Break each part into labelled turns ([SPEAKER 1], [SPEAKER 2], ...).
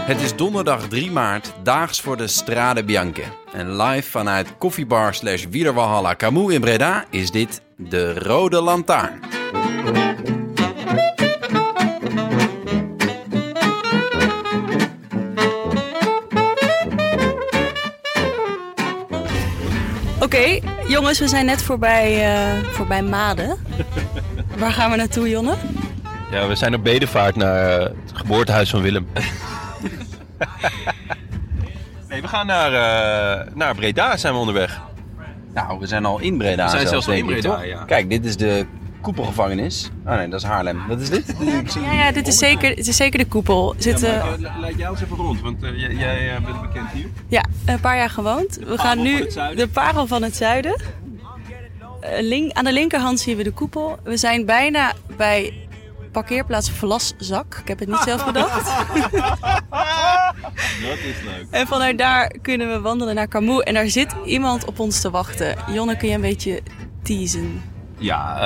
[SPEAKER 1] Het is donderdag 3 maart, daags voor de Strade Bianche. En live vanuit koffiebar slash wielerwalhalla Camus in Breda is dit de Rode Lantaarn.
[SPEAKER 2] Oké, jongens, we zijn net voorbij, eh, voorbij Maden. Waar gaan we naartoe, Jonne?
[SPEAKER 3] Ja, we zijn op bedevaart naar eh, het geboortehuis van Willem. nee, we gaan naar, eh, naar Breda, zijn we onderweg.
[SPEAKER 1] Nou, we zijn al in Breda.
[SPEAKER 4] We zijn zelfs al
[SPEAKER 1] denk
[SPEAKER 4] in
[SPEAKER 1] ik,
[SPEAKER 4] Breda,
[SPEAKER 1] toch?
[SPEAKER 4] ja.
[SPEAKER 1] Kijk, dit is de koepelgevangenis. Oh nee, dat is Haarlem. Wat is dit?
[SPEAKER 2] Ja, ja dit, is zeker, dit is zeker de koepel. Zitten, ja,
[SPEAKER 4] Leid jij ons even rond, want eh, jij, jij, eh, bent bekend hier.
[SPEAKER 2] een paar jaar gewoond. We gaan
[SPEAKER 4] van
[SPEAKER 2] nu
[SPEAKER 4] het zuiden.
[SPEAKER 2] de parel van het zuiden. Eh, link, aan de linkerhand zien we de koepel. We zijn bijna bij parkeerplaats Vlaszak. Ik heb het niet zelf bedacht.
[SPEAKER 4] Dat is leuk.
[SPEAKER 2] En vanuit daar kunnen we wandelen naar Camus. En daar zit iemand op ons te wachten. Jonne, kun je een beetje teasen?
[SPEAKER 3] Ja,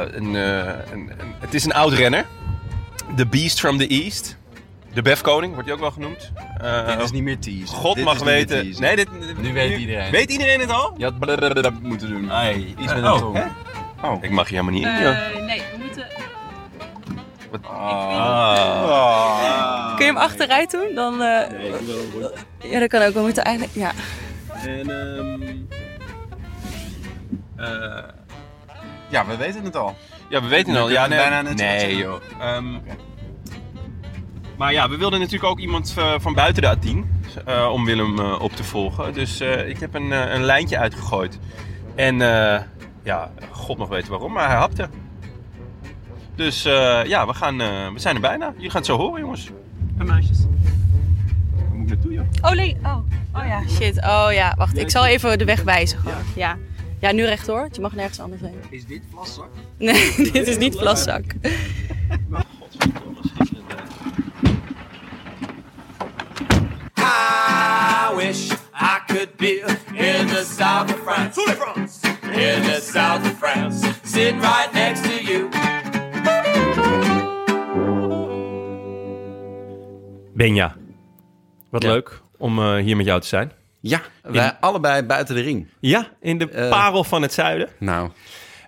[SPEAKER 3] eh, een, eh, een, een- het is een oud renner. The Beast from the East. De Befkoning, wordt hij ook wel genoemd. Eh,
[SPEAKER 1] dit is niet meer teasen.
[SPEAKER 3] God
[SPEAKER 1] Dit is
[SPEAKER 3] mag
[SPEAKER 1] niet meer
[SPEAKER 3] weten.
[SPEAKER 1] teasen.
[SPEAKER 3] Nee, dit,
[SPEAKER 4] Nu weet iedereen.
[SPEAKER 3] Weet iedereen het al?
[SPEAKER 1] Je had blablabla moeten doen.
[SPEAKER 4] Nee, iets met
[SPEAKER 3] Oh,
[SPEAKER 4] een tong.
[SPEAKER 3] hè?
[SPEAKER 1] Oh.
[SPEAKER 3] Ik mag hier helemaal niet in.
[SPEAKER 2] Eh, nee, we moeten...
[SPEAKER 4] Ah.
[SPEAKER 1] Ah.
[SPEAKER 2] Kun je hem achteruit doen? Dan, eh, Ja, dat kan ook. We moeten eigenlijk... Ja.
[SPEAKER 4] En ehm eh,
[SPEAKER 1] Ja, we weten het al.
[SPEAKER 3] Ja, we weten het al.
[SPEAKER 1] We
[SPEAKER 3] Ja,
[SPEAKER 1] kunnen
[SPEAKER 3] nee,
[SPEAKER 1] bijna net
[SPEAKER 3] nee
[SPEAKER 1] zeggen.
[SPEAKER 3] joh. Ehm, Maar ja, we wilden natuurlijk ook iemand eh, van buiten de A10 eh, om Willem eh, op te volgen. Dus eh, ik heb een, eh, een lijntje uitgegooid. En eh, ja, god nog weten waarom, maar hij hapte. Dus eh, ja, we, gaan, eh, we zijn er bijna. Jullie gaan het zo horen, jongens.
[SPEAKER 4] en meisjes. Waar moet ik naartoe, joh?
[SPEAKER 2] Oh, nee. Oh. oh ja, shit. Oh ja, wacht. Ik zal even de weg wijzen gewoon. Ja. Ja, nu recht hoor. Je mag nergens anders heen.
[SPEAKER 1] Is dit vlaszak?
[SPEAKER 2] Nee, dit is niet Vlaszak.
[SPEAKER 5] I wish I could be in the south of France. In the south of France. Sitting right next to you.
[SPEAKER 3] Benja, wat
[SPEAKER 1] Ja.
[SPEAKER 3] leuk om eh, hier met jou te zijn.
[SPEAKER 1] Ja, wij allebei buiten de ring.
[SPEAKER 3] Ja, in de
[SPEAKER 1] Eh.
[SPEAKER 3] parel van het zuiden.
[SPEAKER 1] Nou,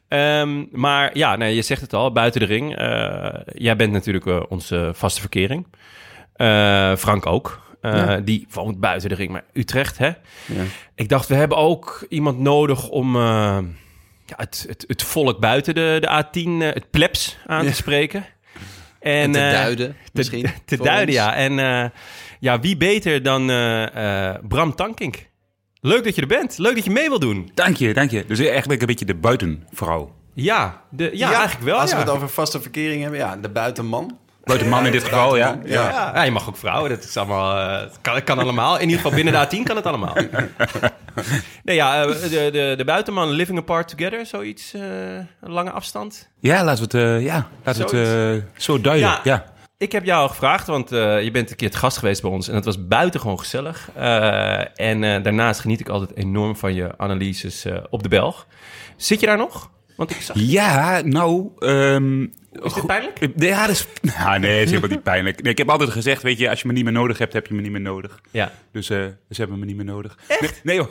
[SPEAKER 3] Ehm, maar ja, nee, je zegt het al, buiten de ring. Eh, jij bent natuurlijk eh, onze vaste verkering. Eh, Frank ook. Eh, Die woont buiten de ring, maar Utrecht, hè? Ik dacht, we hebben ook iemand nodig om eh, ja, het, het, het volk buiten de, de A10, eh, het plebs, aan te spreken. En,
[SPEAKER 1] te
[SPEAKER 3] eh,
[SPEAKER 1] duiden misschien.
[SPEAKER 3] Te, te
[SPEAKER 1] voor ons.
[SPEAKER 3] duiden, ja. En eh, ja, wie beter dan eh, eh, Bram Tankink? Leuk dat je er bent. Leuk dat je mee wil doen.
[SPEAKER 6] Dank je, dank je. Dus eigenlijk een beetje de buitenvrouw.
[SPEAKER 3] Ja, de, ja, eigenlijk wel.
[SPEAKER 1] Als
[SPEAKER 3] ja.
[SPEAKER 1] we het over vaste verkering hebben, ja, de buitenman.
[SPEAKER 6] Buitenman in dit geval, ja.
[SPEAKER 1] Ja.
[SPEAKER 3] Ja. je mag ook vrouwen, dat is allemaal, eh, het kan, het kan allemaal. In ieder geval binnen de A10 kan het allemaal. nee, ja, eh, de, de, de buitenman, living apart together, zoiets, eh, een lange afstand.
[SPEAKER 6] Ja, laten we het, eh, ja, laten we het eh, zo duiden.
[SPEAKER 3] Ja.
[SPEAKER 6] Ja.
[SPEAKER 3] Ik heb jou gevraagd, want eh, je bent een keer het gast geweest bij ons en dat was buitengewoon gezellig. Eh, en eh, daarnaast geniet ik altijd enorm van je analyses eh, op de Belg. Zit je daar nog? Want ik zag...
[SPEAKER 6] Ja, nou... ehm,
[SPEAKER 3] Is dit pijnlijk?
[SPEAKER 6] eh, Ja, dat is... Nou, nee, dat is helemaal niet pijnlijk. Nee, ik heb altijd gezegd, weet je, als je me niet meer nodig hebt, heb je me niet meer nodig.
[SPEAKER 3] Ja.
[SPEAKER 6] Dus eh, ze hebben me niet meer nodig. Nee, nee joh.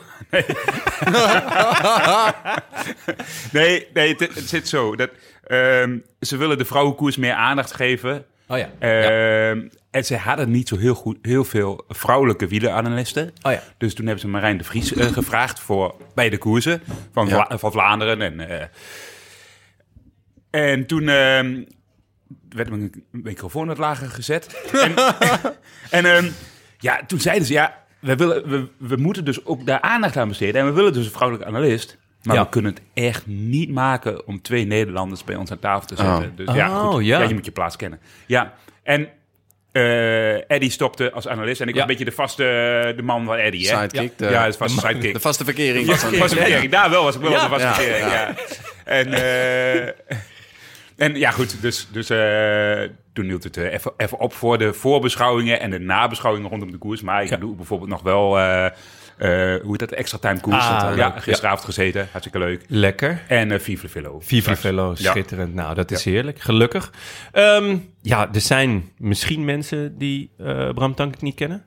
[SPEAKER 6] Nee, nee, nee het, het zit zo. Dat, ehm, ze willen de vrouwenkoers meer aandacht geven.
[SPEAKER 1] Oh ja.
[SPEAKER 6] Ehm, En ze hadden niet zo heel, goed, heel veel vrouwelijke wielenanalisten.
[SPEAKER 1] Oh ja.
[SPEAKER 6] Dus toen hebben ze Marijn de Vries eh, gevraagd voor, bij de koersen van,
[SPEAKER 1] Ja.
[SPEAKER 6] Vla- van Vlaanderen. En, eh, en toen ehm, werd mijn microfoon wat lager gezet. en en ehm, ja, toen zeiden ze, ja, we, willen, we, we moeten dus ook daar aandacht aan besteden. En we willen dus een vrouwelijke analist. Maar
[SPEAKER 3] Ja.
[SPEAKER 6] we kunnen het echt niet maken om twee Nederlanders bij ons aan tafel te zetten.
[SPEAKER 1] Oh.
[SPEAKER 6] Dus ja,
[SPEAKER 3] Oh,
[SPEAKER 6] goed.
[SPEAKER 3] ja.
[SPEAKER 6] ja, je moet je plaats kennen. Ja, en eh Eddie stopte als analist. En ik
[SPEAKER 3] Ja.
[SPEAKER 6] was een beetje de vaste eh, de man van Eddie. Hè?
[SPEAKER 1] Sidekick,
[SPEAKER 6] Ja,
[SPEAKER 1] de-
[SPEAKER 6] ja, de vaste sidekick.
[SPEAKER 1] De vaste verkering.
[SPEAKER 6] Ja,
[SPEAKER 1] van-
[SPEAKER 6] vaste verkering. Daar wel was ik wel
[SPEAKER 3] Ja.
[SPEAKER 6] de vaste
[SPEAKER 1] Ja,
[SPEAKER 6] verkering,
[SPEAKER 1] ja.
[SPEAKER 6] ja. En, eh, en ja, goed. Dus, dus eh, toen hield het eh, even, even op voor de voorbeschouwingen en de nabeschouwingen rondom de koers. Maar ik doe bijvoorbeeld nog wel... eh, eh, hoe heet dat? Extra time koers.
[SPEAKER 3] Ah,
[SPEAKER 6] Dat, eh,
[SPEAKER 3] leuk.
[SPEAKER 6] ja, gisteravond gezeten. Hartstikke leuk.
[SPEAKER 3] Lekker.
[SPEAKER 6] En eh Vive Velo.
[SPEAKER 3] Viva Velo,
[SPEAKER 6] Ja.
[SPEAKER 3] schitterend. Nou, dat is heerlijk. Gelukkig. Ehm, ja, er zijn misschien mensen die eh Bram Tankert niet kennen.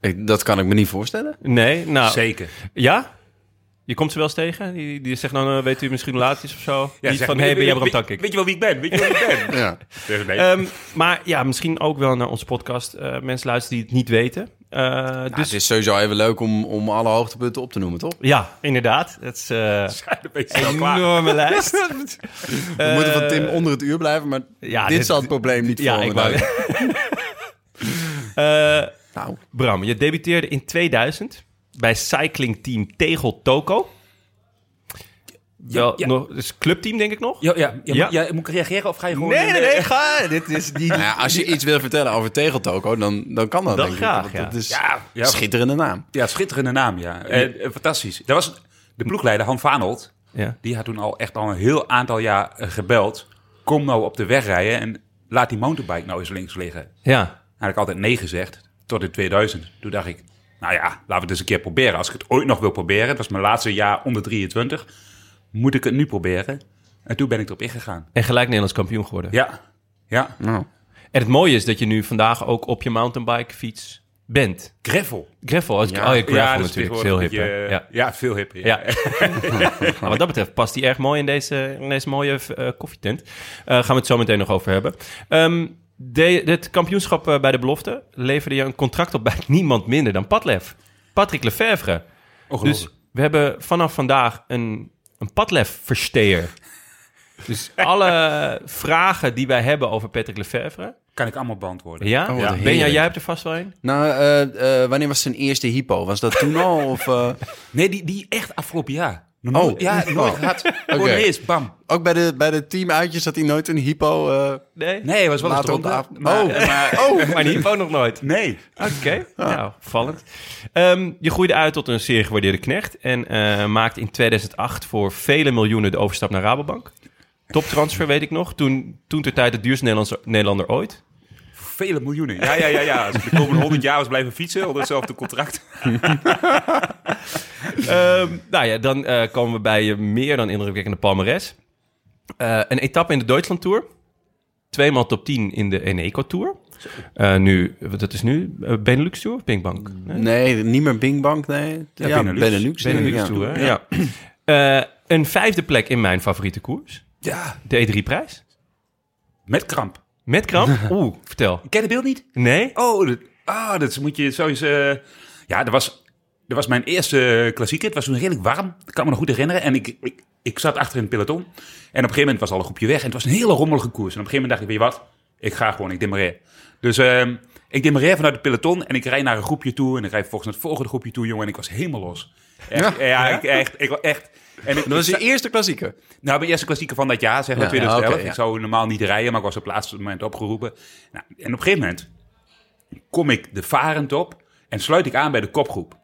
[SPEAKER 1] Ik- dat kan ik me niet voorstellen.
[SPEAKER 3] Nee, nou...
[SPEAKER 6] Zeker.
[SPEAKER 3] Ja? Je komt ze wel eens tegen? Die, die zegt dan, eh, weet u misschien hoe laat het is of zo?
[SPEAKER 6] Ja,
[SPEAKER 3] Niet
[SPEAKER 6] zeg,
[SPEAKER 3] van,
[SPEAKER 6] weet-
[SPEAKER 3] hey, ben jij
[SPEAKER 6] weet-
[SPEAKER 3] Bram Tankert?
[SPEAKER 6] Weet je wel wie ik ben? Weet je wel wie ik ben?
[SPEAKER 1] Ja.
[SPEAKER 6] Dus nee.
[SPEAKER 3] Ehm, maar ja, misschien ook wel naar onze podcast. eh, mensen luisteren die het niet weten. Eh,
[SPEAKER 1] Dus
[SPEAKER 3] dus
[SPEAKER 1] het is sowieso even leuk om, om alle hoogtepunten op te noemen, toch?
[SPEAKER 3] ja, inderdaad. Dat is eh
[SPEAKER 6] Dan ben je snel
[SPEAKER 3] een
[SPEAKER 6] klaar.
[SPEAKER 3] enorme lijst.
[SPEAKER 1] We moeten van Tim onder het uur blijven, maar
[SPEAKER 3] Eh, Ja,
[SPEAKER 1] dit,
[SPEAKER 3] dit-
[SPEAKER 1] zal het probleem niet
[SPEAKER 3] ja,
[SPEAKER 1] voor
[SPEAKER 3] ik wou- Eh,
[SPEAKER 1] Nou,
[SPEAKER 3] Bram, je debuteerde in 2000 bij cycling team Tegel Toko. Wel,
[SPEAKER 6] ja.
[SPEAKER 3] Nog, dus clubteam denk ik nog?
[SPEAKER 6] Ja, ja, ja,
[SPEAKER 3] Ja.
[SPEAKER 6] maar- ja, moet ik reageren of ga je gewoon...
[SPEAKER 3] Nee, nee,
[SPEAKER 6] eh,
[SPEAKER 3] nee, ga. Dit is die...
[SPEAKER 1] nou ja, als je iets wil vertellen over Tegeltoko, dan, dan kan dat,
[SPEAKER 3] Dan
[SPEAKER 1] denk ik.
[SPEAKER 3] graag,
[SPEAKER 1] Want
[SPEAKER 3] ja.
[SPEAKER 1] Dat is
[SPEAKER 6] Ja, ja,
[SPEAKER 1] schitterende naam.
[SPEAKER 6] ja, schitterende naam, ja. Eh, eh, fantastisch. Dat was de ploegleider, Han Vanold.
[SPEAKER 3] Ja.
[SPEAKER 6] Die had toen al echt al een heel aantal jaar eh, gebeld. Kom nou op de weg rijden en laat die mountainbike nou eens links liggen.
[SPEAKER 3] ja.
[SPEAKER 6] Had ik altijd nee gezegd, tot in 2000. Toen dacht ik, nou ja, laten we het eens een keer proberen. Als ik het ooit nog wil proberen, het was mijn laatste jaar onder 23, moet ik het nu proberen? En toen ben ik erop ingegaan.
[SPEAKER 3] En gelijk Nederlands kampioen geworden.
[SPEAKER 6] Ja, ja.
[SPEAKER 1] Nou,
[SPEAKER 3] En het mooie is dat je nu vandaag ook op je mountainbike fiets bent.
[SPEAKER 6] Gravel.
[SPEAKER 3] Gravel. als ik- Oh ja, gravel natuurlijk. Is heel hip. hè?
[SPEAKER 6] Ja,
[SPEAKER 3] Ja.
[SPEAKER 6] ja, veel hipper.
[SPEAKER 3] eh, Ja. Maar wat dat betreft past die erg mooi in deze, in deze mooie eh, koffietent. Eh, gaan we het zo meteen nog over hebben. Ehm de, het kampioenschap eh, bij de belofte leverde je een contract op bij niemand minder dan Padlef. Patrick Lefevre. Dus
[SPEAKER 6] Ongelooflijk.
[SPEAKER 3] we hebben vanaf vandaag een, een Padlef-versteer. Dus alle vragen die wij hebben over Patrick Lefevre.
[SPEAKER 6] Kan ik allemaal beantwoorden.
[SPEAKER 3] Ja?
[SPEAKER 1] wat heerlijk.
[SPEAKER 3] Benja, jij hebt er vast wel een?
[SPEAKER 1] nou eh, eh, wanneer was zijn eerste hypo? Was dat toen al? Of, eh,
[SPEAKER 6] Nee, die, die echt afgelopen jaar.
[SPEAKER 1] Oh.
[SPEAKER 6] ja, nooit
[SPEAKER 1] Oh.
[SPEAKER 6] gehad. Gewoon ineens, bam.
[SPEAKER 1] ook bij de, bij de teamuitjes had hij nooit een hypo. eh,
[SPEAKER 3] Nee?
[SPEAKER 6] Nee, het was wel
[SPEAKER 1] Later
[SPEAKER 6] eens
[SPEAKER 1] op de
[SPEAKER 6] eronder,
[SPEAKER 1] avond.
[SPEAKER 6] maar- eh,
[SPEAKER 1] Oh.
[SPEAKER 6] maar-
[SPEAKER 3] Oh, maar die ook nog nooit.
[SPEAKER 6] nee.
[SPEAKER 3] Oké, nou, opvallend. Ehm, je groeide uit tot een zeer gewaardeerde knecht en eh, maakte in 2008 voor vele miljoenen de overstap naar Rabobank. Toptransfer weet ik nog, toen, toen ter tijd de duurste Nederlandse, Nederlander ooit.
[SPEAKER 6] Vele miljoenen. Ja, ja, ja. ja. Als ik de komende 100 jaar was blijven fietsen onder hetzelfde contract.
[SPEAKER 3] Ehm, nou ja, dan eh, komen we bij je meer dan indrukwekkende palmares. Eh, een etappe in de Duitsland Tour. Tweemaal top 10 in de Eneco Tour. Eh, nu, wat dat is nu? Eh, Benelux Tour of Pinkbank?
[SPEAKER 1] nee, niet meer Bing Bang, nee. Ja,
[SPEAKER 6] Benelux.
[SPEAKER 1] nu,
[SPEAKER 3] Benelux
[SPEAKER 1] ja.
[SPEAKER 3] Tour, hè? Ja. Eh, een vijfde plek in mijn favoriete koers.
[SPEAKER 6] Ja.
[SPEAKER 3] De E3-prijs.
[SPEAKER 6] Met kramp.
[SPEAKER 3] Met kramp? Oeh, vertel.
[SPEAKER 6] Ken je het beeld niet?
[SPEAKER 3] Nee?
[SPEAKER 6] Oh, dat, ah, dat moet je zo eens... eh, ja, dat was, dat was mijn eerste klassieker. Het was toen redelijk warm. Ik kan me nog goed herinneren. En ik, ik, ik zat achter in het peloton. En op een gegeven moment was al een groepje weg. En het was een hele rommelige koers. En op een gegeven moment dacht ik, weet je wat? Ik ga gewoon, ik demareer. Dus ehm, ik demareer vanuit het peloton. En ik rijd naar een groepje toe. En ik rijd volgens naar het volgende groepje toe, jongen. En ik was helemaal los. Echt, ja, ik, echt, ik, wa- echt. En ik,
[SPEAKER 1] Dat was
[SPEAKER 6] ik
[SPEAKER 1] je
[SPEAKER 6] sta-
[SPEAKER 1] eerste klassieker.
[SPEAKER 6] nou, mijn eerste klassieker van dat jaar, zeg maar
[SPEAKER 1] Ja,
[SPEAKER 6] 2011.
[SPEAKER 1] oké, ja.
[SPEAKER 6] Ik zou normaal niet rijden, maar ik was op het laatste moment opgeroepen. Nou, en op een gegeven moment kom ik de varend op en sluit ik aan bij de kopgroep.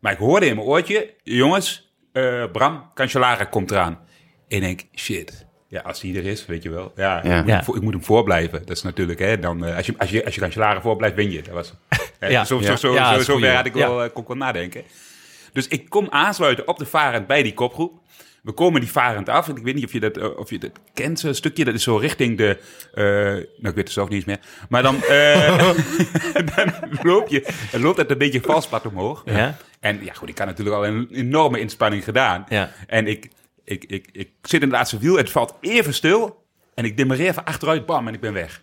[SPEAKER 6] Maar ik hoorde in mijn oortje, jongens, eh, Bram, Cancellara komt eraan. En ik denk, shit. Ja, als hij er is, weet je wel. Ja,
[SPEAKER 1] Ja.
[SPEAKER 6] Ik, moet, hem
[SPEAKER 3] Ja.
[SPEAKER 6] voor- ik moet hem voorblijven. Dat is natuurlijk, hè. Dan, eh, als je, als je, als je Cancellara voorblijft, win je. Dat was, hè,
[SPEAKER 3] Ja.
[SPEAKER 6] Zo,
[SPEAKER 3] Ja.
[SPEAKER 6] zo, zo,
[SPEAKER 3] Ja, dat
[SPEAKER 6] zo,
[SPEAKER 3] is
[SPEAKER 6] zo
[SPEAKER 3] goeie.
[SPEAKER 6] ver had ik
[SPEAKER 3] Ja.
[SPEAKER 6] wel, eh, kon ik wel nadenken. Dus ik kom aansluiten op de varend bij die kopgroep. We komen die varend af. En ik weet niet of je dat, eh, of je dat kent, zo'n stukje. Dat is zo richting de... eh, nou, ik weet het zelf niet eens meer. Maar dan, eh, dan loop je... Dan loopt dat een beetje valspad omhoog.
[SPEAKER 3] Ja.
[SPEAKER 6] En ja, goed, ik had natuurlijk al een enorme inspanning gedaan.
[SPEAKER 3] Ja.
[SPEAKER 6] En ik, ik, ik, ik zit in het laatste wiel. Het valt even stil. En ik demareer van achteruit. Bam, en ik ben weg.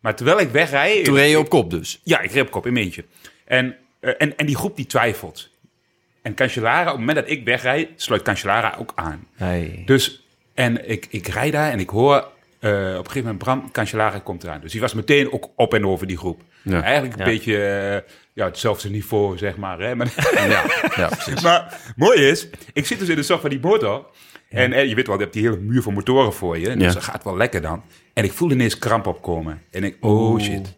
[SPEAKER 6] Maar terwijl ik wegrij...
[SPEAKER 1] Toen reed je op kop dus.
[SPEAKER 6] Ja, ik reed op kop in mijn eentje. En, eh, en, en die groep die twijfelt. En Cancellara, op het moment dat ik wegrij, sluit Cancellara ook aan.
[SPEAKER 3] Nee.
[SPEAKER 6] Dus, en ik, ik rijd daar en ik hoor eh, op een gegeven moment Bram Cancellara komt eraan. Dus die was meteen ook op en over die groep.
[SPEAKER 1] Ja.
[SPEAKER 6] Eigenlijk een
[SPEAKER 3] Ja.
[SPEAKER 6] beetje eh, ja, hetzelfde niveau, zeg maar. Hè? Maar,
[SPEAKER 1] Ja, ja precies.
[SPEAKER 6] maar mooi is, ik zit dus in de zak van die motor. En eh, je weet wel, je hebt die hele muur van motoren voor je. Dus
[SPEAKER 1] Ja.
[SPEAKER 6] dat gaat wel lekker dan. En ik voel ineens kramp opkomen. En ik, oh shit.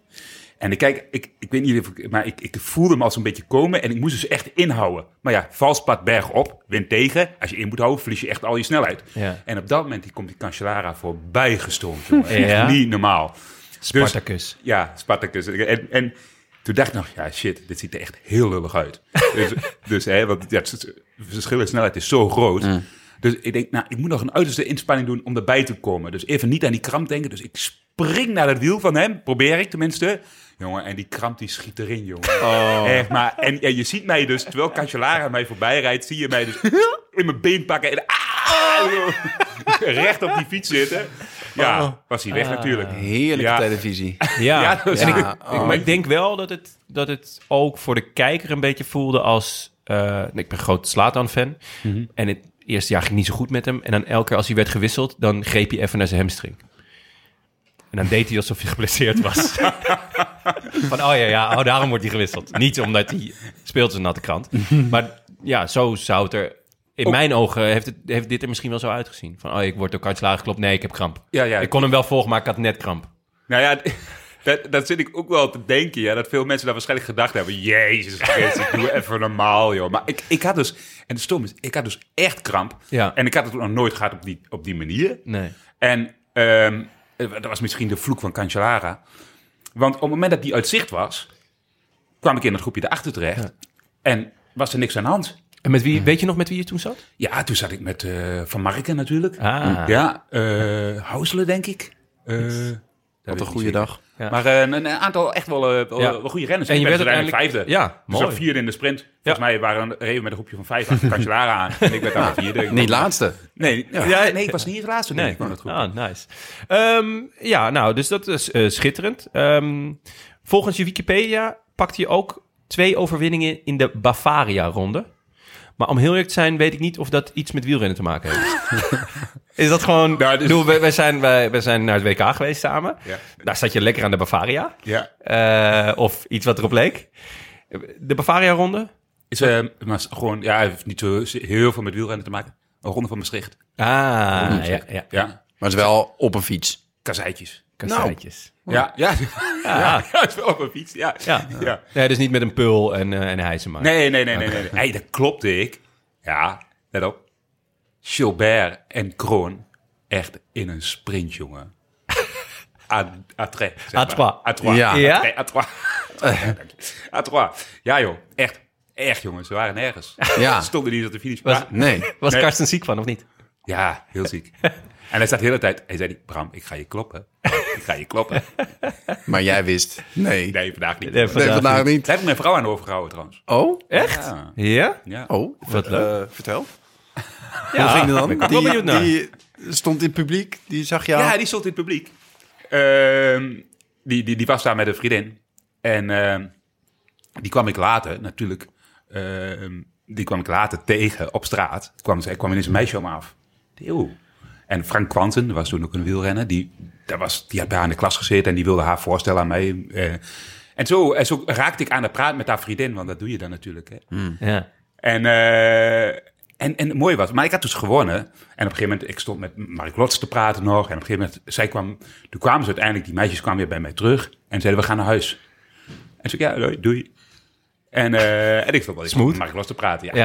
[SPEAKER 6] En ik kijk, ik, ik weet niet of ik, maar ik, ik voelde hem al zo'n beetje komen. En ik moest dus echt inhouden. Maar ja, vals pad berg op, wind tegen. Als je in moet houden, verlies je echt al je snelheid.
[SPEAKER 3] Ja.
[SPEAKER 6] En op dat moment die komt die Cancellara voorbij gestompt. jongen. Echt
[SPEAKER 3] Ja.
[SPEAKER 6] Niet normaal.
[SPEAKER 3] Spartacus.
[SPEAKER 6] Dus Ja, Spartacus. En, en toen dacht ik nog, ja shit, dit ziet er echt heel lullig uit. dus dus hè, want ja, het, het verschil in snelheid is zo groot. Dus ik denk, nou, ik moet nog een uiterste inspanning doen om erbij te komen. Dus even niet aan die kramp denken. Dus ik spring naar het wiel van hem, probeer ik tenminste. Jongen, en die kramp die schiet erin, jongen. Echt, maar, en, en je ziet mij dus, terwijl Cancellara mij voorbij rijdt, zie je mij dus in mijn been pakken en ah, recht op die fiets zitten. Ja, was hij weg natuurlijk.
[SPEAKER 1] Heerlijke
[SPEAKER 6] Ja.
[SPEAKER 1] televisie.
[SPEAKER 3] Ja.
[SPEAKER 6] Ja, dat is-
[SPEAKER 3] En ik-
[SPEAKER 1] Ja,
[SPEAKER 3] ik-
[SPEAKER 6] oh.
[SPEAKER 3] maar ik denk wel dat het, dat het ook voor de kijker een beetje voelde als... eh, ik ben groot Slatan-fan. En het eerste jaar ging niet zo goed met hem. En dan elke keer als hij werd gewisseld, dan greep hij even naar zijn hamstring. En dan deed hij alsof hij geblesseerd was. Van, oh ja, ja, oh, daarom wordt hij gewisseld. Niet omdat hij speelt als een natte krant. Maar ja, zo zou het er... In mijn ogen heeft, het, heeft dit er misschien wel zo uitgezien. Van, oh, ik word door kartslagen geklopt. Nee, ik heb kramp.
[SPEAKER 6] Ja, ja.
[SPEAKER 3] Ik kon hem wel volgen, maar ik had net kramp.
[SPEAKER 6] Nou ja, dat, dat zit ik ook wel te denken. Ja, dat veel mensen daar waarschijnlijk gedacht hebben. Jezus Christus, doe even normaal, joh. Maar ik, ik had dus, en de stom is, ik had dus echt kramp.
[SPEAKER 3] Ja.
[SPEAKER 6] En ik had het nog nooit gehad op die, op die manier.
[SPEAKER 3] Nee.
[SPEAKER 6] En ehm, dat was misschien de vloek van Cancellara. Want op het moment dat die uit zicht was, kwam ik in dat groepje daarachter terecht. En was er niks aan de hand.
[SPEAKER 3] En met
[SPEAKER 6] Mhm.
[SPEAKER 3] wie, weet je nog met wie je toen zat?
[SPEAKER 6] Ja, toen zat ik met eh, Van Marken natuurlijk. Mm.
[SPEAKER 3] Ah.
[SPEAKER 6] Ja, eh Houselen denk ik. Eh, dat weet ik
[SPEAKER 1] Wat een
[SPEAKER 6] niet
[SPEAKER 1] goede
[SPEAKER 6] zeker.
[SPEAKER 1] dag.
[SPEAKER 3] Ja.
[SPEAKER 6] Maar eh, een, een aantal echt wel, eh, wel,
[SPEAKER 3] Ja.
[SPEAKER 6] wel goede renners.
[SPEAKER 3] En je
[SPEAKER 6] Ik ben
[SPEAKER 3] werd
[SPEAKER 6] uiteindelijk
[SPEAKER 3] uiteindelijk-
[SPEAKER 6] vijfde.
[SPEAKER 3] ja,
[SPEAKER 6] Dus
[SPEAKER 3] mooi.
[SPEAKER 6] dan vierde in de sprint. Volgens mij waren, reden we met een groepje van vijf achter Cancellara aan. En ik werd
[SPEAKER 3] Ah.
[SPEAKER 6] dan vierde.
[SPEAKER 1] Niet laatste.
[SPEAKER 6] Nee, ja. nee, ik was niet het laatste. Nee, ik van dat groepje.
[SPEAKER 3] Ah, nice. Ehm, ja, nou, dus dat is eh, schitterend. Ehm, volgens je Wikipedia pakt je ook twee overwinningen in de Bavaria-ronde. Maar om heel eerlijk te zijn, weet ik niet of dat iets met wielrennen te maken heeft. is dat gewoon...
[SPEAKER 6] Nou, dus-
[SPEAKER 3] Doe, wij, wij zijn, wij, wij zijn naar het WK geweest samen.
[SPEAKER 6] Ja.
[SPEAKER 3] Daar zat je lekker aan de Bavaria.
[SPEAKER 6] Ja.
[SPEAKER 3] Eh, of iets wat erop leek. De Bavaria-ronde?
[SPEAKER 6] Is, eh, maar is gewoon, ja, hij heeft niet zo heel veel met wielrennen te maken. Een ronde van Maastricht.
[SPEAKER 3] Ah, ja, ja.
[SPEAKER 6] Ja,
[SPEAKER 1] Maar het is wel op een fiets.
[SPEAKER 6] kasseitjes.
[SPEAKER 3] Kasseitjes.
[SPEAKER 6] Ja, ja.
[SPEAKER 3] Ah.
[SPEAKER 6] Ja, het is wel op een fiets. Ja.
[SPEAKER 3] Ja.
[SPEAKER 6] ja.
[SPEAKER 3] Nee, dus niet met een pul en, eh en hijsen maar.
[SPEAKER 6] Nee, nee, nee, nee. nee. nee. Hey, dat klopte ik. Ja, let op. Gilbert en Kroon echt in een sprint, jongen. A, a tres. zeg maar.
[SPEAKER 3] À trois.
[SPEAKER 6] À trois.
[SPEAKER 1] Ja.
[SPEAKER 3] Ja?
[SPEAKER 6] À tres, à trois. À trois. Ja, joh. Echt. Echt, jongen. Ze waren nergens.
[SPEAKER 1] Ja.
[SPEAKER 6] Ze stonden niet op de finish.
[SPEAKER 3] Was-
[SPEAKER 6] Maar-
[SPEAKER 1] Nee.
[SPEAKER 3] Was
[SPEAKER 6] Nee.
[SPEAKER 3] Karsten ziek van, of niet?
[SPEAKER 6] ja, heel ziek. En hij staat de hele tijd... Hij zei, Bram, ik ga je kloppen. Ik ga je kloppen.
[SPEAKER 1] Maar jij wist. Nee. Nee,
[SPEAKER 6] Nee, vandaag niet.
[SPEAKER 3] Nee,
[SPEAKER 6] Daar
[SPEAKER 3] vandaag
[SPEAKER 1] vandaag niet.
[SPEAKER 6] heb ik mijn vrouw aan overgehouden, trouwens.
[SPEAKER 1] Oh?
[SPEAKER 3] Echt?
[SPEAKER 6] Ja.
[SPEAKER 3] Ja?
[SPEAKER 6] ja.
[SPEAKER 1] Oh.
[SPEAKER 3] Wat leuk.
[SPEAKER 1] Eh, vertel.
[SPEAKER 3] Ja.
[SPEAKER 1] Hoe ging het dan?
[SPEAKER 3] Ik ben wel benieuwd naar.
[SPEAKER 1] die stond in het publiek. Die zag jou.
[SPEAKER 6] Ja, die stond in het publiek. Ehm, die, die, die was daar met een vriendin. En ehm, die kwam ik later, natuurlijk. ehm, die kwam ik later tegen op straat. Kwam, zij kwam ineens een meisje om me af. Eeuw. En Frank Quanten, was toen ook een wielrenner. Die, daar was, die had bij haar in de klas gezeten en die wilde haar voorstellen aan mij. eh. en, zo, en zo raakte ik aan de praat met haar vriendin, want dat doe je dan natuurlijk. Hè?
[SPEAKER 3] Ja.
[SPEAKER 6] En, eh, en, en mooi was. Maar ik had dus gewonnen. En op een gegeven moment, ik stond met Mark Lots te praten nog. En op een gegeven moment, zij kwam, toen kwamen ze uiteindelijk, die meisjes kwamen weer bij mij terug. En zeiden, we gaan naar huis. En ze zei, ja, doei. doei. En, eh, en ik stond wel eens met Mark Lots te praten. Ja, ja.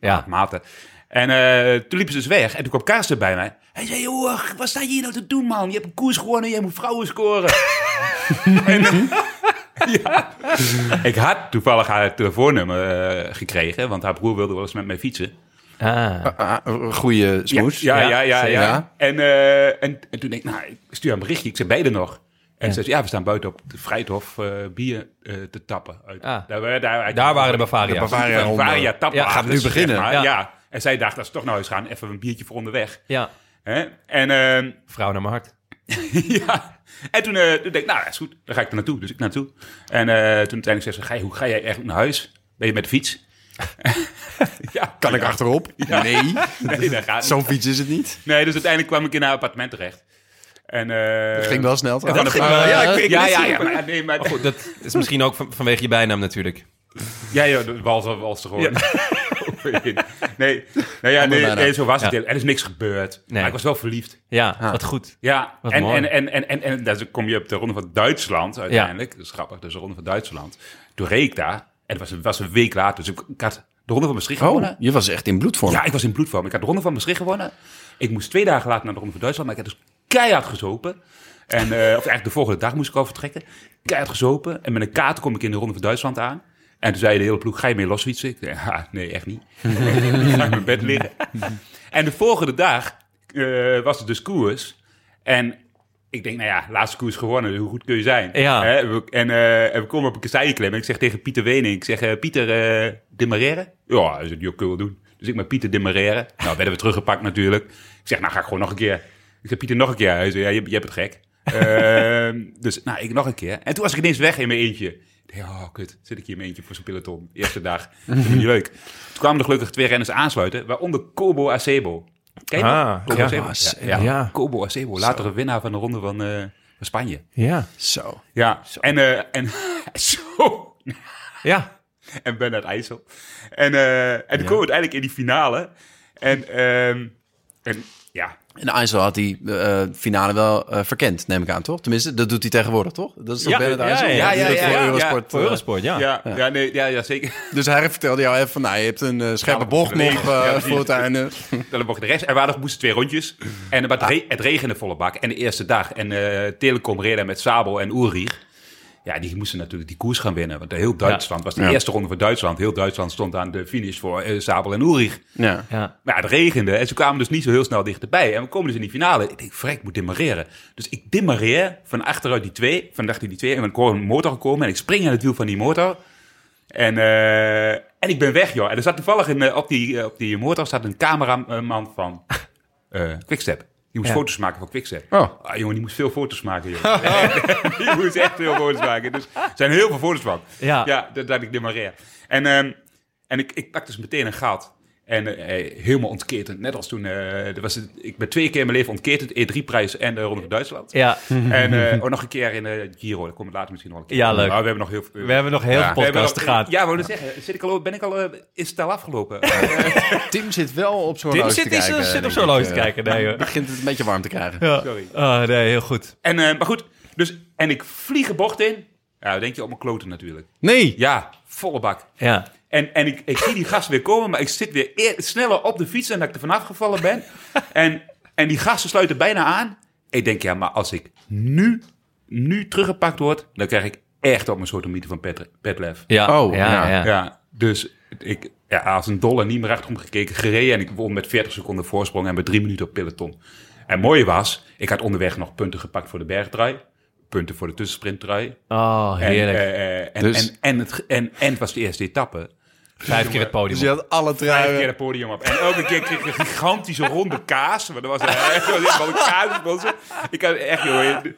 [SPEAKER 3] Ja. Ja.
[SPEAKER 6] maten. En eh, toen liepen ze dus weg. En toen kwam Kaas er bij mij. Hij zei, joh, wat sta je hier nou te doen, man? Je hebt een koers gewonnen, je moet vrouwen scoren. ik had toevallig haar telefoonnummer eh, gekregen. Want haar broer wilde wel eens met mij fietsen.
[SPEAKER 3] Ah.
[SPEAKER 1] Ah, een goede smoes.
[SPEAKER 6] Ja, ja, ja. ja,
[SPEAKER 1] zeker.
[SPEAKER 6] ja. En, eh, en, en toen denk ik, nou, ik stuur haar een berichtje. Ik zei, beide nog? En ze zei, ja, we staan buiten op de Vrijthof eh, bier eh, te tappen. Uit,
[SPEAKER 3] Ah.
[SPEAKER 6] daar, daar, daar,
[SPEAKER 3] Daar waren de Bavaria's.
[SPEAKER 1] Bavaria
[SPEAKER 6] Bavaria, Bavaria tappen.
[SPEAKER 3] Ja, gaat
[SPEAKER 6] achter,
[SPEAKER 1] nu
[SPEAKER 6] zeg
[SPEAKER 1] beginnen.
[SPEAKER 6] maar.
[SPEAKER 3] Ja.
[SPEAKER 6] Ja. nou En zij dacht, als we toch naar huis gaan, even een biertje voor onderweg.
[SPEAKER 3] Ja.
[SPEAKER 6] Hè? En, eh,
[SPEAKER 3] Vrouw naar mijn hart.
[SPEAKER 6] ja. En toen, eh, toen denk ik, nou, dat is goed. Dan ga ik er naartoe. Dus ik naartoe. En eh, toen uiteindelijk zei ze, ga je, hoe ga jij echt naar huis? Ben je met de fiets? ja,
[SPEAKER 1] Kan ik achterop? Nee,
[SPEAKER 6] nee, dat gaat niet.
[SPEAKER 1] zo'n fiets is het niet.
[SPEAKER 6] Nee, dus uiteindelijk kwam ik in haar appartement terecht. En, eh,
[SPEAKER 1] Het ging wel snel
[SPEAKER 6] en dan
[SPEAKER 1] trouwens. Ah.
[SPEAKER 6] op-
[SPEAKER 3] ging wel,
[SPEAKER 6] ja,
[SPEAKER 3] ja. Oh,
[SPEAKER 6] ik- ik- ja, ja, ja, maar, nee, maar,
[SPEAKER 3] Goed, dat is misschien ook van- vanwege je bijnaam natuurlijk.
[SPEAKER 6] Ja, ja, de wals, wals er gewoon. nee, nou ja, nee,
[SPEAKER 1] bijna.
[SPEAKER 6] nee, zo was het.
[SPEAKER 3] Ja.
[SPEAKER 6] Er is niks gebeurd.
[SPEAKER 3] Nee.
[SPEAKER 6] Maar ik was wel verliefd.
[SPEAKER 3] Ja,
[SPEAKER 1] Ah.
[SPEAKER 3] wat goed.
[SPEAKER 6] Ja,
[SPEAKER 3] Wat
[SPEAKER 6] en,
[SPEAKER 3] mooi.
[SPEAKER 6] en, en, en, en, en daar kom je op de Ronde van Duitsland uiteindelijk. Dat is grappig, dus de Ronde van Duitsland. Toen reed ik daar. En het was, een- was een week later. Dus ik, ik had de Ronde van Maastricht
[SPEAKER 1] Oh,
[SPEAKER 6] gewonnen.
[SPEAKER 1] je was echt in bloedvorm.
[SPEAKER 6] Ja, ik was in bloedvorm. Ik had de Ronde van Maastricht gewonnen. Ik moest twee dagen later naar de Ronde van Duitsland. Maar ik had dus keihard gezopen. En, eh, of eigenlijk de volgende dag moest ik al vertrekken. Keihard gezopen. En met een kaart kom ik in de Ronde van Duitsland aan. En toen zei de hele ploeg, ga je mee losfietsen? Ik zei, "Ha, nee, echt niet. ik ga in mijn bed liggen. en de volgende dag eh, was het dus koers. En ik denk, nou ja, laatste koers gewonnen. dus Hoe goed kun je zijn?
[SPEAKER 3] Ja.
[SPEAKER 6] Hè, we- en, eh, en we komen op een kasseienklim. En ik zeg tegen Pieter Wening, ik zeg, eh, Pieter, eh demareren? Ja, dat is het, joh, kunnen we wel doen. Dus ik met Pieter demareren. Nou, werden we teruggepakt natuurlijk. Ik zeg, nou ga ik gewoon nog een keer. Ik zeg, Pieter, nog een keer. Hij zei, ja, je, je hebt het gek. Ehm, dus, nou, ik nog een keer. En toen was ik ineens weg in mijn eentje. Ik dacht, oh, kut, zit ik hier in mijn eentje voor zo'n peloton. Eerste dag. Dat vind ik niet leuk. Toen kwamen er gelukkig twee renners aansluiten, waaronder Kobo Acebo. Ken je dat?
[SPEAKER 3] Ah,
[SPEAKER 6] Kobo
[SPEAKER 3] ja.
[SPEAKER 6] Acebo? Ja,
[SPEAKER 3] Ja.
[SPEAKER 6] ja. Kobo Acebo, latere winnaar van de ronde van eh, van Spanje.
[SPEAKER 3] Ja.
[SPEAKER 1] Zo.
[SPEAKER 6] Ja, en, eh, en zo.
[SPEAKER 3] Ja.
[SPEAKER 6] En Bernard IJssel. En, eh en toen komen we uiteindelijk in die finale. En, ehm, en ja,
[SPEAKER 1] En IJssel had die eh, finale wel eh, verkend, neem ik aan, toch? Tenminste, dat doet hij tegenwoordig, toch? Dat is toch
[SPEAKER 3] Ja,
[SPEAKER 1] Bernard IJssel?
[SPEAKER 3] ja, ja,
[SPEAKER 1] Die doet
[SPEAKER 6] ja,
[SPEAKER 1] dat
[SPEAKER 6] ja,
[SPEAKER 1] voor
[SPEAKER 6] ja,
[SPEAKER 1] Eurosport.
[SPEAKER 3] Voor
[SPEAKER 1] eh,
[SPEAKER 3] Eurosport, ja.
[SPEAKER 6] Ah, ja, ja. nee, ja, ja zeker.
[SPEAKER 1] Dus hij vertelde jou even van, nou, je hebt een eh, scherpe
[SPEAKER 6] Ja,
[SPEAKER 1] bocht
[SPEAKER 6] nee.
[SPEAKER 1] nog eh,
[SPEAKER 6] Ja, die-
[SPEAKER 1] voor het einde.
[SPEAKER 6] Dan mocht de rest. En we hadden moesten twee rondjes. En maar het, re- het regende volle bak. En de eerste dag. En eh, Telecom reed daar met Sabel en Ulrich. Ja, die moesten natuurlijk die koers gaan winnen. Want heel Duitsland was de
[SPEAKER 1] Ja.
[SPEAKER 6] eerste ronde voor Duitsland. Heel Duitsland stond aan de finish voor eh, Sabel en Ulrich.
[SPEAKER 1] Ja.
[SPEAKER 3] Ja.
[SPEAKER 6] Maar ja, het regende en ze kwamen dus niet zo heel snel dichterbij. En we komen dus in die finale. Ik denk, vrek, ik moet demareren. Dus ik demareer van achteruit die twee, van achter die twee. En dan hoor een motor gekomen en ik spring aan het wiel van die motor. En, eh, en ik ben weg, joh. En er zat toevallig in, eh, op, die, eh, op die motor zat een cameraman van eh Quickstep. Die moest
[SPEAKER 3] Ja.
[SPEAKER 6] foto's maken van Quickstep.
[SPEAKER 1] Oh.
[SPEAKER 6] Ah, jongen, die moest veel foto's maken, joh. die moest echt veel foto's maken. Dus er zijn heel veel foto's van.
[SPEAKER 3] Ja.
[SPEAKER 6] Ja, dat, dat ik demareer. En, ehm, en ik, ik pak dus meteen een gat. En eh, eh, helemaal ontketend. Net als toen... eh, er was het- ik ben twee keer in mijn leven ontketend. E3-prijs en de Ronde van Duitsland.
[SPEAKER 3] Ja.
[SPEAKER 6] En eh, ook nog een keer in de Giro. Daar kom ik later misschien nog wel een keer
[SPEAKER 3] Ja,
[SPEAKER 6] op.
[SPEAKER 3] leuk.
[SPEAKER 6] Maar we hebben nog heel veel...
[SPEAKER 3] We hebben nog heel
[SPEAKER 6] Ja.
[SPEAKER 3] veel
[SPEAKER 6] We hebben
[SPEAKER 3] podcasts
[SPEAKER 6] nog-
[SPEAKER 3] te gaan.
[SPEAKER 6] Ja, wou ik zeggen. Zit ik al, ben ik al... eh, is het al afgelopen? Oh,
[SPEAKER 1] Tim zit wel op zo'n
[SPEAKER 3] Tim
[SPEAKER 1] horloge te
[SPEAKER 3] zit,
[SPEAKER 1] kijken.
[SPEAKER 3] zit op
[SPEAKER 1] denk
[SPEAKER 3] zo'n
[SPEAKER 1] ik,
[SPEAKER 3] loos te
[SPEAKER 1] eh.
[SPEAKER 3] kijken. Nee, hoor.
[SPEAKER 1] Begint het een beetje warm te krijgen.
[SPEAKER 3] Ja.
[SPEAKER 6] Sorry.
[SPEAKER 3] Ah, nee, heel goed.
[SPEAKER 6] en, eh, maar goed. Dus, en ik vlieg een bocht in. Ja, dan denk je op mijn kloten natuurlijk.
[SPEAKER 1] Nee!
[SPEAKER 6] Ja, volle bak.
[SPEAKER 3] Ja.
[SPEAKER 6] En, en ik, ik zie die gast weer komen, maar ik zit weer eer- sneller op de fiets dan dat ik er vanaf gevallen ben. En, en die gasten sluiten bijna aan. Ik denk, ja, maar als ik nu, nu teruggepakt word, dan krijg ik echt op mijn soort mythe van Pet- Petlef.
[SPEAKER 3] Ja.
[SPEAKER 1] Oh, ja.
[SPEAKER 3] ja.
[SPEAKER 6] Ja, dus ik, ja, als een dollar niet meer achterom gekeken, gereden. En ik won met 40 seconden voorsprong en met drie minuten op peloton. En mooi was, ik had onderweg nog punten gepakt voor de bergtrui. Punten voor de tussensprintrui.
[SPEAKER 3] Oh,
[SPEAKER 6] En,
[SPEAKER 3] heerlijk.
[SPEAKER 6] eh, eh, en,
[SPEAKER 1] Dus-
[SPEAKER 6] en, en, het, en, en het was de eerste etappe.
[SPEAKER 3] Vijf keer het podium.
[SPEAKER 1] Dus je had alle
[SPEAKER 6] Elke keer
[SPEAKER 1] truien.
[SPEAKER 6] het podium op. En elke keer kreeg ik een gigantische ronde kaas. Maar dat was echt wel een kaas. was het. Ik had echt, joh, die,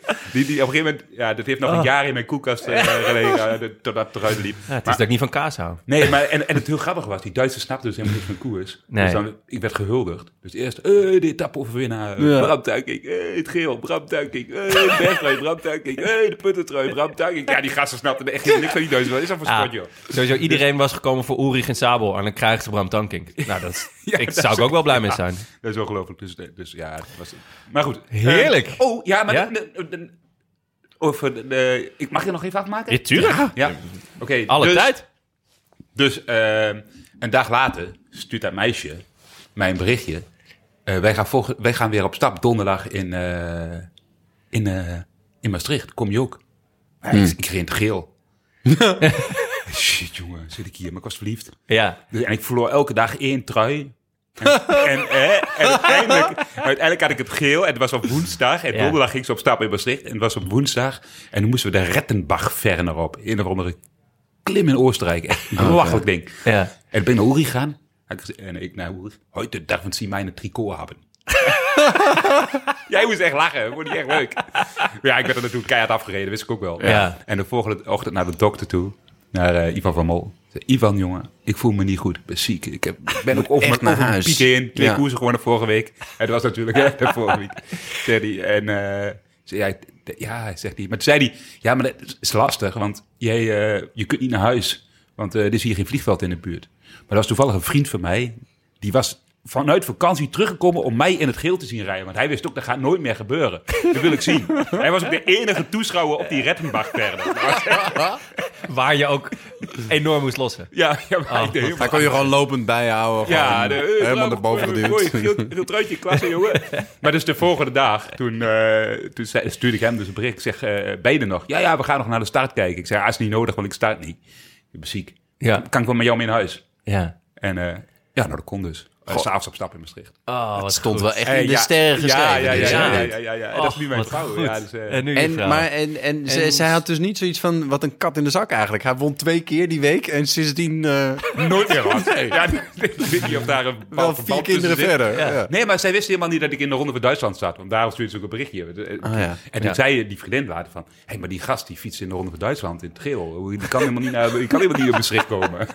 [SPEAKER 6] die, op een gegeven moment, ja, dat heeft nog een jaar in mijn koelkast eh, gelegen. eh, totdat het eruit liep.
[SPEAKER 3] Oh. Ja, het is
[SPEAKER 6] Maar-
[SPEAKER 3] dat ik niet van kaas hou.
[SPEAKER 6] Nee, maar en, en het heel grappig was, die Duitsers snapten dus helemaal niet van koers.
[SPEAKER 3] Nee.
[SPEAKER 6] Dus dan, ik werd gehuldigd. Dus eerst, eh de etappe overwinnaar, ja. Bram Tuykink, eh, het geel, Bram Tuykink, eh de berglui, Bram Tuykink, eh de puttentrui, Bram Tuykink. Ja, die gasten snapten echt niks van die Duitsers. Wat is dat voor sport,
[SPEAKER 3] Ah,
[SPEAKER 6] joh?
[SPEAKER 3] sowieso, iedereen was gekomen voor Ulrich en Sabel. En dan krijgen ze Bram Tankink. Nou, dat is-
[SPEAKER 6] Ja,
[SPEAKER 3] ik
[SPEAKER 6] dat
[SPEAKER 3] zou
[SPEAKER 6] is
[SPEAKER 3] ik ook wel blij mee
[SPEAKER 6] ja.
[SPEAKER 3] zijn.
[SPEAKER 6] Dat is ongelooflijk. Dus, dus ja, het was, maar goed.
[SPEAKER 3] Heerlijk.
[SPEAKER 6] Eh, oh, ja, maar...
[SPEAKER 3] Ja?
[SPEAKER 6] de- de- de- of, eh, de- de- ik mag je nog even afmaken?
[SPEAKER 3] Ja, tuurlijk.
[SPEAKER 6] Ja. Oké.
[SPEAKER 3] Alle
[SPEAKER 6] dus,
[SPEAKER 3] tijd.
[SPEAKER 6] Dus eh, een dag later stuurt dat meisje mij een berichtje. Eh, wij, gaan volgen, wij gaan weer op stap donderdag in, eh, in, eh, in Maastricht. Kom je ook? Maar
[SPEAKER 3] Hmm.
[SPEAKER 6] Ik, ik reed in het geel. Shit, jongen. Zit ik hier? Maar ik was verliefd.
[SPEAKER 3] Ja.
[SPEAKER 6] Dus- En ik verloor elke dag één trui. En, en, hè, en uiteindelijk, uiteindelijk had ik het geel. En het was op woensdag. En
[SPEAKER 3] Ja.
[SPEAKER 6] donderdag ging ze op stap in Maastricht. En het was op woensdag. En toen moesten we de Rettenbach-Ferner op. In of andere klim in Oostenrijk. Echt een belachelijk ding.
[SPEAKER 3] Ja.
[SPEAKER 6] En ik ben naar Uri gegaan. Had ik gezegd- En ik naar Uri. Heute darf man sie meine tricot hebben. Jij moest echt lachen. Vond die echt leuk. ja, ik werd er natuurlijk keihard afgereden. Wist ik ook wel.
[SPEAKER 3] Ja.
[SPEAKER 6] En de volgende ochtend naar de dokter toe. Naar eh, Ivan van Mol. Ik zei, Ivan, jongen, ik voel me niet goed. Ik ben ziek. Ik, heb, ik ben ook over
[SPEAKER 1] echt
[SPEAKER 6] mijn,
[SPEAKER 1] naar
[SPEAKER 6] over mijn
[SPEAKER 1] huis.
[SPEAKER 6] pieken in. Twee
[SPEAKER 1] Ja.
[SPEAKER 6] koersen gewonnen vorige week. En dat was natuurlijk hè, de vorige week. Zei hij. En eh, zei hij, "D- ja, zegt hij. Maar toen zei hij, ja, maar dat is lastig. Want jij, eh, je kunt niet naar huis. Want eh, er is hier geen vliegveld in de buurt. Maar dat was toevallig een vriend van mij. Die was vanuit vakantie teruggekomen om mij in het geel te zien rijden. Want hij wist ook, dat gaat nooit meer gebeuren. Dat wil ik zien. Hij was ook de enige toeschouwer op die Rettenbach-perde.
[SPEAKER 3] Waar je ook enorm moest lossen.
[SPEAKER 6] Ja, ja, maar hij deed heel
[SPEAKER 1] Hij Oh, kon je gewoon lopend bijhouden.
[SPEAKER 6] ja,
[SPEAKER 1] gewoon helemaal naar boven
[SPEAKER 6] Mooi,
[SPEAKER 1] geduwd.
[SPEAKER 6] geel, geel truitje, klasse, jongen. Maar dus de volgende dag, toen, eh, toen zei, stuurde ik hem dus een bericht. Ik zeg, eh ben je er nog? Ja, ja, we gaan nog naar de start kijken. Ik zei, ah, is niet nodig, want ik start niet. Ik ben ziek.
[SPEAKER 3] Ja.
[SPEAKER 6] Kan ik wel met jou mee naar huis?
[SPEAKER 3] Ja.
[SPEAKER 6] En eh, ja, nou, dat kon dus. Eh, S'avonds op stap in Maastricht.
[SPEAKER 3] Oh, wat
[SPEAKER 1] Stond
[SPEAKER 3] goed.
[SPEAKER 1] wel echt in de
[SPEAKER 6] ja,
[SPEAKER 1] sterren geschreven.
[SPEAKER 6] Ja, ja, ja,
[SPEAKER 1] dit,
[SPEAKER 6] ja, ja,
[SPEAKER 1] hè?
[SPEAKER 6] ja, ja, ja. En dat is nu mijn
[SPEAKER 3] wat
[SPEAKER 6] vrouw.
[SPEAKER 3] goed.
[SPEAKER 6] Ja, dus, eh,
[SPEAKER 3] En nu je
[SPEAKER 1] En,
[SPEAKER 3] vrouw.
[SPEAKER 1] maar, en, en, ze-
[SPEAKER 3] En-
[SPEAKER 1] zij had dus niet zoiets van, wat een kat in de zak eigenlijk. Hij won twee keer die week en sindsdien eh,
[SPEAKER 6] nooit meer wat. Ja, ik weet niet of daar een
[SPEAKER 1] wel vier
[SPEAKER 6] bal- bal tussen
[SPEAKER 1] kinderen
[SPEAKER 6] zit.
[SPEAKER 1] verder. Ja.
[SPEAKER 6] Nee, maar zij wist helemaal niet dat ik in de Ronde van Duitsland zat. Want daarom stuurde ze ook een berichtje. Eh,
[SPEAKER 1] Ah, ja.
[SPEAKER 6] En toen zei die vriendin later van... Hé, hey, maar die gast die fietst in de Ronde van Duitsland in het geel. Die kan helemaal niet, naar, die kan helemaal niet op beschik komen.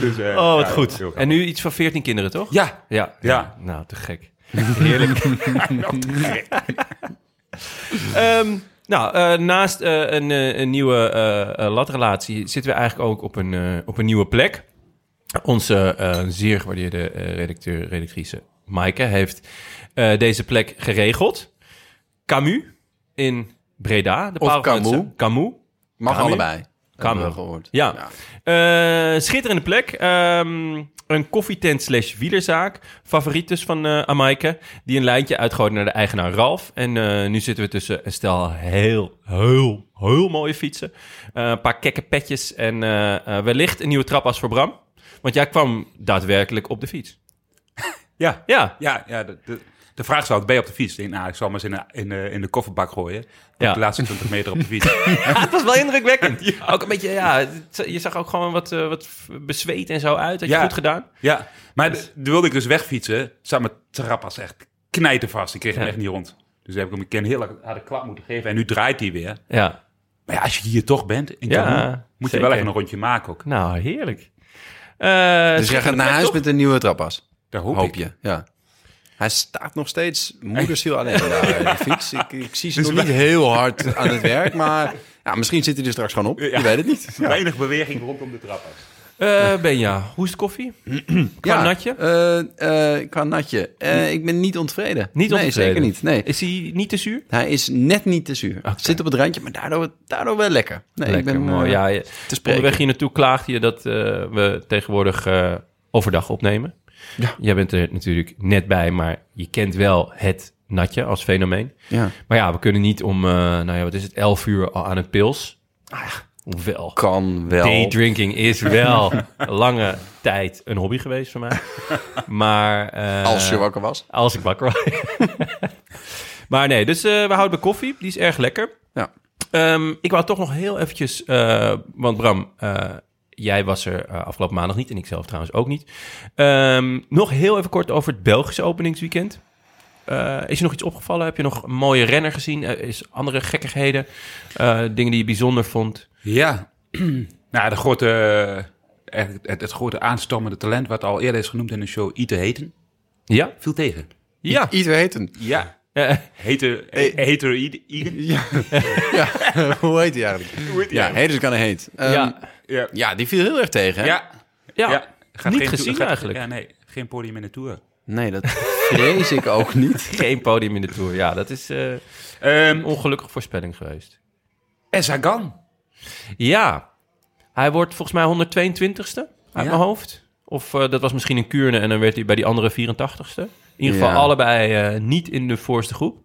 [SPEAKER 6] Dus, eh,
[SPEAKER 3] Oh, wat
[SPEAKER 6] ja, heel
[SPEAKER 3] goed.
[SPEAKER 6] grappig.
[SPEAKER 3] En nu iets van 14 kinderen, toch?
[SPEAKER 6] Ja.
[SPEAKER 3] Ja.
[SPEAKER 6] Ja.
[SPEAKER 3] Nou, te gek. Heerlijk. Nou, Ehm, nou, eh, naast eh, een, eh, een nieuwe eh, eh, latrelatie zitten we eigenlijk ook op een, eh, op een nieuwe plek. Onze eh, zeer gewaardeerde eh, redacteur, redactrice Maaike heeft eh, deze plek geregeld. Camus in Breda. De
[SPEAKER 1] Of
[SPEAKER 3] Parelgrense.
[SPEAKER 1] Camus.
[SPEAKER 3] Camus.
[SPEAKER 1] Mag
[SPEAKER 3] Kamer?
[SPEAKER 1] allebei. Hebben we
[SPEAKER 3] Kamer.
[SPEAKER 1] gehoord.
[SPEAKER 3] Ja. Eh, schitterende plek. Ehm, een koffietent slash wielerzaak. Favoriet dus van eh Amaike. Die een lijntje uitgooit naar de eigenaar Ralf. En eh, nu zitten we tussen een stel heel, heel, heel mooie fietsen. Eh, een paar kekke petjes en eh, eh, wellicht een nieuwe trapas voor Bram. Want jij kwam daadwerkelijk op de fiets.
[SPEAKER 6] Ja.
[SPEAKER 3] Ja,
[SPEAKER 6] Ja, ja de, de, de vraag zou het bij op de fiets. Ik denk, nou, ik zal hem eens in de, in de, in de kofferbak gooien.
[SPEAKER 3] Ja.
[SPEAKER 6] De laatste 20 meter op de fiets.
[SPEAKER 3] Ah, het was wel indrukwekkend. Ook een beetje, ja, het- je zag ook gewoon wat, eh, wat bezweet en zo uit. Had je
[SPEAKER 6] Ja.
[SPEAKER 3] goed gedaan.
[SPEAKER 6] ja, maar d- toen wilde ik dus wegfietsen. Zat mijn trappas echt knijtervast. Ik kreeg hem echt niet rond. Dus heb ik hem een keer een hele harde klap moeten geven. En nu draait hij weer.
[SPEAKER 3] Ja,
[SPEAKER 6] Maar ja, als je hier toch bent, in
[SPEAKER 3] Ja,
[SPEAKER 6] Cameroen, moet
[SPEAKER 3] zeker.
[SPEAKER 6] je wel even een rondje maken ook.
[SPEAKER 3] nou heerlijk. Eh,
[SPEAKER 1] Dus jij gaat naar huis met een nieuwe trappas,
[SPEAKER 6] Daar hoop,
[SPEAKER 1] hoop,
[SPEAKER 6] ik.
[SPEAKER 1] je. Ja. Hij staat nog steeds moedersiel alleen daar eh, de fiets. Ik, ik zie ze nog niet heel hard aan het werk, maar ja, misschien zit hij er straks gewoon op. Je weet het niet. Ja.
[SPEAKER 6] Weinig beweging rondom de trappen.
[SPEAKER 3] Eh, Benja, hoe is de koffie? Qua natje? Hm.
[SPEAKER 1] eh, eh, qua natje. Eh, ik ben niet ontevreden.
[SPEAKER 3] Niet
[SPEAKER 1] nee,
[SPEAKER 3] ontevreden?
[SPEAKER 1] zeker niet. Nee.
[SPEAKER 3] Is hij niet te zuur?
[SPEAKER 1] Hij is net niet te zuur. Zit op het randje, maar daardoor, daardoor wel lekker. Nee, ik ben
[SPEAKER 3] mooi.
[SPEAKER 1] eh,
[SPEAKER 3] ja, je-
[SPEAKER 1] te spreken.
[SPEAKER 3] onderweg hier naartoe klaagde je dat eh, we tegenwoordig eh, overdag opnemen.
[SPEAKER 1] Ja.
[SPEAKER 3] Jij bent er natuurlijk net bij, maar je kent wel het natje als fenomeen.
[SPEAKER 1] Ja.
[SPEAKER 3] Maar ja, we kunnen niet om, eh, nou ja, wat is het, 11 uur al aan een pils. Ah, hoewel.
[SPEAKER 1] Kan wel.
[SPEAKER 3] Daydrinking is wel lange tijd een hobby geweest voor mij. Maar, eh,
[SPEAKER 1] Als je wakker was.
[SPEAKER 3] Als ik wakker word. maar nee, dus eh, we houden bij koffie. Die is erg lekker.
[SPEAKER 1] Ja.
[SPEAKER 3] Ehm, ik wou toch nog heel eventjes... eh, want Bram, eh, jij was er eh, afgelopen maandag niet. En ik zelf trouwens ook niet. Ehm, nog heel even kort over het Belgische openingsweekend. Eh, is je nog iets opgevallen? Heb je nog een mooie renner gezien? Eh, is andere gekkigheden? Eh, dingen die je bijzonder vond?
[SPEAKER 6] Ja. nou, de grote, eh, eigenlijk het, het grote aanstormende talent, wat al eerder is genoemd in de show, Ite Heten,
[SPEAKER 3] Ja?
[SPEAKER 6] viel tegen.
[SPEAKER 3] Ja.
[SPEAKER 1] Ieder heten.
[SPEAKER 6] Ja.
[SPEAKER 3] Eh,
[SPEAKER 6] Hete, Heter Ite.
[SPEAKER 1] Hoe heet hij eigenlijk? Ja, heet is kan een heet. Ehm,
[SPEAKER 3] ja.
[SPEAKER 1] ja.
[SPEAKER 6] Ja.
[SPEAKER 1] die viel heel erg tegen. Hè?
[SPEAKER 6] Ja.
[SPEAKER 3] ja.
[SPEAKER 6] Ja. Gaat
[SPEAKER 3] Niet
[SPEAKER 6] geen
[SPEAKER 3] gezien
[SPEAKER 6] toer- gaat-
[SPEAKER 3] eigenlijk.
[SPEAKER 6] Ja, nee. Geen podium in de Tour.
[SPEAKER 1] Nee, dat vrees ik ook niet.
[SPEAKER 3] Geen podium in de Tour. Ja, dat is eh, een
[SPEAKER 6] Ehm
[SPEAKER 3] ongelukkige voorspelling geweest.
[SPEAKER 6] en Sagan.
[SPEAKER 3] Ja, hij wordt volgens mij 122ste uit
[SPEAKER 6] Ja.
[SPEAKER 3] mijn hoofd. Of eh, dat was misschien een Kuurne en dan werd hij bij die andere 84ste. In ieder geval
[SPEAKER 1] Ja.
[SPEAKER 3] allebei eh, niet in de voorste groep.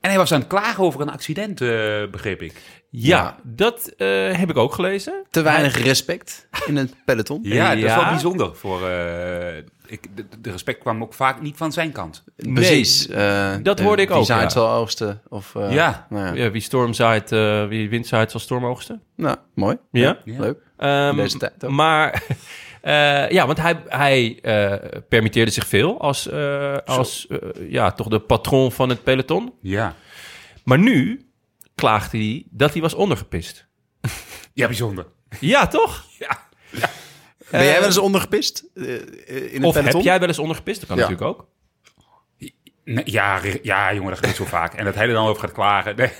[SPEAKER 6] En hij was aan het klagen over een accident, eh, begreep ik.
[SPEAKER 3] Ja,
[SPEAKER 1] Ja.
[SPEAKER 3] dat eh, heb ik ook gelezen.
[SPEAKER 1] Te weinig respect in het peloton.
[SPEAKER 6] Ja, dat is wel
[SPEAKER 3] Ja.
[SPEAKER 6] bijzonder. Voor, eh, ik, de, de respect kwam ook vaak niet van zijn kant.
[SPEAKER 1] Precies. eh,
[SPEAKER 3] dat hoorde ik
[SPEAKER 1] wie
[SPEAKER 3] ook,
[SPEAKER 1] zaait
[SPEAKER 3] ja.
[SPEAKER 1] zal oogsten. Of, eh,
[SPEAKER 6] Ja.
[SPEAKER 1] Nou, ja.
[SPEAKER 3] Ja, wie storm zaait, eh, wie wind zaait zal stormoogsten.
[SPEAKER 1] Nou, mooi.
[SPEAKER 3] Ja.
[SPEAKER 1] Leuk.
[SPEAKER 3] Ehm,
[SPEAKER 1] Deze tijd ook.
[SPEAKER 3] Maar Eh, ja, want hij, hij eh, permitteerde zich veel als, eh, als eh, ja, toch de patroon van het peloton.
[SPEAKER 6] Ja.
[SPEAKER 3] Maar nu klaagde hij dat hij was ondergepist.
[SPEAKER 6] Ja, bijzonder.
[SPEAKER 3] Ja, toch?
[SPEAKER 1] Ben jij wel eens ondergepist eh, in het
[SPEAKER 3] Of heb
[SPEAKER 1] peloton?
[SPEAKER 3] jij wel eens ondergepist? Dat kan
[SPEAKER 1] Ja.
[SPEAKER 3] natuurlijk ook.
[SPEAKER 6] Nee, ja, re- ja, jongen, dat gebeurt zo vaak. En dat hij er dan over gaat klagen. Nee.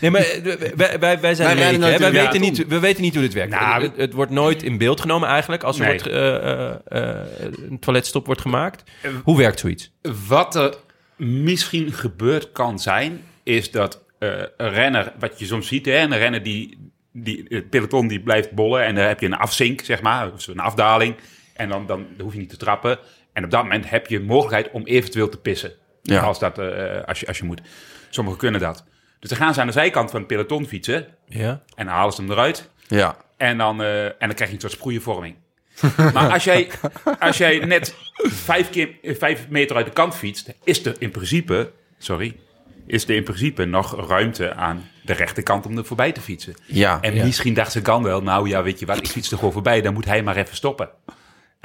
[SPEAKER 3] Nee, maar eh, we- wij, wij, wij zijn
[SPEAKER 1] Wij
[SPEAKER 3] Amerika,
[SPEAKER 1] rijden
[SPEAKER 3] hè?
[SPEAKER 1] nooit
[SPEAKER 3] wij
[SPEAKER 1] in de marathon.
[SPEAKER 3] weten niet, We weten niet hoe dit werkt.
[SPEAKER 6] Nou,
[SPEAKER 3] het, het wordt nooit in beeld genomen eigenlijk als er
[SPEAKER 6] Nee.
[SPEAKER 3] wordt, eh, eh, eh, een toiletstop wordt gemaakt.
[SPEAKER 6] Eh,
[SPEAKER 3] Hoe werkt zoiets?
[SPEAKER 6] Wat er misschien gebeurd kan zijn, is dat eh, een renner, wat je soms ziet, hè, een renner die, die het peloton die blijft bollen en dan heb je een afzink, zeg maar, of een afdaling. En dan, dan hoef je niet te trappen. En op dat moment heb je mogelijkheid om eventueel te pissen.
[SPEAKER 1] Ja.
[SPEAKER 6] Als, dat, eh, als, je, als je moet. Sommigen kunnen dat. Dus dan gaan ze aan de zijkant van het peloton fietsen
[SPEAKER 3] Ja.
[SPEAKER 6] en dan halen ze hem eruit.
[SPEAKER 1] Ja.
[SPEAKER 6] En dan, eh, en dan krijg je een soort sproeienvorming. maar als jij, als jij net vijf, keer, eh, vijf meter uit de kant fietst, is er in principe, sorry, is er in principe nog ruimte aan de rechterkant om er voorbij te fietsen.
[SPEAKER 1] Ja.
[SPEAKER 6] En misschien dacht ze kan wel, nou ja, weet je wat, ik fiets er gewoon voorbij, dan moet hij maar even stoppen.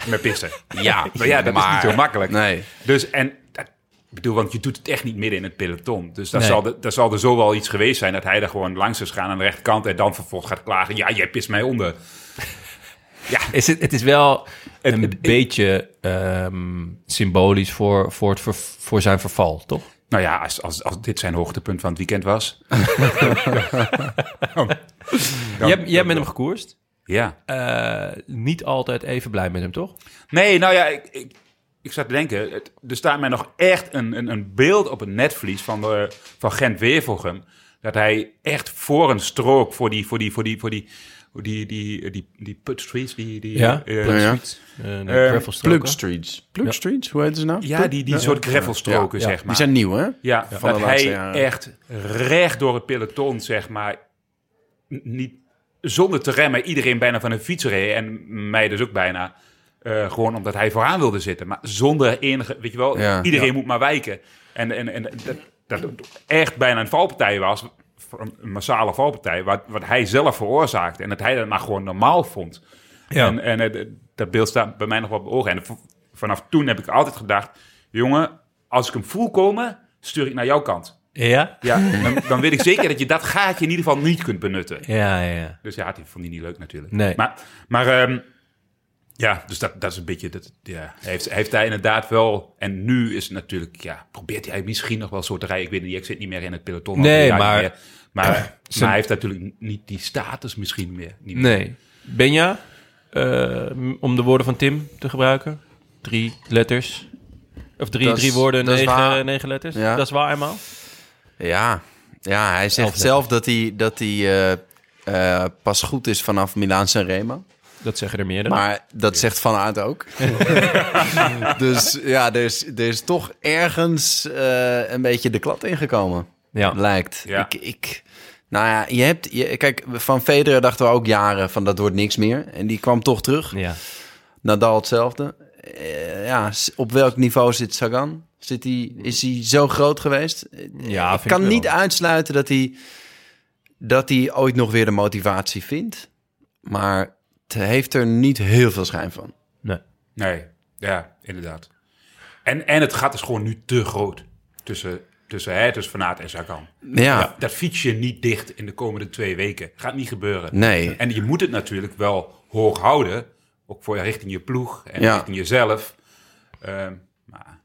[SPEAKER 6] Met pissen.
[SPEAKER 1] Ja,
[SPEAKER 6] Maar ja, dat is niet zo makkelijk.
[SPEAKER 1] Nee.
[SPEAKER 6] Dus en, dat- ik bedoel, want je doet het echt niet midden in het peloton. Dus daar,
[SPEAKER 3] Nee.
[SPEAKER 6] zal, de- daar zal er zo wel iets geweest zijn dat hij er gewoon langs is gaan aan de rechterkant en dan vervolgens gaat klagen. Ja, jij pist mij onder.
[SPEAKER 3] Is het, het is wel een beetje ehm, symbolisch voor, voor, het ver- voor zijn verval, toch?
[SPEAKER 6] Nou ja, als, als, als dit zijn hoogtepunt van het weekend was.
[SPEAKER 3] jij jij bent hem gekoerst.
[SPEAKER 6] Ja.
[SPEAKER 3] Eh, niet altijd even blij met hem, toch?
[SPEAKER 6] Nee, nou ja, ik, ik, ik zat te denken. het- er staat mij nog echt een, een, een beeld op het netvlies van, de, van Gent Wevelgem. Dat hij echt voor een strook, voor die, voor die, voor die, voor die, voor die, die, die, die, put streets, die, die,
[SPEAKER 3] Ja,
[SPEAKER 6] eh,
[SPEAKER 1] Ja, ja.
[SPEAKER 3] Eh, de
[SPEAKER 6] Ehm,
[SPEAKER 3] gravelstroken.
[SPEAKER 1] Plug Streets. Plug Streets, hoe heet ze nou?
[SPEAKER 6] ja,
[SPEAKER 1] Plug-
[SPEAKER 6] die, die soort gravelstroken,
[SPEAKER 3] Ja, ja.
[SPEAKER 6] zeg maar.
[SPEAKER 1] Die zijn nieuw, hè?
[SPEAKER 6] Ja,
[SPEAKER 1] Van de
[SPEAKER 6] dat hij
[SPEAKER 1] laatste jaren.
[SPEAKER 6] echt recht door het peloton, zeg maar, n- niet, zonder te remmen, iedereen bijna van een fiets reed en mij dus ook bijna. eh, gewoon omdat hij vooraan wilde zitten. Maar zonder enige, weet je wel,
[SPEAKER 1] Ja.
[SPEAKER 6] iedereen moet maar wijken. En, en, en dat, dat het echt bijna een valpartij was, een massale valpartij, wat, wat hij zelf veroorzaakte. En dat hij dat maar gewoon normaal vond.
[SPEAKER 3] Ja.
[SPEAKER 6] En, en eh, d- dat beeld staat bij mij nog wel op mijn ogen. En v- vanaf toen heb ik altijd gedacht... jongen, als ik hem voel komen, stuur ik naar jouw kant.
[SPEAKER 3] Ja?
[SPEAKER 6] Ja, dan, dan weet ik zeker dat je dat gaatje in ieder geval niet kunt benutten.
[SPEAKER 3] Ja, ja, ja.
[SPEAKER 6] Dus ja, die vond hij niet leuk natuurlijk.
[SPEAKER 3] Nee.
[SPEAKER 6] Maar, maar ehm, ja, dus dat, dat is een beetje... Dat, ja, hij heeft, hij heeft daar inderdaad wel... En nu is het natuurlijk... Ja, probeert hij misschien nog wel zo te rijden. Ik weet het niet, ik zit niet meer in het peloton. al
[SPEAKER 3] Nee,
[SPEAKER 6] drie jaar
[SPEAKER 3] maar-
[SPEAKER 6] niet meer. Maar, maar
[SPEAKER 3] Zijn-
[SPEAKER 6] hij heeft natuurlijk niet die status misschien meer. Niet meer.
[SPEAKER 3] Nee. Benja, eh, m- om de woorden van Tim te gebruiken. Drie letters. Of drie,
[SPEAKER 1] Dat is-
[SPEAKER 3] drie woorden,
[SPEAKER 1] dat is
[SPEAKER 3] negen,
[SPEAKER 1] waar.
[SPEAKER 3] negen letters.
[SPEAKER 1] Ja.
[SPEAKER 3] Dat is waar, eenmaal.
[SPEAKER 1] Ja, ja hij zegt
[SPEAKER 3] Elf
[SPEAKER 1] zelf dat hij, dat hij eh, eh, pas goed is vanaf Milaan Sanremo.
[SPEAKER 3] Dat zeggen er meerdere.
[SPEAKER 1] Maar dat zegt Van Aert ook. dus ja, er is, er is toch ergens eh, een beetje de klad ingekomen.
[SPEAKER 3] Ja.
[SPEAKER 1] Lijkt.
[SPEAKER 6] Ja.
[SPEAKER 1] Ik, ik, nou ja, je hebt... Je, kijk, van Federer dachten we ook jaren van dat wordt niks meer. En die kwam toch terug.
[SPEAKER 3] ja.
[SPEAKER 1] Nadal hetzelfde. Eh, ja, s- op welk niveau zit Sagan? Zit hij is hij zo groot geweest? Eh,
[SPEAKER 3] Ja,
[SPEAKER 1] ik
[SPEAKER 3] vind
[SPEAKER 1] kan
[SPEAKER 3] ik wel.
[SPEAKER 1] niet uitsluiten dat hij, dat hij ooit nog weer de motivatie vindt. Maar het heeft er niet heel veel schijn van.
[SPEAKER 3] Nee.
[SPEAKER 6] Nee, ja, inderdaad. En, en het gat is gewoon nu te groot tussen, tussen, hè, tussen Van Aert en Sagan.
[SPEAKER 1] Ja,
[SPEAKER 6] Dat fiets je niet dicht in de komende twee weken. Gaat niet gebeuren.
[SPEAKER 1] nee.
[SPEAKER 6] En je moet het natuurlijk wel hoog houden. Ook voor richting je ploeg en
[SPEAKER 1] Ja.
[SPEAKER 6] richting jezelf. Ehm, maar,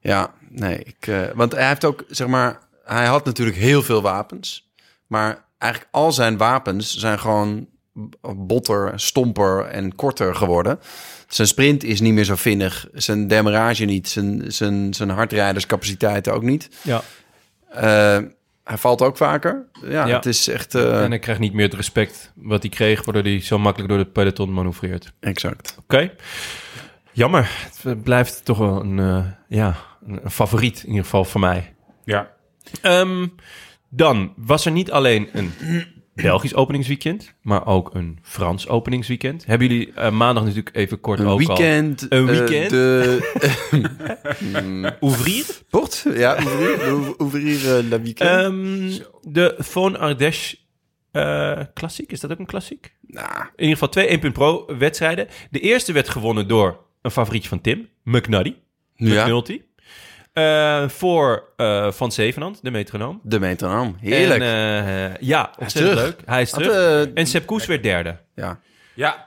[SPEAKER 1] Ja, nee. Ik, eh, want hij heeft ook, zeg maar... Hij had natuurlijk heel veel wapens. Maar eigenlijk al zijn wapens zijn gewoon b- botter, stomper en korter geworden. Zijn sprint is niet meer zo vinnig. Zijn demarage niet. Zijn, zijn, zijn hardrijderscapaciteiten ook niet.
[SPEAKER 3] Ja.
[SPEAKER 1] Eh, hij valt ook vaker. Ja,
[SPEAKER 3] Ja.
[SPEAKER 1] het is echt... eh,
[SPEAKER 3] en ik krijg niet meer het respect wat hij kreeg... waardoor hij zo makkelijk door het peloton manoeuvreert.
[SPEAKER 1] Exact.
[SPEAKER 3] Oké. Jammer. Het blijft toch wel een, eh, ja, een een favoriet in ieder geval voor mij.
[SPEAKER 6] ja.
[SPEAKER 3] Ehm, dan was er niet alleen een Belgisch openingsweekend, maar ook een Frans openingsweekend. Hebben jullie eh, maandag natuurlijk even kort
[SPEAKER 1] Een
[SPEAKER 3] ook al...
[SPEAKER 1] weekend.
[SPEAKER 3] Een
[SPEAKER 1] eh,
[SPEAKER 3] weekend?
[SPEAKER 1] de
[SPEAKER 3] Ouvrir?
[SPEAKER 1] port. Ja, ouvrir, ouvrir eh, la weekend.
[SPEAKER 3] Ehm, de Von Ardèche eh, klassiek, is dat ook een klassiek?
[SPEAKER 1] Nou,
[SPEAKER 3] In ieder geval twee 1 punt pro wedstrijden. De eerste werd gewonnen door een favorietje van Tim, McNuddy.
[SPEAKER 1] ja,
[SPEAKER 3] McNulty. Eh, voor eh, Van Zevenhand, de metronoom.
[SPEAKER 1] de metronoom. Heerlijk.
[SPEAKER 3] En, eh, ja, ontzettend
[SPEAKER 1] terug.
[SPEAKER 3] leuk. Hij is
[SPEAKER 1] Had,
[SPEAKER 3] terug.
[SPEAKER 1] eh,
[SPEAKER 3] en Sepp Koes werd derde.
[SPEAKER 1] ja.
[SPEAKER 6] Ja,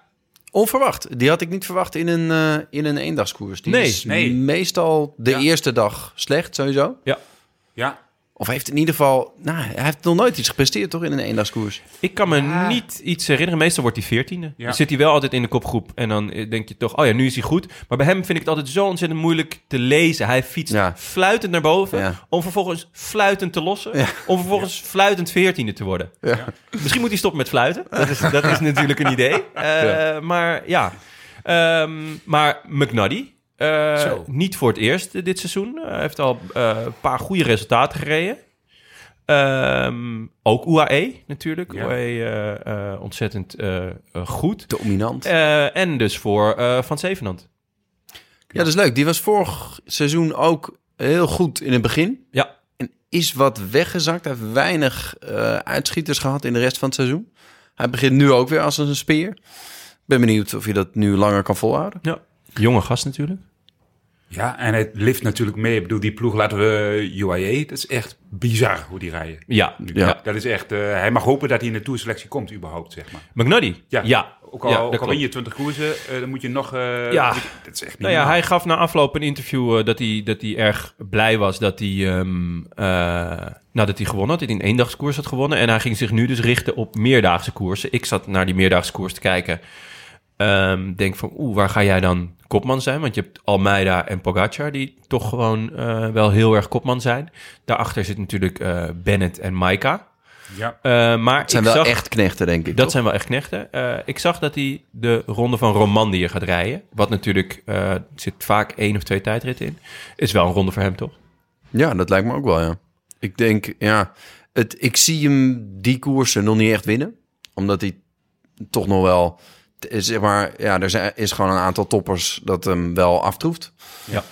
[SPEAKER 1] Onverwacht. Die had ik niet verwacht in een, eh, in een eendagskoers. Die
[SPEAKER 3] Nee,
[SPEAKER 1] is
[SPEAKER 6] nee.
[SPEAKER 1] meestal de
[SPEAKER 6] Ja.
[SPEAKER 1] eerste dag slecht, sowieso.
[SPEAKER 6] ja.
[SPEAKER 1] Of hij heeft in ieder geval... Nou, hij heeft nog nooit iets gepresteerd, toch? In een eendagskoers.
[SPEAKER 3] Ik kan me niet iets herinneren. Meestal wordt hij veertiende.
[SPEAKER 6] Ja.
[SPEAKER 3] Dan zit hij wel altijd in de kopgroep. En dan eh, denk je toch, oh ja, nu is hij goed. Maar bij hem vind ik het altijd zo ontzettend moeilijk te lezen. Hij fietst
[SPEAKER 1] Ja.
[SPEAKER 3] fluitend naar boven.
[SPEAKER 1] Ja.
[SPEAKER 3] Om vervolgens fluitend te lossen.
[SPEAKER 1] Ja.
[SPEAKER 3] Om vervolgens fluitend veertiende te worden.
[SPEAKER 1] Ja.
[SPEAKER 3] Misschien moet hij stoppen met fluiten. Dat is, dat is natuurlijk een idee. Eh, Maar ja. Ehm, maar McNuddy. eh,
[SPEAKER 6] Zo.
[SPEAKER 3] niet voor het eerst eh, dit seizoen. Eh, Hij heeft al eh, een paar goede resultaten gereden. Ehm, ook UAE natuurlijk.
[SPEAKER 6] Ja.
[SPEAKER 3] UAE eh, eh, ontzettend eh, eh, goed.
[SPEAKER 1] Dominant.
[SPEAKER 3] Eh, en dus voor eh, Van Zevenhand.
[SPEAKER 1] Ja, dat is leuk. Die was vorig seizoen ook heel goed in het begin.
[SPEAKER 3] Ja.
[SPEAKER 1] En is wat weggezakt. Hij heeft weinig eh, uitschieters gehad in de rest van het seizoen. Hij begint nu ook weer als een speer. Ik ben benieuwd of je dat nu langer kan volhouden.
[SPEAKER 3] Ja. Jonge gast natuurlijk.
[SPEAKER 6] Ja, en het lift natuurlijk mee. Ik bedoel, die ploeg laten we UAE. Dat is echt bizar hoe die rijden.
[SPEAKER 3] Ja.
[SPEAKER 1] Ja.
[SPEAKER 6] Dat is echt... eh, hij mag hopen dat hij in de toerselectie komt überhaupt, zeg maar.
[SPEAKER 3] McNuddy. Ja.
[SPEAKER 6] Ook al,
[SPEAKER 3] Ja, dat
[SPEAKER 6] ook al
[SPEAKER 3] klopt.
[SPEAKER 6] win je 20 koersen, eh, dan moet je nog... eh,
[SPEAKER 3] Ja.
[SPEAKER 6] moet je- dat is echt niet
[SPEAKER 3] Nou ja,
[SPEAKER 6] normaal.
[SPEAKER 3] hij gaf na afloop een interview eh, dat, hij, dat hij erg blij was dat hij, ehm, eh, nou, dat hij gewonnen had. Dat hij een eendagskoers had gewonnen. En hij ging zich nu dus richten op meerdaagse koersen. Ik zat naar die meerdaagse koers te kijken. Ehm, denk van, oeh, waar ga jij dan kopman zijn? Want je hebt Almeida en Pogacar die toch gewoon eh, wel heel erg kopman zijn. Daarachter zit natuurlijk eh, Bennett en Maika.
[SPEAKER 6] Ja.
[SPEAKER 3] Eh, maar
[SPEAKER 1] Het zijn
[SPEAKER 3] ik
[SPEAKER 1] wel
[SPEAKER 3] zag,
[SPEAKER 1] echt knechten, denk ik.
[SPEAKER 3] dat
[SPEAKER 1] toch?
[SPEAKER 3] zijn wel echt knechten. Eh, ik zag dat hij de ronde van Romandie gaat rijden. Wat natuurlijk, eh, er zit vaak één of twee tijdritten in. Is wel een ronde voor hem, toch?
[SPEAKER 1] Ja, dat lijkt me ook wel, ja. Ik denk, ja... Het, ik zie hem die koersen nog niet echt winnen. Omdat hij toch nog wel... eh, Zeg maar, ja, er zijn, is gewoon een aantal toppers dat hem wel aftroeft.
[SPEAKER 3] Ja.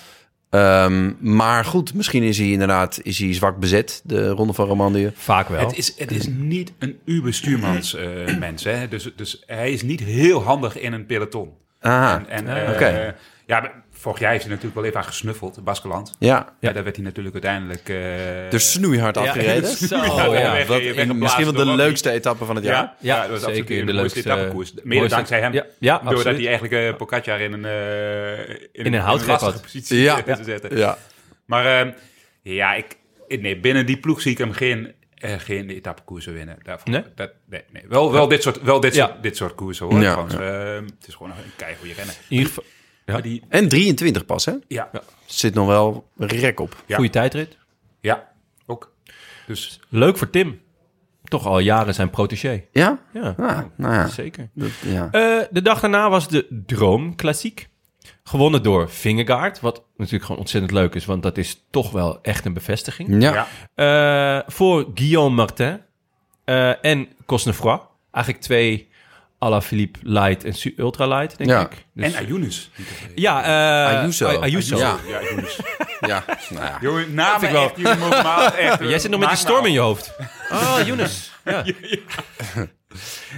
[SPEAKER 1] Ehm, maar goed, misschien is hij inderdaad is hij zwak bezet, de Ronde van Romandie.
[SPEAKER 3] Vaak wel.
[SPEAKER 6] Het is, het is niet een uberstuurmans eh mens, hè. Dus, dus hij is niet heel handig in een peloton.
[SPEAKER 1] Aha,
[SPEAKER 6] En, en, eh,
[SPEAKER 1] Ah, Oké.
[SPEAKER 6] ja, maar vorig jaar heeft hij natuurlijk wel even aan gesnuffeld, Baskeland.
[SPEAKER 1] ja.
[SPEAKER 6] Ja, daar werd hij natuurlijk uiteindelijk... eh,
[SPEAKER 1] Dus snoeihard afgereden.
[SPEAKER 3] Zo,
[SPEAKER 6] ja,
[SPEAKER 3] Oh, ja.
[SPEAKER 6] weg-
[SPEAKER 1] Wat,
[SPEAKER 6] weggeblazen
[SPEAKER 1] misschien wel de
[SPEAKER 6] door Robbie.
[SPEAKER 1] leukste etappe van het jaar.
[SPEAKER 6] Ja, ja, dat was absoluut
[SPEAKER 3] zeker
[SPEAKER 6] een
[SPEAKER 3] de
[SPEAKER 6] de mooiste
[SPEAKER 3] leukste, eh,
[SPEAKER 6] etappekoers. Mede
[SPEAKER 3] mooiste-
[SPEAKER 6] dankzij hem.
[SPEAKER 3] Ja, ja,
[SPEAKER 6] doordat
[SPEAKER 3] absoluut.
[SPEAKER 6] hij eigenlijk eh Pogacar in een, eh, in,
[SPEAKER 3] houtgreep
[SPEAKER 6] lastige
[SPEAKER 3] had.
[SPEAKER 6] positie
[SPEAKER 1] Ja.
[SPEAKER 6] eh, te zetten.
[SPEAKER 1] Ja.
[SPEAKER 6] Maar eh, ja, ik, ik- nee, binnen die ploeg zie ik hem geen, eh geen etappekoersen winnen. Daarvan,
[SPEAKER 3] Nee?
[SPEAKER 6] Dat, nee, nee. Wel, wel dit soort, wel dit
[SPEAKER 3] Ja.
[SPEAKER 6] soort, dit soort koersen hoor.
[SPEAKER 1] Ja,
[SPEAKER 6] Trouwens, eh, het is gewoon een keigoede renner.
[SPEAKER 3] In ieder geval,
[SPEAKER 6] Maar die,
[SPEAKER 1] En 23 pas, hè?
[SPEAKER 6] ja, ja.
[SPEAKER 1] Zit nog wel rek op.
[SPEAKER 6] Ja.
[SPEAKER 3] goede tijdrit.
[SPEAKER 6] ook. Dus
[SPEAKER 3] Leuk voor Tim. Toch al jaren zijn protégé.
[SPEAKER 1] Ja?
[SPEAKER 3] Ja,
[SPEAKER 6] Ah.
[SPEAKER 1] Ja, nou ja.
[SPEAKER 3] zeker.
[SPEAKER 1] Dat, ja.
[SPEAKER 3] Eh, de dag daarna was de Droom Klassiek. Gewonnen door Vingegaard. Wat natuurlijk gewoon ontzettend leuk is. Want dat is toch wel echt een bevestiging.
[SPEAKER 1] Ja.
[SPEAKER 6] ja, ja.
[SPEAKER 3] Eh, voor Guillaume Martin eh, en Cosnefroid. Eigenlijk twee à la Philippe Light en su- Ultra Light, denk
[SPEAKER 1] Ja.
[SPEAKER 3] ik. Dus-
[SPEAKER 6] en Ayunus. Niet te vergeten.
[SPEAKER 3] ja, eh,
[SPEAKER 1] Ayuso.
[SPEAKER 3] Ay- Ayuso.
[SPEAKER 1] Ayuso.
[SPEAKER 6] Ja, Ayunus.
[SPEAKER 1] Ja. Nou ja.
[SPEAKER 6] Jongen, namen
[SPEAKER 3] ik wel.
[SPEAKER 6] echt, jullie mogen maar echt.
[SPEAKER 3] Jij zit nog met die
[SPEAKER 6] nou
[SPEAKER 3] storm in je hoofd. Oh, Younes. Ja.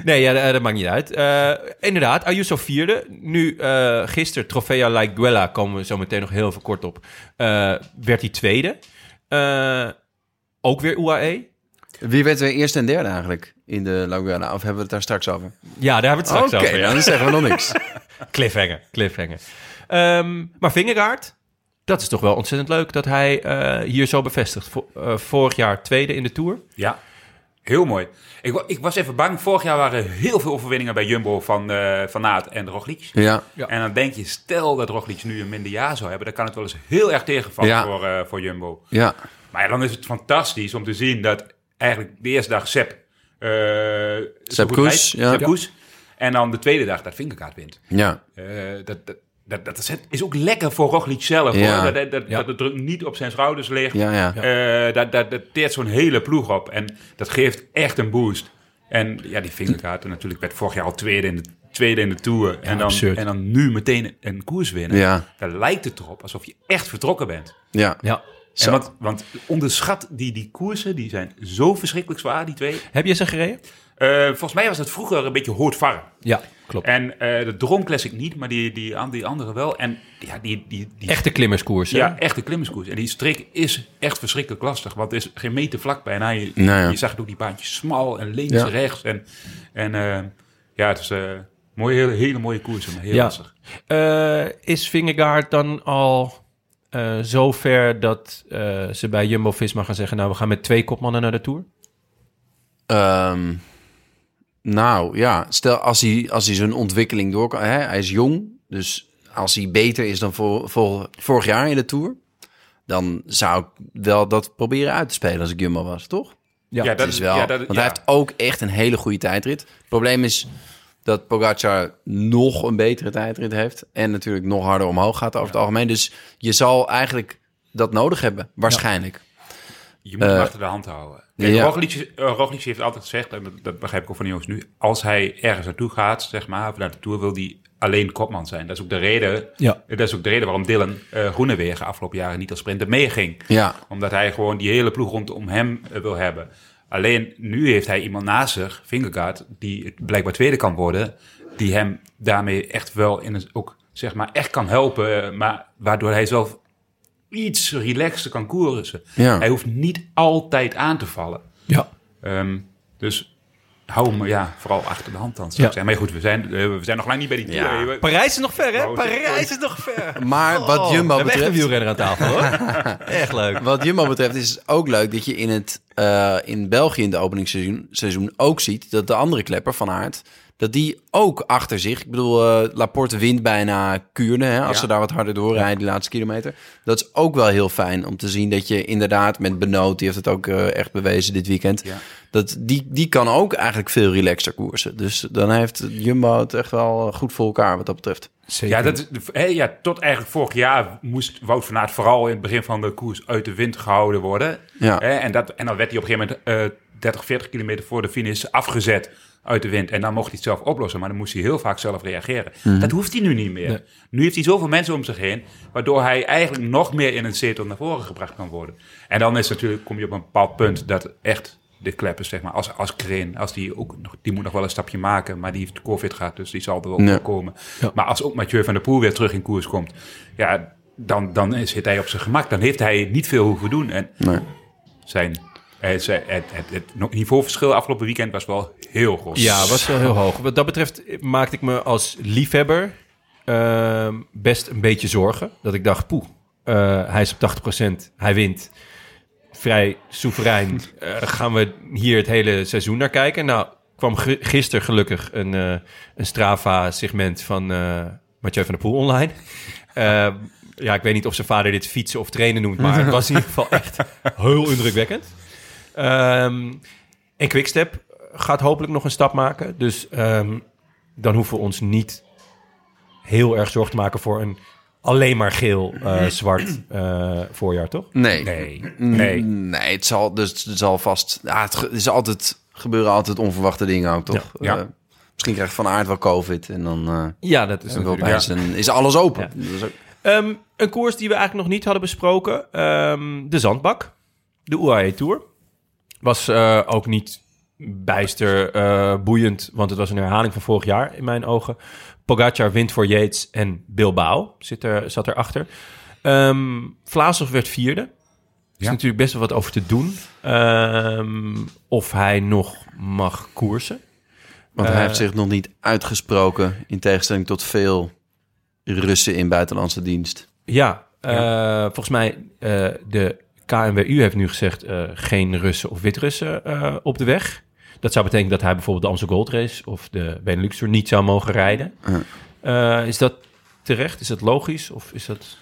[SPEAKER 3] Nee, ja, dat, dat maakt niet uit. Eh, inderdaad, Ayuso vierde. Nu, eh gisteren, Trofea Laiguela, komen we zo meteen nog heel even kort op, eh, werd hij tweede. Eh, ook weer E. UAE.
[SPEAKER 1] Wie werd er eerste en derde eigenlijk in de Laguna? Of hebben we het daar straks over?
[SPEAKER 3] Ja, daar hebben we het
[SPEAKER 1] Oké,
[SPEAKER 3] straks over. ja.
[SPEAKER 1] nou, dan zeggen we nog niks.
[SPEAKER 3] Cliffhanger, cliffhanger. Ehm, maar Vingegaard, dat is toch wel ontzettend leuk dat hij eh, hier zo bevestigt. Vo- eh, vorig jaar tweede in de Tour.
[SPEAKER 6] Ja, heel mooi. Ik, wa- ik was even bang. Vorig jaar waren heel veel overwinningen bij Jumbo van, eh van Aert en Roglic.
[SPEAKER 1] Ja.
[SPEAKER 3] Ja.
[SPEAKER 6] En dan denk je, stel dat Roglic nu een minder jaar zou hebben... dan kan het wel eens heel erg tegenvallen
[SPEAKER 1] Ja.
[SPEAKER 6] voor, eh, voor Jumbo.
[SPEAKER 1] Ja.
[SPEAKER 6] Maar ja, dan is het fantastisch om te zien dat eigenlijk de eerste dag Sepp... eh, zo goed
[SPEAKER 1] Koes,
[SPEAKER 6] rijdt.
[SPEAKER 1] ja.
[SPEAKER 6] Sepp
[SPEAKER 1] Ja.
[SPEAKER 6] Koes. En dan de tweede dag dat Vingerkaart wint.
[SPEAKER 1] Ja.
[SPEAKER 6] Eh, dat, dat, dat, dat is, is ook lekker voor Roglic zelf.
[SPEAKER 1] Ja.
[SPEAKER 6] hoor. Dat, dat, dat,
[SPEAKER 3] Ja.
[SPEAKER 6] dat de druk niet op zijn schouders ligt.
[SPEAKER 1] Ja, ja.
[SPEAKER 6] Eh, dat, dat, dat teert zo'n hele ploeg op. En dat geeft echt een boost. En ja, die vingerkaarten natuurlijk werd vorig jaar al tweede in de, tweede in de Tour. en, dan,
[SPEAKER 3] absurd.
[SPEAKER 6] en dan nu meteen een koers winnen.
[SPEAKER 1] Ja.
[SPEAKER 6] Daar lijkt het erop alsof je echt vertrokken bent.
[SPEAKER 1] Ja.
[SPEAKER 3] Ja.
[SPEAKER 6] En want, want onderschat die, die koersen, die zijn zo verschrikkelijk zwaar, die twee.
[SPEAKER 3] Heb je ze gereden?
[SPEAKER 6] Eh, Eh, volgens mij was dat vroeger een beetje hoortvarren.
[SPEAKER 3] Ja, klopt.
[SPEAKER 6] En eh de Droom Classic niet, maar die, die, an- die andere wel. En ja, die, die, die
[SPEAKER 3] Echte klimmerskoers. hè?
[SPEAKER 6] ja, echte klimmerskoers. En die streek is echt verschrikkelijk lastig, want er is geen meter vlak bijna. Je,
[SPEAKER 1] Nou ja.
[SPEAKER 6] je zag ook die baantjes smal en links
[SPEAKER 1] Ja.
[SPEAKER 6] en rechts. En, en eh, ja, het is een mooie, hele, hele mooie koers, maar heel
[SPEAKER 3] Ja.
[SPEAKER 6] lastig.
[SPEAKER 3] Eh, is Vingegaard dan al eh zo ver dat eh, ze bij Jumbo-Visma gaan zeggen... nou, we gaan met twee kopmannen naar de Tour?
[SPEAKER 1] Ehm, nou ja, stel als hij, als hij zijn ontwikkeling door kan. Hè, hij is jong, dus als hij beter is dan voor, voor, vorig jaar in de Tour. Dan zou ik wel dat proberen uit te spelen als ik Jumbo was, toch?
[SPEAKER 3] Ja,
[SPEAKER 6] dat
[SPEAKER 1] is Dus wel.
[SPEAKER 6] ja, dat-
[SPEAKER 1] want
[SPEAKER 6] ja.
[SPEAKER 1] hij heeft ook echt een hele goede tijdrit. Het probleem is dat Pogacar nog een betere tijdrit heeft. En natuurlijk nog harder omhoog gaat over het algemeen. Dus je zal eigenlijk dat nodig hebben, waarschijnlijk.
[SPEAKER 6] Je moet hem
[SPEAKER 1] Eh,
[SPEAKER 6] achter de hand houden. Kijk,
[SPEAKER 1] ja.
[SPEAKER 6] Roglic, eh, Roglic heeft altijd gezegd, en dat, dat begrijp ik ook van de jongens nu... als hij ergens naartoe gaat, zeg maar, of naar de Tour... wil hij alleen kopman zijn. Dat is ook de reden,
[SPEAKER 3] Ja.
[SPEAKER 6] dat is ook de reden waarom Dylan eh Groenewegen afgelopen jaren niet als sprinter meeging.
[SPEAKER 1] Ja.
[SPEAKER 6] Omdat hij gewoon die hele ploeg rondom hem eh, wil hebben. Alleen nu heeft hij iemand naast zich, Vingegaard, die het blijkbaar tweede kan worden... die hem daarmee echt wel in het, ook, zeg maar, echt kan helpen... eh, maar waardoor hij zelf iets relaxter kan koersen.
[SPEAKER 1] Ja.
[SPEAKER 6] Hij hoeft niet altijd aan te vallen.
[SPEAKER 3] Ja.
[SPEAKER 6] Ehm, dus hou hem ja, vooral achter de hand dan. zou ik
[SPEAKER 3] Ja.
[SPEAKER 6] zeggen. Maar goed, we zijn, eh, we zijn nog lang niet bij die
[SPEAKER 1] Ja.
[SPEAKER 6] tour. We-
[SPEAKER 3] Parijs is nog ver, hè?
[SPEAKER 6] Nou,
[SPEAKER 3] Parijs is nog ver.
[SPEAKER 1] Maar wat
[SPEAKER 3] Oh,
[SPEAKER 1] Jumbo
[SPEAKER 3] we hebben echt een
[SPEAKER 1] betreft...
[SPEAKER 3] wielrenner aan tafel, hoor. echt leuk.
[SPEAKER 1] Wat Jumbo betreft is het ook leuk dat je in, het, eh, in België in de openingsseizoen seizoen ook ziet dat de andere klepper van Aert, dat die ook achter zich, ik bedoel, eh, Laporte wint bijna Kuurne, hè, als
[SPEAKER 6] Ja.
[SPEAKER 1] ze daar wat harder doorrijden die laatste kilometer. Dat is ook wel heel fijn om te zien dat je inderdaad met Benoot, die heeft het ook eh, echt bewezen dit weekend,
[SPEAKER 6] Ja.
[SPEAKER 1] dat die, die kan ook eigenlijk veel relaxter koersen. Dus dan heeft Jumbo het echt wel goed voor elkaar wat dat betreft.
[SPEAKER 3] Zeker.
[SPEAKER 6] Ja, dat is, hè, ja, tot eigenlijk vorig jaar moest Wout van Aert vooral in het begin van de koers uit de wind gehouden worden.
[SPEAKER 1] Ja.
[SPEAKER 6] Hè, en, dat, en dan werd hij op een gegeven moment eh 30, 40 kilometer voor de finish afgezet uit de wind. En dan mocht hij het zelf oplossen, maar dan moest hij heel vaak zelf reageren.
[SPEAKER 1] Mhm.
[SPEAKER 6] Dat hoeft hij nu niet meer. Nu heeft hij zoveel mensen om zich heen, waardoor hij eigenlijk nog meer in een zetel naar voren gebracht kan worden. En dan is natuurlijk, kom je op een bepaald punt dat echt de kleppers, zeg maar, als, als Kreen, als die ook nog, die moet nog wel een stapje maken, maar die heeft COVID gehad, dus die zal er wel
[SPEAKER 1] Ja.
[SPEAKER 6] op komen. Maar als ook Mathieu van der Poel weer terug in koers komt, ja, dan, dan zit hij op zijn gemak. Dan heeft hij niet veel hoeven doen. En zijn, eh, zijn- het, het, het niveauverschil afgelopen weekend was wel heel groot.
[SPEAKER 3] Ja, was wel heel hoog. Wat dat betreft maakte ik me als liefhebber ehm, best een beetje zorgen. Dat ik dacht, poeh, eh, hij is op 80%, hij wint. Vrij soeverein. Eh, gaan we hier het hele seizoen naar kijken? Nou, kwam gi- gisteren gelukkig een, eh, een Strava-segment van eh Mathieu van der Poel online. Eh, ja, ik weet niet of zijn vader dit fietsen of trainen noemt, maar het was in ieder geval echt heel indrukwekkend. Ehm en Quickstep gaat hopelijk nog een stap maken. Dus ehm, dan hoeven we ons niet heel erg zorg te maken voor een alleen maar geel, eh, zwart eh, voorjaar, toch?
[SPEAKER 6] Nee, nee.
[SPEAKER 1] Nee, het zal, dus het zal vast. Ja, het ge- is altijd, gebeuren altijd onverwachte dingen ook, toch?
[SPEAKER 6] Ja.
[SPEAKER 1] Eh, misschien krijgt Van Aert wel COVID en dan, eh,
[SPEAKER 3] Ja, dat is
[SPEAKER 1] dan wil
[SPEAKER 3] natuurlijk.
[SPEAKER 1] opeens een- is alles open.
[SPEAKER 3] Ja.
[SPEAKER 1] Dat is ook-
[SPEAKER 3] Ehm, een koers die we eigenlijk nog niet hadden besproken. ehm, de Zandbak. De UAE Tour. Was eh, ook niet bijster eh, boeiend, want het was een herhaling van vorig jaar in mijn ogen. Pogacar wint voor Yates en Bilbao zit er, zat erachter. Ehm Vlaasov werd vierde. Er is
[SPEAKER 6] Ja.
[SPEAKER 3] natuurlijk best wel wat over te doen. Ehm, of hij nog mag koersen.
[SPEAKER 1] want hij
[SPEAKER 3] Eh.
[SPEAKER 1] heeft zich nog niet uitgesproken. In tegenstelling tot veel Russen in buitenlandse dienst.
[SPEAKER 3] Ja, eh, volgens mij eh de KNWU heeft nu gezegd eh, geen Russen of Wit-Russen eh, op de weg. Dat zou betekenen dat hij bijvoorbeeld de Amstel Gold Race of de Benelux Tour niet zou mogen rijden. Eh, is dat terecht? Is dat logisch? Of is dat...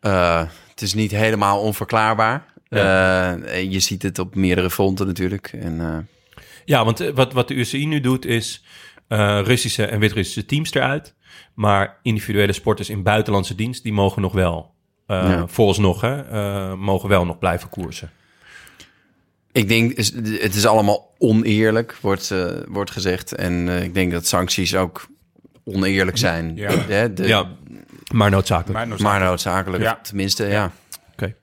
[SPEAKER 1] Eh, het is niet helemaal onverklaarbaar.
[SPEAKER 3] Ja.
[SPEAKER 1] Eh, en je ziet het op meerdere fronten natuurlijk. En, eh,
[SPEAKER 3] Ja, want eh, wat, wat de UCI nu doet is eh, Russische en Wit-Russische teams eruit. Maar individuele sporters in buitenlandse dienst, die mogen nog wel, eh
[SPEAKER 1] Ja.
[SPEAKER 3] vooralsnog, hè, eh, mogen wel nog blijven koersen.
[SPEAKER 1] Ik denk, is- het is allemaal oneerlijk, wordt, eh, wordt gezegd. En eh, ik denk dat sancties ook oneerlijk zijn.
[SPEAKER 6] Ja.
[SPEAKER 1] Hè, de-
[SPEAKER 3] ja, maar noodzakelijk.
[SPEAKER 6] Maar, nog-
[SPEAKER 1] Maar noodzakelijk,
[SPEAKER 6] Ja.
[SPEAKER 1] tenminste, ja.
[SPEAKER 3] Oké.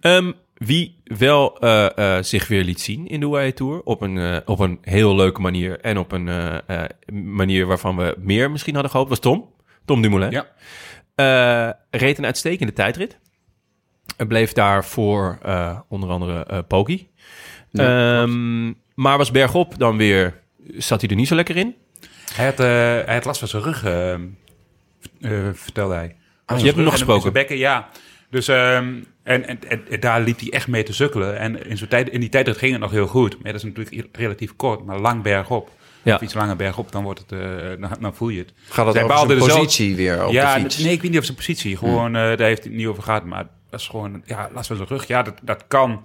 [SPEAKER 3] Ehm, Wie wel eh, eh, zich weer liet zien in de UAE Tour. Op een, eh, op een heel leuke manier. En op een eh, eh, manier waarvan we meer misschien hadden gehoopt. Was Tom. Tom Dumoulin.
[SPEAKER 6] Ja.
[SPEAKER 3] Eh, reed een uitstekende tijdrit. En bleef daar voor eh, onder andere eh Poggi. Ehm, maar was bergop dan weer... Zat hij er niet zo lekker in?
[SPEAKER 6] Hij had, eh, hij had last van zijn rug, eh, eh, vertelde hij.
[SPEAKER 3] Ah, je hebt hem nog gesproken.
[SPEAKER 6] Zijn bekken, ja. Dus, ehm, en, en, en- en daar liep hij echt mee te sukkelen. En in, zo'n tijd, in die tijd dat ging het nog heel goed. Maar ja, dat is natuurlijk relatief kort, maar lang bergop.
[SPEAKER 3] Ja.
[SPEAKER 6] Of iets langer bergop, dan, wordt het, eh, dan, dan voel je het.
[SPEAKER 1] Gaat dat
[SPEAKER 6] Zij dus
[SPEAKER 1] over
[SPEAKER 6] baalden
[SPEAKER 1] zijn
[SPEAKER 6] er zo-
[SPEAKER 1] positie weer op
[SPEAKER 6] ja,
[SPEAKER 1] de fiets?
[SPEAKER 6] nee, ik weet niet of zijn positie. Gewoon, eh, daar heeft hij het niet over gehad. Maar dat is gewoon, ja, last van zijn rug. Ja, dat, dat kan.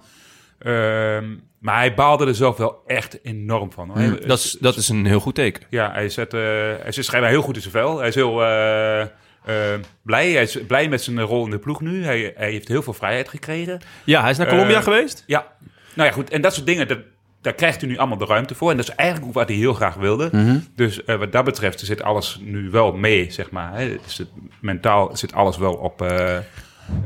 [SPEAKER 6] Ehm, maar hij baalde er zelf wel echt enorm van. hoor. Hij-
[SPEAKER 3] Dat is, dat is een heel goed teken.
[SPEAKER 6] ja, hij, zet, eh, hij zit schijnbaar heel goed in zijn vel. Hij is heel eh, eh, blij. Hij is blij met zijn rol in de ploeg nu. Hij, hij heeft heel veel vrijheid gekregen.
[SPEAKER 3] Ja, hij is naar Colombia
[SPEAKER 6] Eh,
[SPEAKER 3] geweest.
[SPEAKER 6] Ja, nou ja, goed. En dat soort dingen, dat, daar krijgt u nu allemaal de ruimte voor. En dat is eigenlijk ook wat hij heel graag wilde.
[SPEAKER 3] Mhm.
[SPEAKER 6] Dus eh, wat dat betreft zit alles nu wel mee, zeg maar. Hè. Dus het, mentaal zit alles wel op, eh,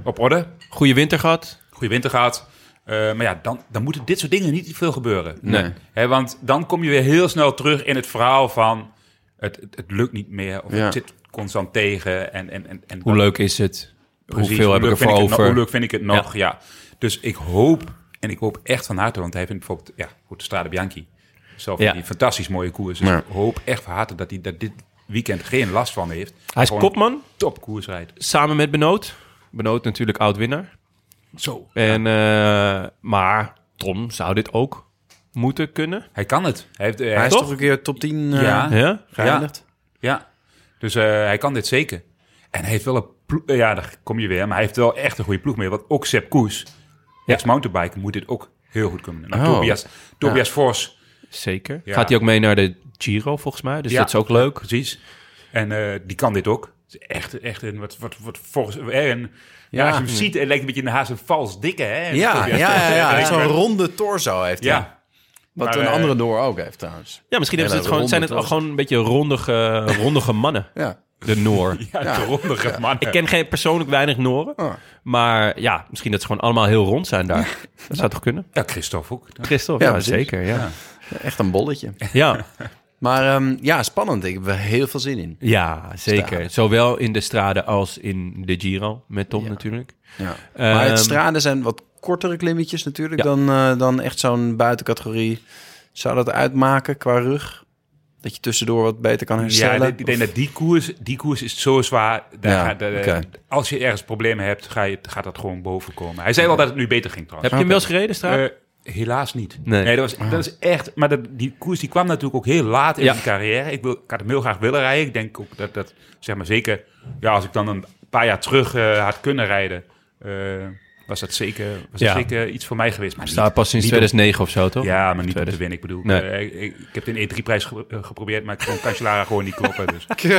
[SPEAKER 6] op orde.
[SPEAKER 3] Goede winter gehad.
[SPEAKER 6] Goede winter gehad. Eh, maar ja, dan, dan moeten dit soort dingen niet veel gebeuren.
[SPEAKER 3] Nee.
[SPEAKER 6] Hè, want dan kom je weer heel snel terug in het verhaal van... het, het, het lukt niet meer, of
[SPEAKER 1] Ja.
[SPEAKER 6] het zit constant tegen. En, en, en, en
[SPEAKER 3] Hoe leuk is het?
[SPEAKER 6] Precies,
[SPEAKER 3] Hoeveel heb ik
[SPEAKER 6] leuk
[SPEAKER 3] ervoor
[SPEAKER 6] vind het
[SPEAKER 3] over?
[SPEAKER 6] nog- hoe leuk vind ik het nog, ja. Dus ik hoop, en ik hoop echt van harte... want hij vindt bijvoorbeeld, ja, goed, Strade Bianchi... zelf
[SPEAKER 3] Ja.
[SPEAKER 6] die fantastisch mooie koers. Dus
[SPEAKER 1] Ja.
[SPEAKER 6] ik hoop echt van harte dat hij dat dit weekend geen last van heeft.
[SPEAKER 3] Hij is
[SPEAKER 6] Gewoon
[SPEAKER 3] kopman,
[SPEAKER 6] top koers rijdt.
[SPEAKER 3] samen met Benoot. Benoot natuurlijk oud-winnaar.
[SPEAKER 6] Zo.
[SPEAKER 3] En, eh, maar Tom zou dit ook moeten kunnen.
[SPEAKER 6] Hij kan het. Hij, heeft, eh,
[SPEAKER 1] Hij
[SPEAKER 6] hij-
[SPEAKER 1] is toch een keer top 10 eh,
[SPEAKER 6] Ja.
[SPEAKER 3] Ja?
[SPEAKER 1] geëindigd?
[SPEAKER 6] Ja, dus eh, hij kan dit zeker. En hij heeft wel een ploeg... eh, Ja, daar kom je weer. Maar hij heeft wel echt een goede ploeg mee. Want ook Sepp Koes,
[SPEAKER 3] Ja.
[SPEAKER 6] ex-mountainbiker, moet dit ook heel goed kunnen. Nou,
[SPEAKER 1] Oh.
[SPEAKER 6] Tobias, Tobias Fors,
[SPEAKER 3] Zeker.
[SPEAKER 6] Ja.
[SPEAKER 3] Gaat hij ook mee naar de Giro volgens mij? Dus
[SPEAKER 6] Ja.
[SPEAKER 3] dat is ook leuk.
[SPEAKER 6] precies. En eh, die kan dit ook. Het is Echt, echt een wat, wat, wat volgens... eh, En, ja,
[SPEAKER 1] Ja.
[SPEAKER 6] als je hem ziet, het lijkt een beetje een haast een vals dikke, hè?
[SPEAKER 1] Ja, ja,
[SPEAKER 6] Tobias
[SPEAKER 1] ja.
[SPEAKER 6] Fors.
[SPEAKER 1] ja,
[SPEAKER 6] Ja,
[SPEAKER 1] Zo'n ronde torso heeft hij.
[SPEAKER 6] ja.
[SPEAKER 1] Wat
[SPEAKER 6] Maar,
[SPEAKER 1] een
[SPEAKER 6] eh,
[SPEAKER 1] andere door ook heeft trouwens.
[SPEAKER 3] Ja, misschien hebben
[SPEAKER 1] Hele
[SPEAKER 3] ze het gewoon,
[SPEAKER 1] ronde
[SPEAKER 3] zijn het al
[SPEAKER 1] trots.
[SPEAKER 3] gewoon een beetje rondige, rondige mannen.
[SPEAKER 1] Ja.
[SPEAKER 3] De Noor.
[SPEAKER 6] Ja, de rondige man.
[SPEAKER 3] Ik ken geen, persoonlijk weinig Nooren.
[SPEAKER 1] Ah.
[SPEAKER 3] Maar ja, misschien dat ze gewoon allemaal heel rond zijn daar. Dat zou toch kunnen?
[SPEAKER 6] Ja, Christophe ook.
[SPEAKER 3] Christophe, ja,
[SPEAKER 1] Ja, precies.
[SPEAKER 3] zeker. Ja.
[SPEAKER 1] Echt een bolletje.
[SPEAKER 3] ja,
[SPEAKER 1] Maar ehm, ja, spannend. Ik heb er heel veel zin in.
[SPEAKER 3] Ja, zeker.
[SPEAKER 1] Straden.
[SPEAKER 3] Zowel in de straden als in de Giro met Tom natuurlijk.
[SPEAKER 1] Ja. maar het
[SPEAKER 3] Ehm,
[SPEAKER 1] straden zijn wat kortere klimmetjes natuurlijk
[SPEAKER 3] Ja.
[SPEAKER 1] dan, eh, dan echt zo'n buitencategorie. Zou dat uitmaken qua rug? Dat je tussendoor wat beter kan
[SPEAKER 6] Ja,
[SPEAKER 1] herstellen?
[SPEAKER 6] ik ik denk dat die koers, die koers is zo zwaar. Daar
[SPEAKER 1] Ja,
[SPEAKER 6] gaat, daar-
[SPEAKER 1] oké.
[SPEAKER 6] Als je ergens problemen hebt, ga je, gaat dat gewoon boven komen. Hij zei wel dat het nu beter ging
[SPEAKER 3] Heb
[SPEAKER 6] trouwens.
[SPEAKER 3] je hem wel eens gereden, straat?
[SPEAKER 6] Eh, helaas niet.
[SPEAKER 3] Nee.
[SPEAKER 6] dat, was, dat is echt... Maar dat, die koers die kwam natuurlijk ook heel laat in
[SPEAKER 3] Ja.
[SPEAKER 6] mijn carrière. Ik, wil, ik had hem heel graag willen rijden. Ik denk ook dat dat, zeg maar zeker... Ja, als ik dan een paar jaar terug eh, had kunnen rijden... eh, was dat zeker, was
[SPEAKER 3] Ja.
[SPEAKER 6] dat zeker iets voor mij geweest. Maar
[SPEAKER 3] Staat
[SPEAKER 6] niet-
[SPEAKER 3] pas sinds
[SPEAKER 6] niet op-
[SPEAKER 3] 2009 of zo, toch?
[SPEAKER 6] ja, maar niet om te
[SPEAKER 3] 2000.
[SPEAKER 6] winnen. Ik bedoel,
[SPEAKER 3] Nee.
[SPEAKER 6] eh, ik, ik- ik heb de E3-prijs ge- eh, geprobeerd, maar ik kon Cancellara gewoon niet kloppen. Dus.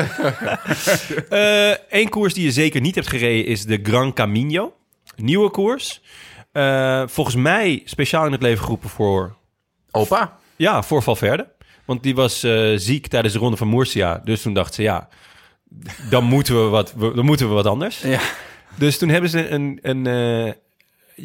[SPEAKER 3] Eén Eh, koers die je zeker niet hebt gereden is de Gran Camino. Nieuwe koers. Eh, volgens mij speciaal in het leven geroepen voor,
[SPEAKER 1] Opa?
[SPEAKER 3] ja, voor Valverde. Want die was eh, ziek tijdens de ronde van Murcia. Dus toen dacht ze, ja, dan moeten we wat, we- dan moeten we wat anders.
[SPEAKER 1] Ja.
[SPEAKER 3] Dus toen hebben ze een, een, eh,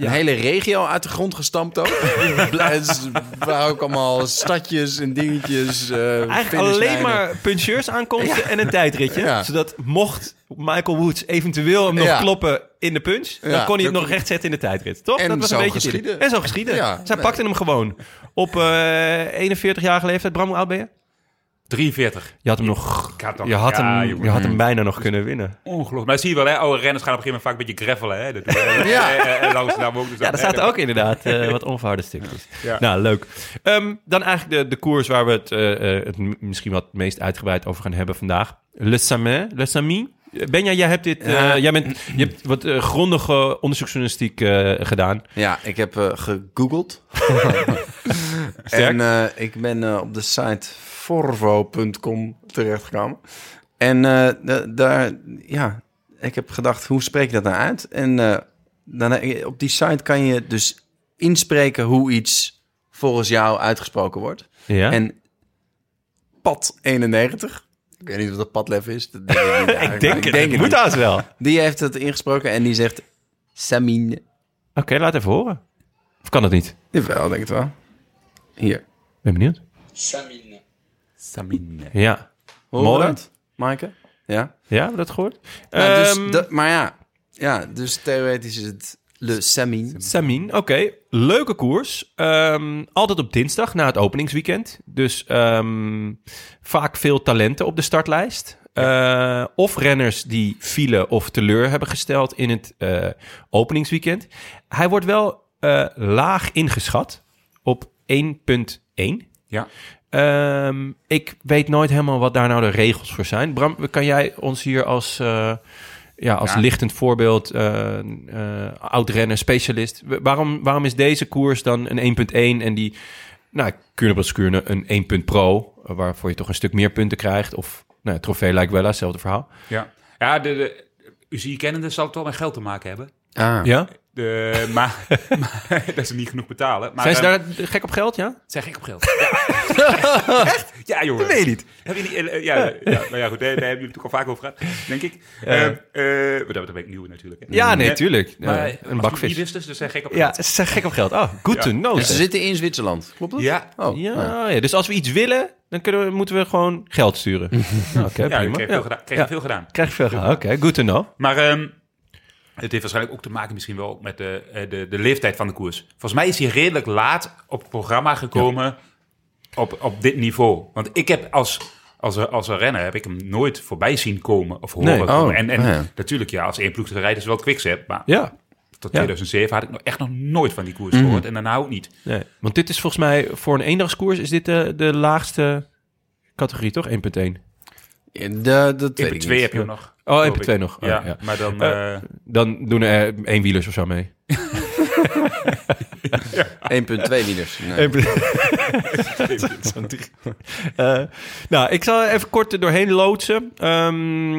[SPEAKER 1] Een hele regio uit de grond gestampt ook. Het is- waren ook allemaal stadjes en dingetjes. eh,
[SPEAKER 3] Eigenlijk alleen
[SPEAKER 1] finishlijnen.
[SPEAKER 3] maar puncheurs aankomsten en een tijdritje.
[SPEAKER 1] Ja.
[SPEAKER 3] Zodat mocht Michael Woods eventueel hem nog
[SPEAKER 1] Ja.
[SPEAKER 3] kloppen in de punch... dan
[SPEAKER 1] Ja.
[SPEAKER 3] kon hij het nog recht zetten in de tijdrit, toch?
[SPEAKER 1] En
[SPEAKER 3] dat was
[SPEAKER 1] zo
[SPEAKER 3] een beetje het idee.
[SPEAKER 1] geschieden.
[SPEAKER 3] En zo geschieden.
[SPEAKER 1] Ja,
[SPEAKER 3] Zij
[SPEAKER 1] nee.
[SPEAKER 3] pakten hem gewoon op eh 41-jarige leeftijd. Bram, hoe oud ben je?
[SPEAKER 6] 43.
[SPEAKER 3] Je had hem nog...
[SPEAKER 6] Ik had dan-
[SPEAKER 3] Je had,
[SPEAKER 6] ja,
[SPEAKER 3] hem,
[SPEAKER 6] jongen.
[SPEAKER 3] je had hem bijna nog kunnen winnen.
[SPEAKER 6] Ongelooflijk. Maar zie je wel, hè, oude renners gaan op een gegeven moment vaak een beetje gravelen. Hè? Dat doen we,
[SPEAKER 1] Ja.
[SPEAKER 6] eh, eh, eh, langs daar ook. Dus
[SPEAKER 3] Ja,
[SPEAKER 6] dan-
[SPEAKER 3] daar zaten ook inderdaad eh, wat onverharde stukjes.
[SPEAKER 6] Ja.
[SPEAKER 3] Nou, leuk. Ehm, dan eigenlijk de, de koers waar we het, eh, eh, het m- misschien wat het meest uitgebreid over gaan hebben vandaag. Le Samin. Le Samin. Benja, jij hebt dit. eh,
[SPEAKER 1] Ja.
[SPEAKER 3] jij bent, je hebt wat eh, grondige onderzoeksjournalistiek eh, gedaan.
[SPEAKER 1] Ja, ik heb eh, gegoogeld. en eh, ik ben eh, op de site forvo.com terechtgekomen. En eh, da- daar, ja, ik heb gedacht, hoe spreek je dat nou uit? En eh, dan, eh, op die site kan je dus inspreken hoe iets volgens jou uitgesproken wordt.
[SPEAKER 3] Ja.
[SPEAKER 1] En pad 91. Ik weet niet of dat padlef is. Dat denk ik niet eigenlijk, maar
[SPEAKER 3] ik denk het. het moet
[SPEAKER 1] niet.
[SPEAKER 3] haast wel. Oké,
[SPEAKER 1] Die heeft het ingesproken en die zegt Samin.
[SPEAKER 3] laat even horen. Of kan dat niet?
[SPEAKER 1] Jawel, denk het wel. Hier.
[SPEAKER 3] Ben benieuwd.
[SPEAKER 6] Samine.
[SPEAKER 3] Ja.
[SPEAKER 1] Horen we
[SPEAKER 3] Mooi.
[SPEAKER 1] dat, Maaike? Ja.
[SPEAKER 3] Ja, hebben we dat gehoord?
[SPEAKER 1] Ja, dus
[SPEAKER 3] Ehm,
[SPEAKER 1] dat- maar ja. ja, dus theoretisch is het Le Samin.
[SPEAKER 3] Samin, oké. Leuke koers. Ehm, altijd op dinsdag na het openingsweekend. Dus ehm, vaak veel talenten op de startlijst. Eh, of renners die vielen of teleur hebben gesteld in het eh, openingsweekend. Hij wordt wel eh, laag ingeschat op 1.1.
[SPEAKER 6] Ja.
[SPEAKER 3] Ehm, ik weet nooit helemaal wat daar nou de regels voor zijn. Bram, kan jij ons hier als, eh, ja, als
[SPEAKER 6] Ja.
[SPEAKER 3] lichtend voorbeeld, eh eh, oud-renner, specialist... wa- Waarom, waarom is deze koers dan een 1.1 en die... Nou, Kuurne Kuurne een 1 punt pro, eh, waarvoor je toch een stuk meer punten krijgt. Of nou, ja, trofee lijkt wel, hetzelfde verhaal.
[SPEAKER 6] Ja, ja de, de, u zie je kennende zal het wel met geld te maken hebben.
[SPEAKER 1] Ah.
[SPEAKER 3] Ja?
[SPEAKER 6] De, maar, maar dat ze niet genoeg betalen. Maar,
[SPEAKER 3] Zijn ze
[SPEAKER 6] eh,
[SPEAKER 3] daar gek op geld, ja?
[SPEAKER 6] Zijn gek op geld. Ja. Echt? Ja, jongen.
[SPEAKER 3] weet niet.
[SPEAKER 6] Heb je niet eh, eh, ja, ja, nou ja, goed. Daar daar hebben jullie natuurlijk al vaak over gehad, denk ik. Eh eh, maar dat ben ik nieuw natuurlijk. hè.
[SPEAKER 3] Ja, nee,
[SPEAKER 6] Eh,
[SPEAKER 3] tuurlijk.
[SPEAKER 6] Maar,
[SPEAKER 3] Eh, een
[SPEAKER 6] als
[SPEAKER 3] bak vis.
[SPEAKER 6] Die wist dus, dus zijn gek op
[SPEAKER 3] Ja,
[SPEAKER 6] geld.
[SPEAKER 3] ze zijn gek op geld. Oh, good
[SPEAKER 6] Ja.
[SPEAKER 3] to know.
[SPEAKER 1] Dus ze
[SPEAKER 3] zeg.
[SPEAKER 1] zitten in Zwitserland, klopt dat?
[SPEAKER 6] Ja.
[SPEAKER 1] Oh, nou.
[SPEAKER 3] Ja, ja, dus als we iets willen, dan kunnen we, moeten we gewoon geld sturen. Nou, Oké,
[SPEAKER 6] Ja,
[SPEAKER 3] prima.
[SPEAKER 6] ik kreeg,
[SPEAKER 3] Ja.
[SPEAKER 6] Veel, gedaan, kreeg
[SPEAKER 3] Ja.
[SPEAKER 6] veel gedaan.
[SPEAKER 3] Krijg je veel gedaan. Oké, good to know.
[SPEAKER 6] Maar ehm, het heeft waarschijnlijk ook te maken misschien wel met de, eh, de, de leeftijd van de koers. Volgens mij is hij redelijk laat op het programma gekomen op, op dit niveau. Want ik heb als, als, een- als een renner heb ik hem nooit voorbij zien komen of horen
[SPEAKER 3] Nee.
[SPEAKER 6] komen.
[SPEAKER 1] Oh,
[SPEAKER 6] en en
[SPEAKER 1] ja.
[SPEAKER 6] natuurlijk, ja, als één ploeg te rijden is wel quickstep. Maar
[SPEAKER 3] Ja.
[SPEAKER 6] tot
[SPEAKER 3] Ja. Mhm.
[SPEAKER 6] 2007 had ik nog echt nog nooit van die koers gehoord. En daarna ook niet.
[SPEAKER 3] Nee, want dit is volgens mij voor een eendagskoers is dit de, de laagste categorie, toch? 1.1.
[SPEAKER 1] Ja, de, dat weet
[SPEAKER 6] In
[SPEAKER 1] ik
[SPEAKER 6] twee
[SPEAKER 1] niet.
[SPEAKER 6] heb je nog.
[SPEAKER 3] Oh,
[SPEAKER 6] geloof
[SPEAKER 3] 1.2
[SPEAKER 6] ik.
[SPEAKER 3] nog. Oh,
[SPEAKER 6] ja,
[SPEAKER 3] ja.
[SPEAKER 6] maar dan...
[SPEAKER 3] Eh,
[SPEAKER 6] eh,
[SPEAKER 3] Dan doen er eenwielers of zo mee.
[SPEAKER 1] 1.2 liters. Nee.
[SPEAKER 3] Eh, nou, ik zal even kort er doorheen loodsen. Ehm,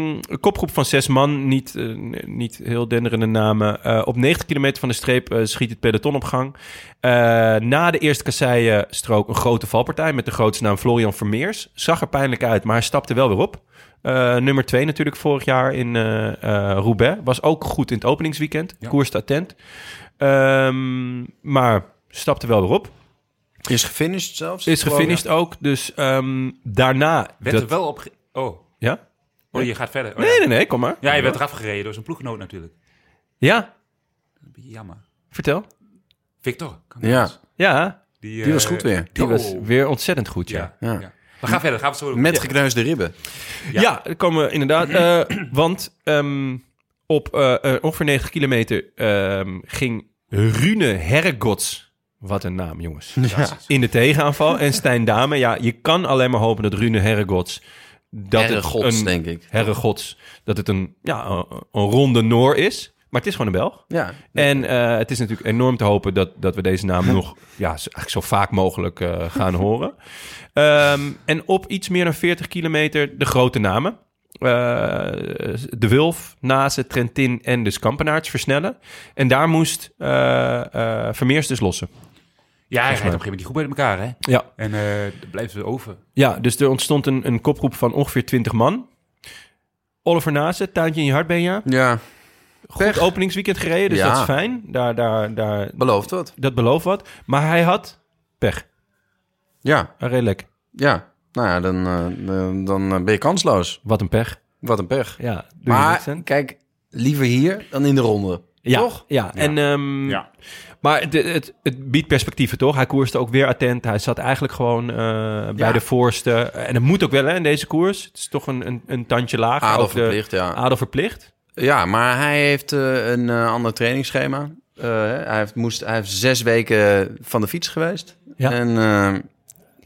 [SPEAKER 3] een kopgroep van zes man, niet, eh, n- niet heel denderende namen. Eh, op 90 kilometer van de streep eh, schiet het peloton op gang. Eh, na de eerste kasseienstrook een grote valpartij met de grootste naam Florian Vermeers. Zag er pijnlijk uit, maar hij stapte wel weer op. Eh, nummer 2 natuurlijk vorig jaar in eh eh, Roubaix. Was ook goed in het openingsweekend. Koers te attent. Ehm, maar stapte wel weer op.
[SPEAKER 1] Is gefinished zelfs?
[SPEAKER 3] Is gefinished ook. Dus ehm, daarna...
[SPEAKER 6] werd
[SPEAKER 3] dat-
[SPEAKER 6] er wel op... ge- Oh,
[SPEAKER 3] ja?
[SPEAKER 6] oh, je gaat verder. Oh, ja.
[SPEAKER 3] Nee, nee, nee, kom maar.
[SPEAKER 6] Ja, je werd eraf gereden door zijn ploeggenoot natuurlijk.
[SPEAKER 3] Ja,
[SPEAKER 6] Een beetje jammer.
[SPEAKER 3] vertel.
[SPEAKER 6] Victor.
[SPEAKER 1] Ja,
[SPEAKER 3] Ja,
[SPEAKER 6] Die,
[SPEAKER 1] die was
[SPEAKER 6] eh,
[SPEAKER 1] goed weer.
[SPEAKER 3] die
[SPEAKER 6] oh.
[SPEAKER 3] was weer ontzettend goed, ja.
[SPEAKER 6] Ja.
[SPEAKER 1] Ja.
[SPEAKER 6] ja. We gaan verder. Gaan we het zo doen.
[SPEAKER 1] Met gekneusde ribben.
[SPEAKER 3] Ja, daar komen we inderdaad. eh, want ehm, op eh, eh, ongeveer 90 kilometer ehm, ging Rune Herregods, wat een naam jongens, in de tegenaanval. En Stijn Dame, ja, je kan alleen maar hopen dat Rune Herregods... Dat het
[SPEAKER 1] Herregods,
[SPEAKER 3] een-
[SPEAKER 1] denk ik.
[SPEAKER 3] Herregods, dat het een, ja, een, een ronde Noor is. Maar het is gewoon een Belg.
[SPEAKER 1] Ja.
[SPEAKER 3] En eh, het is natuurlijk enorm te hopen dat, dat we deze naam nog ja, zo- eigenlijk zo vaak mogelijk eh, gaan horen. Ehm, en op iets meer dan 40 kilometer de grote namen. Eh, de Wulf, Nase, Trentin en de Skampenaarts versnellen. En daar moest eh, eh, Vermeers dus lossen.
[SPEAKER 6] Ja, hij
[SPEAKER 3] Volgens mij.
[SPEAKER 6] rijdt op een gegeven moment die groep bij elkaar,
[SPEAKER 3] Ja,
[SPEAKER 6] hè? En eh dan blijven ze over.
[SPEAKER 3] ja dus er ontstond een, een kopgroep van ongeveer 20 man. Oliver Nase, tuintje in je hart, Benja.
[SPEAKER 1] Ja,
[SPEAKER 3] Goed openingsweekend gereden, dus
[SPEAKER 1] Ja.
[SPEAKER 3] dat is fijn. Daar, daar, daar,
[SPEAKER 1] belooft wat.
[SPEAKER 3] dat belooft wat. Maar hij had pech.
[SPEAKER 1] Ja,
[SPEAKER 3] Hij reed lekker.
[SPEAKER 1] ja. Nou ja, dan, eh, dan, dan eh, ben je kansloos.
[SPEAKER 3] Wat een pech.
[SPEAKER 1] Wat een pech.
[SPEAKER 3] Ja, doe je niks
[SPEAKER 1] Maar
[SPEAKER 3] aan.
[SPEAKER 1] kijk, liever hier dan in de ronde.
[SPEAKER 3] ja,
[SPEAKER 1] toch?
[SPEAKER 3] Ja, en, ehm,
[SPEAKER 6] Ja.
[SPEAKER 3] maar het, het, het biedt perspectieven, toch? Hij koerste ook weer attent. Hij zat eigenlijk gewoon eh, bij de voorste. En dat moet ook wel, hè, in deze koers. Het is toch een, een, een tandje lager.
[SPEAKER 1] Adel
[SPEAKER 3] Ook de-
[SPEAKER 1] verplicht, ja.
[SPEAKER 3] Adel verplicht.
[SPEAKER 1] Ja, maar hij heeft eh, een eh, ander trainingsschema. Eh, hij, heeft, moest, hij heeft zes weken van de fiets geweest.
[SPEAKER 3] Ja.
[SPEAKER 1] En eh,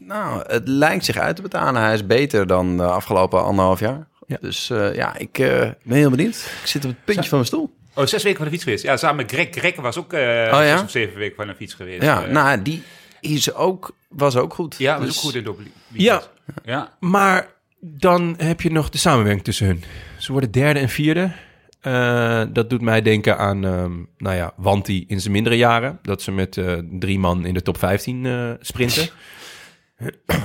[SPEAKER 1] nou, het lijkt zich uit te betalen. Hij is beter dan de afgelopen anderhalf jaar.
[SPEAKER 3] Ja.
[SPEAKER 1] Dus eh, ja, ik eh, ben heel benieuwd. Ik zit op het puntje van mijn stoel.
[SPEAKER 6] Oh, zes weken van de fiets geweest. Ja, samen met Greg. Greg was ook eh
[SPEAKER 1] Oh, ja?
[SPEAKER 6] zes of zeven weken van de fiets geweest.
[SPEAKER 1] Ja,
[SPEAKER 6] Eh,
[SPEAKER 1] nou, die is ook, was ook goed.
[SPEAKER 6] Ja, was
[SPEAKER 1] Dus-
[SPEAKER 6] ook goed in het doppel-
[SPEAKER 3] Ja.
[SPEAKER 6] Ja.
[SPEAKER 3] Maar dan heb je nog de samenwerking tussen hun. Ze worden derde en vierde. Eh, dat doet mij denken aan, ehm, nou ja, Wanti in zijn mindere jaren. Dat ze met eh, drie man in de top 15 eh, sprinten.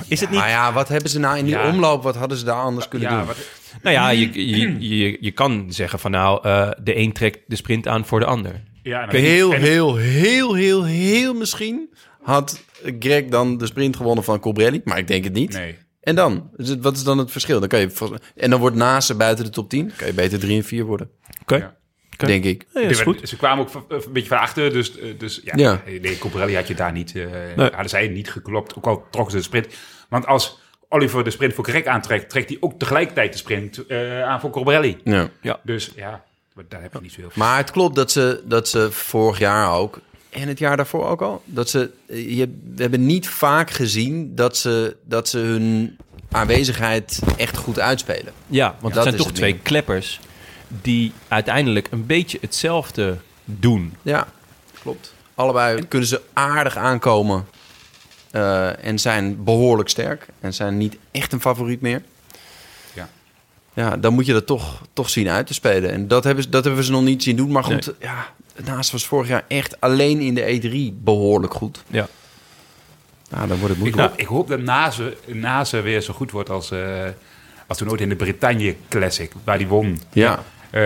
[SPEAKER 3] Is het niet
[SPEAKER 1] Maar ja, wat hebben ze nou in die
[SPEAKER 6] Ja.
[SPEAKER 1] omloop? Wat hadden ze daar anders kunnen
[SPEAKER 6] Ja,
[SPEAKER 1] doen?
[SPEAKER 6] wat,
[SPEAKER 3] Nou ja, je, je, je, je kan zeggen van nou, eh, de een trekt de sprint aan voor de ander.
[SPEAKER 6] Ja, nou,
[SPEAKER 1] Heel,
[SPEAKER 6] en-
[SPEAKER 1] heel, heel, heel, heel misschien had Greg dan de sprint gewonnen van Colbrelli. Maar ik denk het niet.
[SPEAKER 6] Nee.
[SPEAKER 1] En dan? Dus het- Wat is dan het verschil? Dan kan je, vol- en dan wordt Nase buiten de top 10. Kan je beter 3 en 4 worden,
[SPEAKER 3] Oké.
[SPEAKER 6] Ja.
[SPEAKER 3] Oké.
[SPEAKER 1] denk ik.
[SPEAKER 3] Ja, is
[SPEAKER 6] Er
[SPEAKER 3] goed.
[SPEAKER 6] werd- Ze kwamen ook van- eh, een beetje van achter, dus, eh, dus ja,
[SPEAKER 1] Ja.
[SPEAKER 6] nee, Coprelli had je daar niet, eh hadden zij niet geklopt, ook al trokken ze de sprint. Want als Oliver de sprint voor Greg aantrekt, trekt hij ook tegelijkertijd de sprint eh, aan voor Coprelli.
[SPEAKER 1] Ja.
[SPEAKER 6] Dus ja, maar daar heb je niet zo heel veel.
[SPEAKER 1] Maar het klopt dat ze, dat ze vorig jaar ook, en het jaar daarvoor ook al, dat ze, eh, je, we hebben niet vaak gezien dat ze, dat ze hun aanwezigheid echt goed uitspelen.
[SPEAKER 3] Ja, want het
[SPEAKER 1] dat
[SPEAKER 3] zijn
[SPEAKER 1] is
[SPEAKER 3] toch
[SPEAKER 1] het
[SPEAKER 3] twee
[SPEAKER 1] ding.
[SPEAKER 3] kleppers die uiteindelijk een beetje hetzelfde doen.
[SPEAKER 1] Ja, klopt. Allebei kunnen ze aardig aankomen eh, en zijn behoorlijk sterk en zijn niet echt een favoriet meer.
[SPEAKER 6] Ja.
[SPEAKER 1] Ja, dan moet je dat toch, toch zien uit te spelen. En dat hebben, ze, dat hebben we ze nog niet zien doen. Maar goed, ja, naast was vorig jaar echt alleen in de E3 behoorlijk goed.
[SPEAKER 3] Ja.
[SPEAKER 1] Nou, dan wordt het
[SPEAKER 6] Ik
[SPEAKER 1] moeilijk.
[SPEAKER 6] hoop, ik hoop dat Nase, Nase weer zo goed wordt als, eh, als toen ooit in de Bretagne Classic, waar hij won.
[SPEAKER 1] Ja,
[SPEAKER 6] Eh,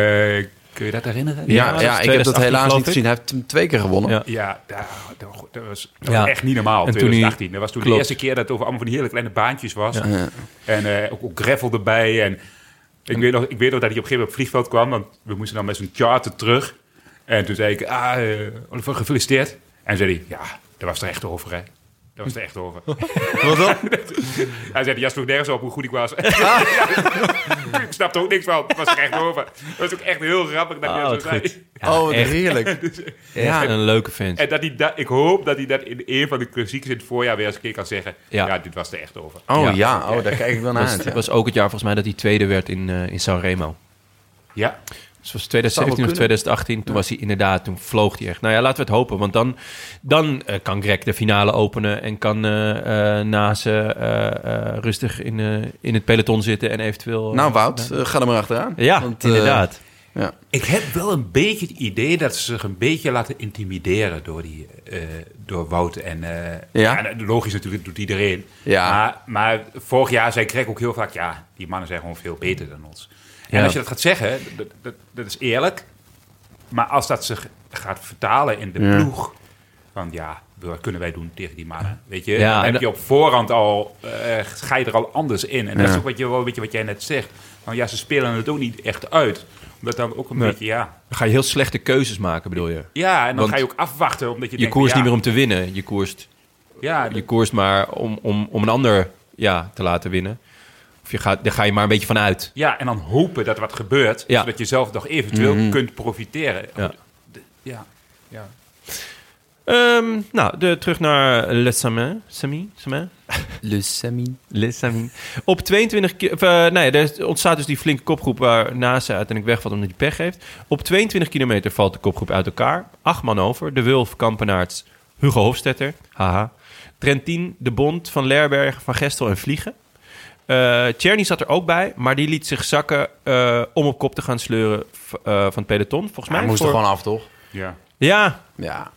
[SPEAKER 6] kun je dat herinneren?
[SPEAKER 1] ja, ja,
[SPEAKER 3] dat is
[SPEAKER 1] ik heb dat
[SPEAKER 3] 2018
[SPEAKER 1] helaas
[SPEAKER 3] geloof
[SPEAKER 1] niet
[SPEAKER 3] ik.
[SPEAKER 1] gezien. Hij heeft hem twee keer gewonnen.
[SPEAKER 3] Ja.
[SPEAKER 6] Ja, daar- dat, was- dat was, dat
[SPEAKER 3] Ja.
[SPEAKER 6] was echt niet normaal.
[SPEAKER 3] En toen hij-
[SPEAKER 6] 2018. dat was toen
[SPEAKER 3] Klopt.
[SPEAKER 6] de eerste keer dat het over allemaal van die hele kleine baantjes was.
[SPEAKER 3] Ja.
[SPEAKER 1] Ja.
[SPEAKER 6] En eh, ook, ook gravel erbij. En ik, weet nog, ik weet nog dat hij op een gegeven moment op het vliegveld kwam. Want we moesten dan met zo'n charter terug. En toen zei ik, ah, eh, Oliver, gefeliciteerd. En zei hij, ja, dat was er echt over, hè. Dat was er echt over.
[SPEAKER 1] Wat dan? Ah.
[SPEAKER 6] Hij zei, ja, sloeg nergens op hoe goed ik was. ik snapte ook niks van. Het was er echt over. Dat was ook echt heel grappig dat hij
[SPEAKER 3] Ah,
[SPEAKER 6] dat
[SPEAKER 3] wat
[SPEAKER 6] zo zei.
[SPEAKER 3] goed.
[SPEAKER 1] oh, wat
[SPEAKER 3] echt.
[SPEAKER 1] heerlijk.
[SPEAKER 3] Ja.
[SPEAKER 1] Ja,
[SPEAKER 3] een leuke fans.
[SPEAKER 6] En dat hij dat, ik hoop dat hij dat in een van de klassiekers in het voorjaar weer eens een keer kan zeggen.
[SPEAKER 3] Ja.
[SPEAKER 6] Ja, dit was er echt over.
[SPEAKER 1] oh
[SPEAKER 3] Ja.
[SPEAKER 1] ja, Oh, daar kijk ik wel naar
[SPEAKER 3] Dat
[SPEAKER 1] uit.
[SPEAKER 3] was,
[SPEAKER 1] ja.
[SPEAKER 3] was ook het jaar volgens mij dat hij tweede werd in, eh in Sanremo.
[SPEAKER 6] Ja,
[SPEAKER 3] Dus het was 2017 of 2018. Toen was hij inderdaad, toen vloog hij echt. Nou ja, laten we het hopen. Want dan, dan eh, kan Greg de finale openen. En kan eh eh Nase eh, eh, rustig in, eh, in het peloton zitten. En eventueel... eh,
[SPEAKER 1] Nou, Wout, eh, ga er maar achteraan.
[SPEAKER 3] ja,
[SPEAKER 1] Want, eh,
[SPEAKER 3] inderdaad.
[SPEAKER 6] ik heb wel een beetje het idee dat ze zich een beetje laten intimideren door, die, eh, door Wout. En eh,
[SPEAKER 1] Ja.
[SPEAKER 6] ja, logisch natuurlijk, doet iedereen.
[SPEAKER 1] Ja.
[SPEAKER 6] Maar, maar vorig jaar zei Greg ook heel vaak, ja, die mannen zijn gewoon veel beter dan ons.
[SPEAKER 3] Ja.
[SPEAKER 6] En als je dat gaat zeggen, dat, dat, dat is eerlijk. Maar als dat zich gaat vertalen in de
[SPEAKER 1] Ja.
[SPEAKER 6] ploeg, van ja, wat kunnen wij doen tegen die mannen? Weet je,
[SPEAKER 3] Ja, en
[SPEAKER 6] dan heb
[SPEAKER 3] dat-
[SPEAKER 6] je op voorhand al, eh, ga je er al anders in. En dat
[SPEAKER 1] Ja.
[SPEAKER 6] is ook wat, je, wel een beetje wat jij net zegt. Van ja, ze spelen het ook niet echt uit. Omdat dan ook een
[SPEAKER 3] Nee.
[SPEAKER 6] beetje, ja.
[SPEAKER 3] Dan ga je heel slechte keuzes maken, bedoel je.
[SPEAKER 6] Ja, en dan
[SPEAKER 3] Want
[SPEAKER 6] ga je ook afwachten, omdat je,
[SPEAKER 3] Je koerst niet meer om te winnen. Je koerst,
[SPEAKER 6] om... Ja,
[SPEAKER 3] je koerst maar om, om, om een ander ja, te laten winnen. Of je gaat, daar ga je maar een beetje van uit.
[SPEAKER 6] ja, en dan hopen dat wat gebeurt,
[SPEAKER 3] Ja. Mhm.
[SPEAKER 6] zodat je zelf nog eventueel kunt profiteren.
[SPEAKER 3] Ja.
[SPEAKER 6] De- ja. ja.
[SPEAKER 3] Ehm, nou, de, terug naar Le Samin. Samin? Samin?
[SPEAKER 1] Le Semi.
[SPEAKER 3] Le Samin. Op 22 ki- of, eh, nee, er ontstaat dus die flinke kopgroep waar NASA uiteindelijk wegvalt omdat hij pech heeft. Op 22 kilometer valt de kopgroep uit elkaar. Acht man over. De Wulf, Kampenaerts, Hugo Hofstetter. Haha. Trentin, De Bond, Van Lerberg, Van Gestel en Vliegen. Eh Tjerny zat er ook bij, maar die liet zich zakken eh, om op kop te gaan sleuren v- eh, van het peloton. Volgens mij
[SPEAKER 1] Hij moest
[SPEAKER 3] voor-
[SPEAKER 1] er gewoon af, toch?
[SPEAKER 6] ja.
[SPEAKER 3] Ja,
[SPEAKER 1] Ja,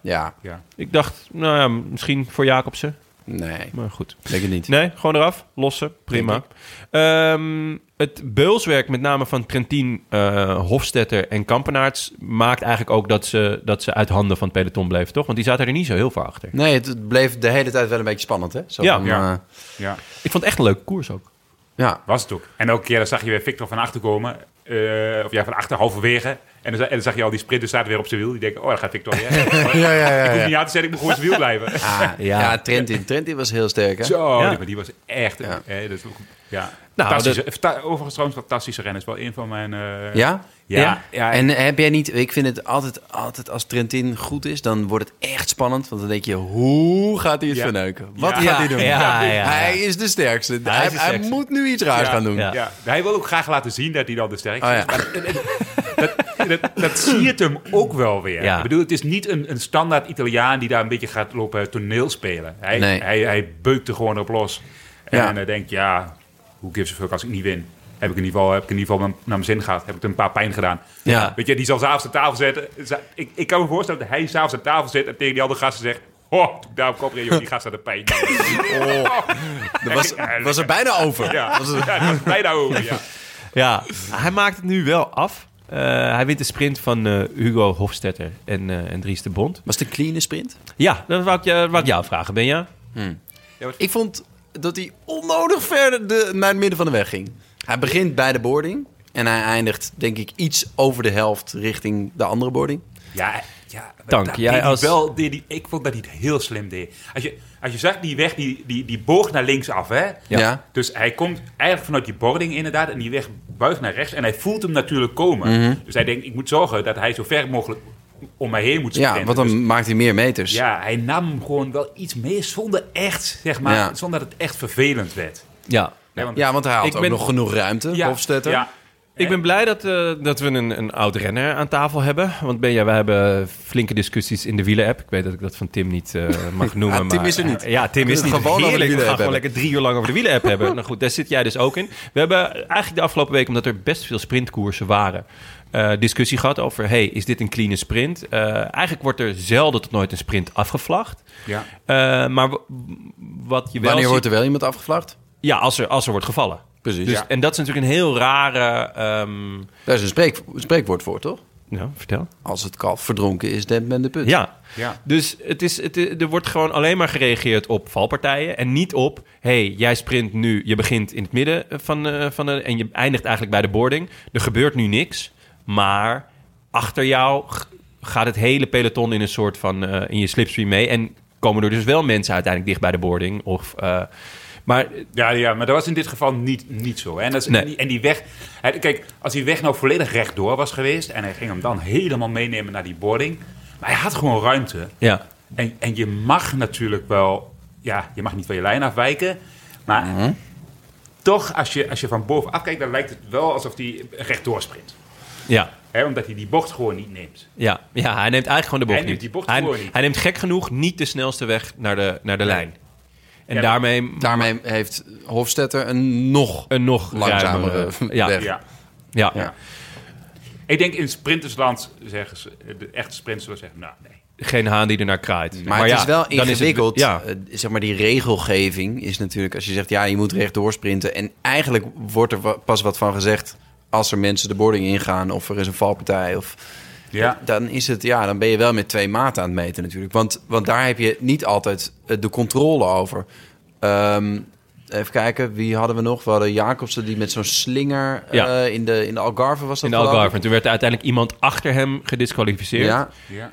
[SPEAKER 3] ja.
[SPEAKER 1] ja.
[SPEAKER 3] Ik dacht, nou ja, misschien voor Jacobsen.
[SPEAKER 1] Nee,
[SPEAKER 3] Maar goed.
[SPEAKER 1] denk het niet.
[SPEAKER 3] Nee, gewoon eraf. Lossen. Prima.
[SPEAKER 1] Denk
[SPEAKER 3] Ehm, het beulswerk met name van Trentin, eh, Hofstetter en Kampenaerts... maakt eigenlijk ook dat ze, dat ze uit handen van het peloton bleven, toch? Want die zaten er niet zo heel veel achter.
[SPEAKER 1] Nee, het, het bleef de hele tijd wel een beetje spannend, hè? Zo
[SPEAKER 3] Ja.
[SPEAKER 1] van,
[SPEAKER 6] Ja.
[SPEAKER 1] eh,
[SPEAKER 6] ja.
[SPEAKER 3] Ik vond het echt een leuke koers ook.
[SPEAKER 1] ja.
[SPEAKER 6] Was het ook. En elke keer dan zag je weer Victor van achter komen. eh, of ja, van achter halverwege. En dan, za- en dan zag je al die sprinters zaten weer op zijn wiel. Die denken, oh, daar gaat Victor weer.
[SPEAKER 1] Ja, ja, ja.
[SPEAKER 6] Ik hoef niet aan te zetten, ik moet gewoon op zijn wiel blijven.
[SPEAKER 1] Ah, ja. ja, Trentin. Trentin was heel sterk, hè?
[SPEAKER 6] Zo,
[SPEAKER 3] Ja.
[SPEAKER 6] die- maar die was echt...
[SPEAKER 1] Ja.
[SPEAKER 6] eh, dat is ook, ja.
[SPEAKER 3] Nou,
[SPEAKER 6] Fantastische- fanta- overigens trouwens, fantastische renners. Wel een van mijn... eh,
[SPEAKER 1] Ja?
[SPEAKER 6] Ja.
[SPEAKER 3] Ja.
[SPEAKER 6] ja,
[SPEAKER 1] En heb jij niet... Ik vind het altijd, altijd als Trentin goed is, dan wordt het echt spannend. Want dan denk je, hoe gaat hij het
[SPEAKER 6] Ja.
[SPEAKER 1] verneuken? Wat
[SPEAKER 6] Ja.
[SPEAKER 1] gaat hij doen?
[SPEAKER 3] Ja, ja, ja.
[SPEAKER 1] Hij is de sterkste. Hij,
[SPEAKER 3] is de
[SPEAKER 1] hij
[SPEAKER 3] sterkste.
[SPEAKER 1] moet nu iets raars
[SPEAKER 6] Ja.
[SPEAKER 1] gaan doen.
[SPEAKER 3] Ja.
[SPEAKER 6] ja. Hij wil ook graag laten zien dat hij dan de sterkste
[SPEAKER 1] Oh,
[SPEAKER 6] is.
[SPEAKER 1] ja.
[SPEAKER 6] dat, dat zie je het hem ook wel weer.
[SPEAKER 3] Ja.
[SPEAKER 6] Ik bedoel, het is niet een, een standaard Italiaan die daar een beetje gaat lopen toneelspelen. Hij,
[SPEAKER 1] Nee.
[SPEAKER 6] hij, hij beukt er gewoon op los. En
[SPEAKER 1] Ja.
[SPEAKER 6] hij denkt, ja, hoe gives a fuck als ik niet win? Heb ik in ieder geval, heb ik in ieder geval mijn- naar mijn zin gehad? Heb ik er een paar pijn gedaan?
[SPEAKER 1] Ja.
[SPEAKER 6] Weet je, die zal s'avonds aan tafel zitten. Za- Ik, ik kan me voorstellen dat hij s'avonds aan tafel zit en tegen die andere gasten zegt... Oh, toen ik daar op kop reed, joh, die gast aan de pijn.
[SPEAKER 1] Oh. Dat was, was er bijna over.
[SPEAKER 6] Ja, ja dat was bijna over, ja.
[SPEAKER 3] Ja, hij maakt het nu wel af. Eh, Eh, hij wint de sprint van eh, Hugo Hofstetter en, eh, en Dries de Bond.
[SPEAKER 1] Was het een clean sprint?
[SPEAKER 3] Ja, dat wou ik, je- wou ik jou vragen, Benja.
[SPEAKER 1] Ik vond dat hij onnodig ver de, naar het midden van de weg ging. Hij begint bij de boarding. En hij eindigt, denk ik, iets over de helft richting de andere boarding.
[SPEAKER 6] Ja, ja maar
[SPEAKER 3] Tank,
[SPEAKER 6] dat
[SPEAKER 3] jij
[SPEAKER 6] deed hij
[SPEAKER 3] als-
[SPEAKER 6] wel, deed hij- ik vond dat hij het heel slim deed. Als je, als je zag, die weg die, die, die boog naar links af. Hè?
[SPEAKER 1] Ja.
[SPEAKER 6] Dus hij komt eigenlijk vanuit die boarding inderdaad. En die weg buigt naar rechts. En hij voelt hem natuurlijk komen.
[SPEAKER 1] Mhm.
[SPEAKER 6] Dus hij denkt, ik moet zorgen dat hij zo ver mogelijk om mij heen moet
[SPEAKER 1] Ja,
[SPEAKER 6] sprinten.
[SPEAKER 1] want dan
[SPEAKER 6] Dus
[SPEAKER 1] maakt hij meer meters.
[SPEAKER 6] ja, hij nam hem gewoon wel iets mee zonder echt, zeg maar,
[SPEAKER 1] Ja.
[SPEAKER 6] zonder dat het echt vervelend werd.
[SPEAKER 3] Ja.
[SPEAKER 6] Hè, want-
[SPEAKER 1] Ja, want hij had
[SPEAKER 3] Ik
[SPEAKER 1] ook
[SPEAKER 3] ben-
[SPEAKER 1] nog genoeg ruimte,
[SPEAKER 6] ja,
[SPEAKER 1] Hofstetter.
[SPEAKER 6] ja.
[SPEAKER 3] Ik ben blij dat, eh, dat we een, een oud renner aan tafel hebben. Want Benja, wij hebben flinke discussies in de wielen-app. Ik weet dat ik dat van Tim niet eh, mag noemen.
[SPEAKER 1] Tim
[SPEAKER 3] maar,
[SPEAKER 1] is er niet.
[SPEAKER 3] ja, Tim
[SPEAKER 1] We
[SPEAKER 3] is
[SPEAKER 1] kunnen het
[SPEAKER 3] niet.
[SPEAKER 1] gewoon over de
[SPEAKER 3] Heerlijk, we gaan
[SPEAKER 1] wielen-app
[SPEAKER 3] gewoon
[SPEAKER 1] hebben.
[SPEAKER 3] lekker drie uur lang over de wielen-app hebben. Nou goed, daar zit jij dus ook in. We hebben eigenlijk de afgelopen week, omdat er best veel sprintkoersen waren... eh, discussie gehad over, hey, is dit een clean sprint? Eh, eigenlijk wordt er zelden tot nooit een sprint afgevlacht.
[SPEAKER 6] Ja.
[SPEAKER 3] Eh, maar w- wat je wel
[SPEAKER 1] Wanneer
[SPEAKER 3] ziet-
[SPEAKER 1] wordt er wel iemand afgevlacht?
[SPEAKER 3] Ja, als er, als er wordt gevallen.
[SPEAKER 1] Precies.
[SPEAKER 3] Dus, En dat is natuurlijk een heel rare... ehm,
[SPEAKER 1] Daar is een spreek- spreekwoord voor, toch?
[SPEAKER 3] nou, vertel.
[SPEAKER 1] Als het kalf verdronken is, dempt men de put.
[SPEAKER 3] Ja.
[SPEAKER 6] Ja.
[SPEAKER 3] Dus het is, het, is- er wordt gewoon alleen maar gereageerd op valpartijen. En niet op, hey, jij sprint nu, je begint in het midden van, eh, van de, en je eindigt eigenlijk bij de boarding. Er gebeurt nu niks, maar achter jou g- gaat het hele peloton in een soort van, eh, in je slipstream mee. En komen er dus wel mensen uiteindelijk dicht bij de boarding. Of, eh, maar
[SPEAKER 6] Ja, ja, maar dat was in dit geval niet, niet zo. hè. En, dat is,
[SPEAKER 3] Nee.
[SPEAKER 6] en, die, en die weg... hij- Kijk, als die weg nou volledig rechtdoor was geweest... en hij ging hem dan helemaal meenemen naar die boarding... maar hij had gewoon ruimte.
[SPEAKER 3] ja,
[SPEAKER 6] En, en je mag natuurlijk wel... Ja, je mag niet van je lijn afwijken. Maar toch, als je, als je van bovenaf kijkt... dan lijkt het wel alsof hij rechtdoor sprint.
[SPEAKER 3] ja.
[SPEAKER 6] Hè, omdat hij die bocht gewoon niet neemt.
[SPEAKER 3] Ja, ja, hij neemt eigenlijk gewoon de bocht
[SPEAKER 6] Hij neemt die bocht
[SPEAKER 3] hij,
[SPEAKER 6] gewoon niet.
[SPEAKER 3] hij neemt gek genoeg niet de snelste weg naar de, naar de lijn. En
[SPEAKER 6] Ja,
[SPEAKER 3] daarmee
[SPEAKER 1] Daarmee heeft Hofstetter een nog...
[SPEAKER 3] een nog
[SPEAKER 1] Langzamere
[SPEAKER 3] ruimere- ja,
[SPEAKER 1] weg.
[SPEAKER 3] ja.
[SPEAKER 6] Ja.
[SPEAKER 3] Ja.
[SPEAKER 1] Ja.
[SPEAKER 6] Ik denk in sprintersland zeggen ze... de echte sprinters zullen zeggen... nou, nee.
[SPEAKER 3] geen haan die ernaar kraait.
[SPEAKER 1] Maar, het
[SPEAKER 3] ja,
[SPEAKER 1] is wel
[SPEAKER 3] dan het-
[SPEAKER 1] ingewikkeld.
[SPEAKER 3] ja.
[SPEAKER 1] Eh, zeg maar, die regelgeving is natuurlijk... Als je zegt, ja, je moet rechtdoor sprinten... en eigenlijk wordt er wa- pas wat van gezegd... als er mensen de boarding ingaan of er is een valpartij... of eh,
[SPEAKER 6] Ja.
[SPEAKER 1] dan is het, ja, dan ben je wel met twee maten aan het meten natuurlijk. Want, want daar heb je niet altijd eh, de controle over. Ehm, even kijken, wie hadden we nog? We hadden Jacobsen die met zo'n slinger eh,
[SPEAKER 3] Ja.
[SPEAKER 1] in, de, in de Algarve was dat
[SPEAKER 3] In de
[SPEAKER 1] geloof ik.
[SPEAKER 3] Algarve. En Toen werd er uiteindelijk iemand achter hem gedisqualificeerd.
[SPEAKER 1] Ja,
[SPEAKER 6] Ja.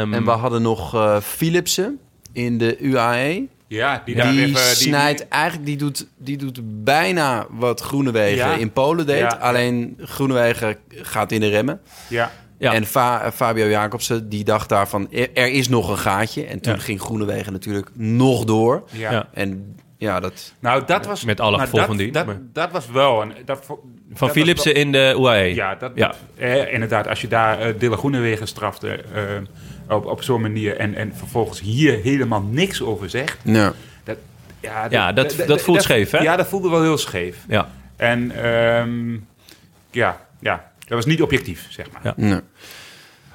[SPEAKER 3] Ehm,
[SPEAKER 1] en we hadden nog eh, Philipsen in de E. UAE.
[SPEAKER 6] Ja, die, daar
[SPEAKER 1] die
[SPEAKER 6] even- die-
[SPEAKER 1] snijdt eigenlijk, die doet, die doet bijna wat Groenewegen
[SPEAKER 6] Ja.
[SPEAKER 1] in Polen deed.
[SPEAKER 6] Ja.
[SPEAKER 1] Alleen Groenewegen gaat in de remmen.
[SPEAKER 6] Ja.
[SPEAKER 3] ja.
[SPEAKER 1] En Fa- eh, Fabio Jacobsen, die dacht daarvan, er er is nog een gaatje. En toen
[SPEAKER 3] Ja.
[SPEAKER 1] ging Groenewegen natuurlijk nog door.
[SPEAKER 6] Ja.
[SPEAKER 3] Ja.
[SPEAKER 1] En ja, dat...
[SPEAKER 6] Nou, dat was...
[SPEAKER 3] Met alle
[SPEAKER 6] maar
[SPEAKER 3] gevolgen
[SPEAKER 6] dat-
[SPEAKER 3] die-
[SPEAKER 6] Dat,
[SPEAKER 3] maar-
[SPEAKER 6] dat was wel een... Dat, vo- dat
[SPEAKER 3] van
[SPEAKER 6] was
[SPEAKER 3] Philipsen
[SPEAKER 6] wel-
[SPEAKER 3] in de E. UAE.
[SPEAKER 6] Ja, dat,
[SPEAKER 3] Ja.
[SPEAKER 6] eh, inderdaad. Als je daar eh Dille Groenewegen strafte eh, op, op zo'n manier... En, en vervolgens hier helemaal niks over zegt...
[SPEAKER 1] Nou,
[SPEAKER 6] Dat, ja,
[SPEAKER 3] Ja, dat- dat voelt scheef, hè?
[SPEAKER 6] Ja, dat voelde wel heel scheef.
[SPEAKER 3] Ja.
[SPEAKER 6] En ehm, ja, ja, dat was niet objectief, zeg maar.
[SPEAKER 3] Ja.
[SPEAKER 6] Ja,
[SPEAKER 1] nou.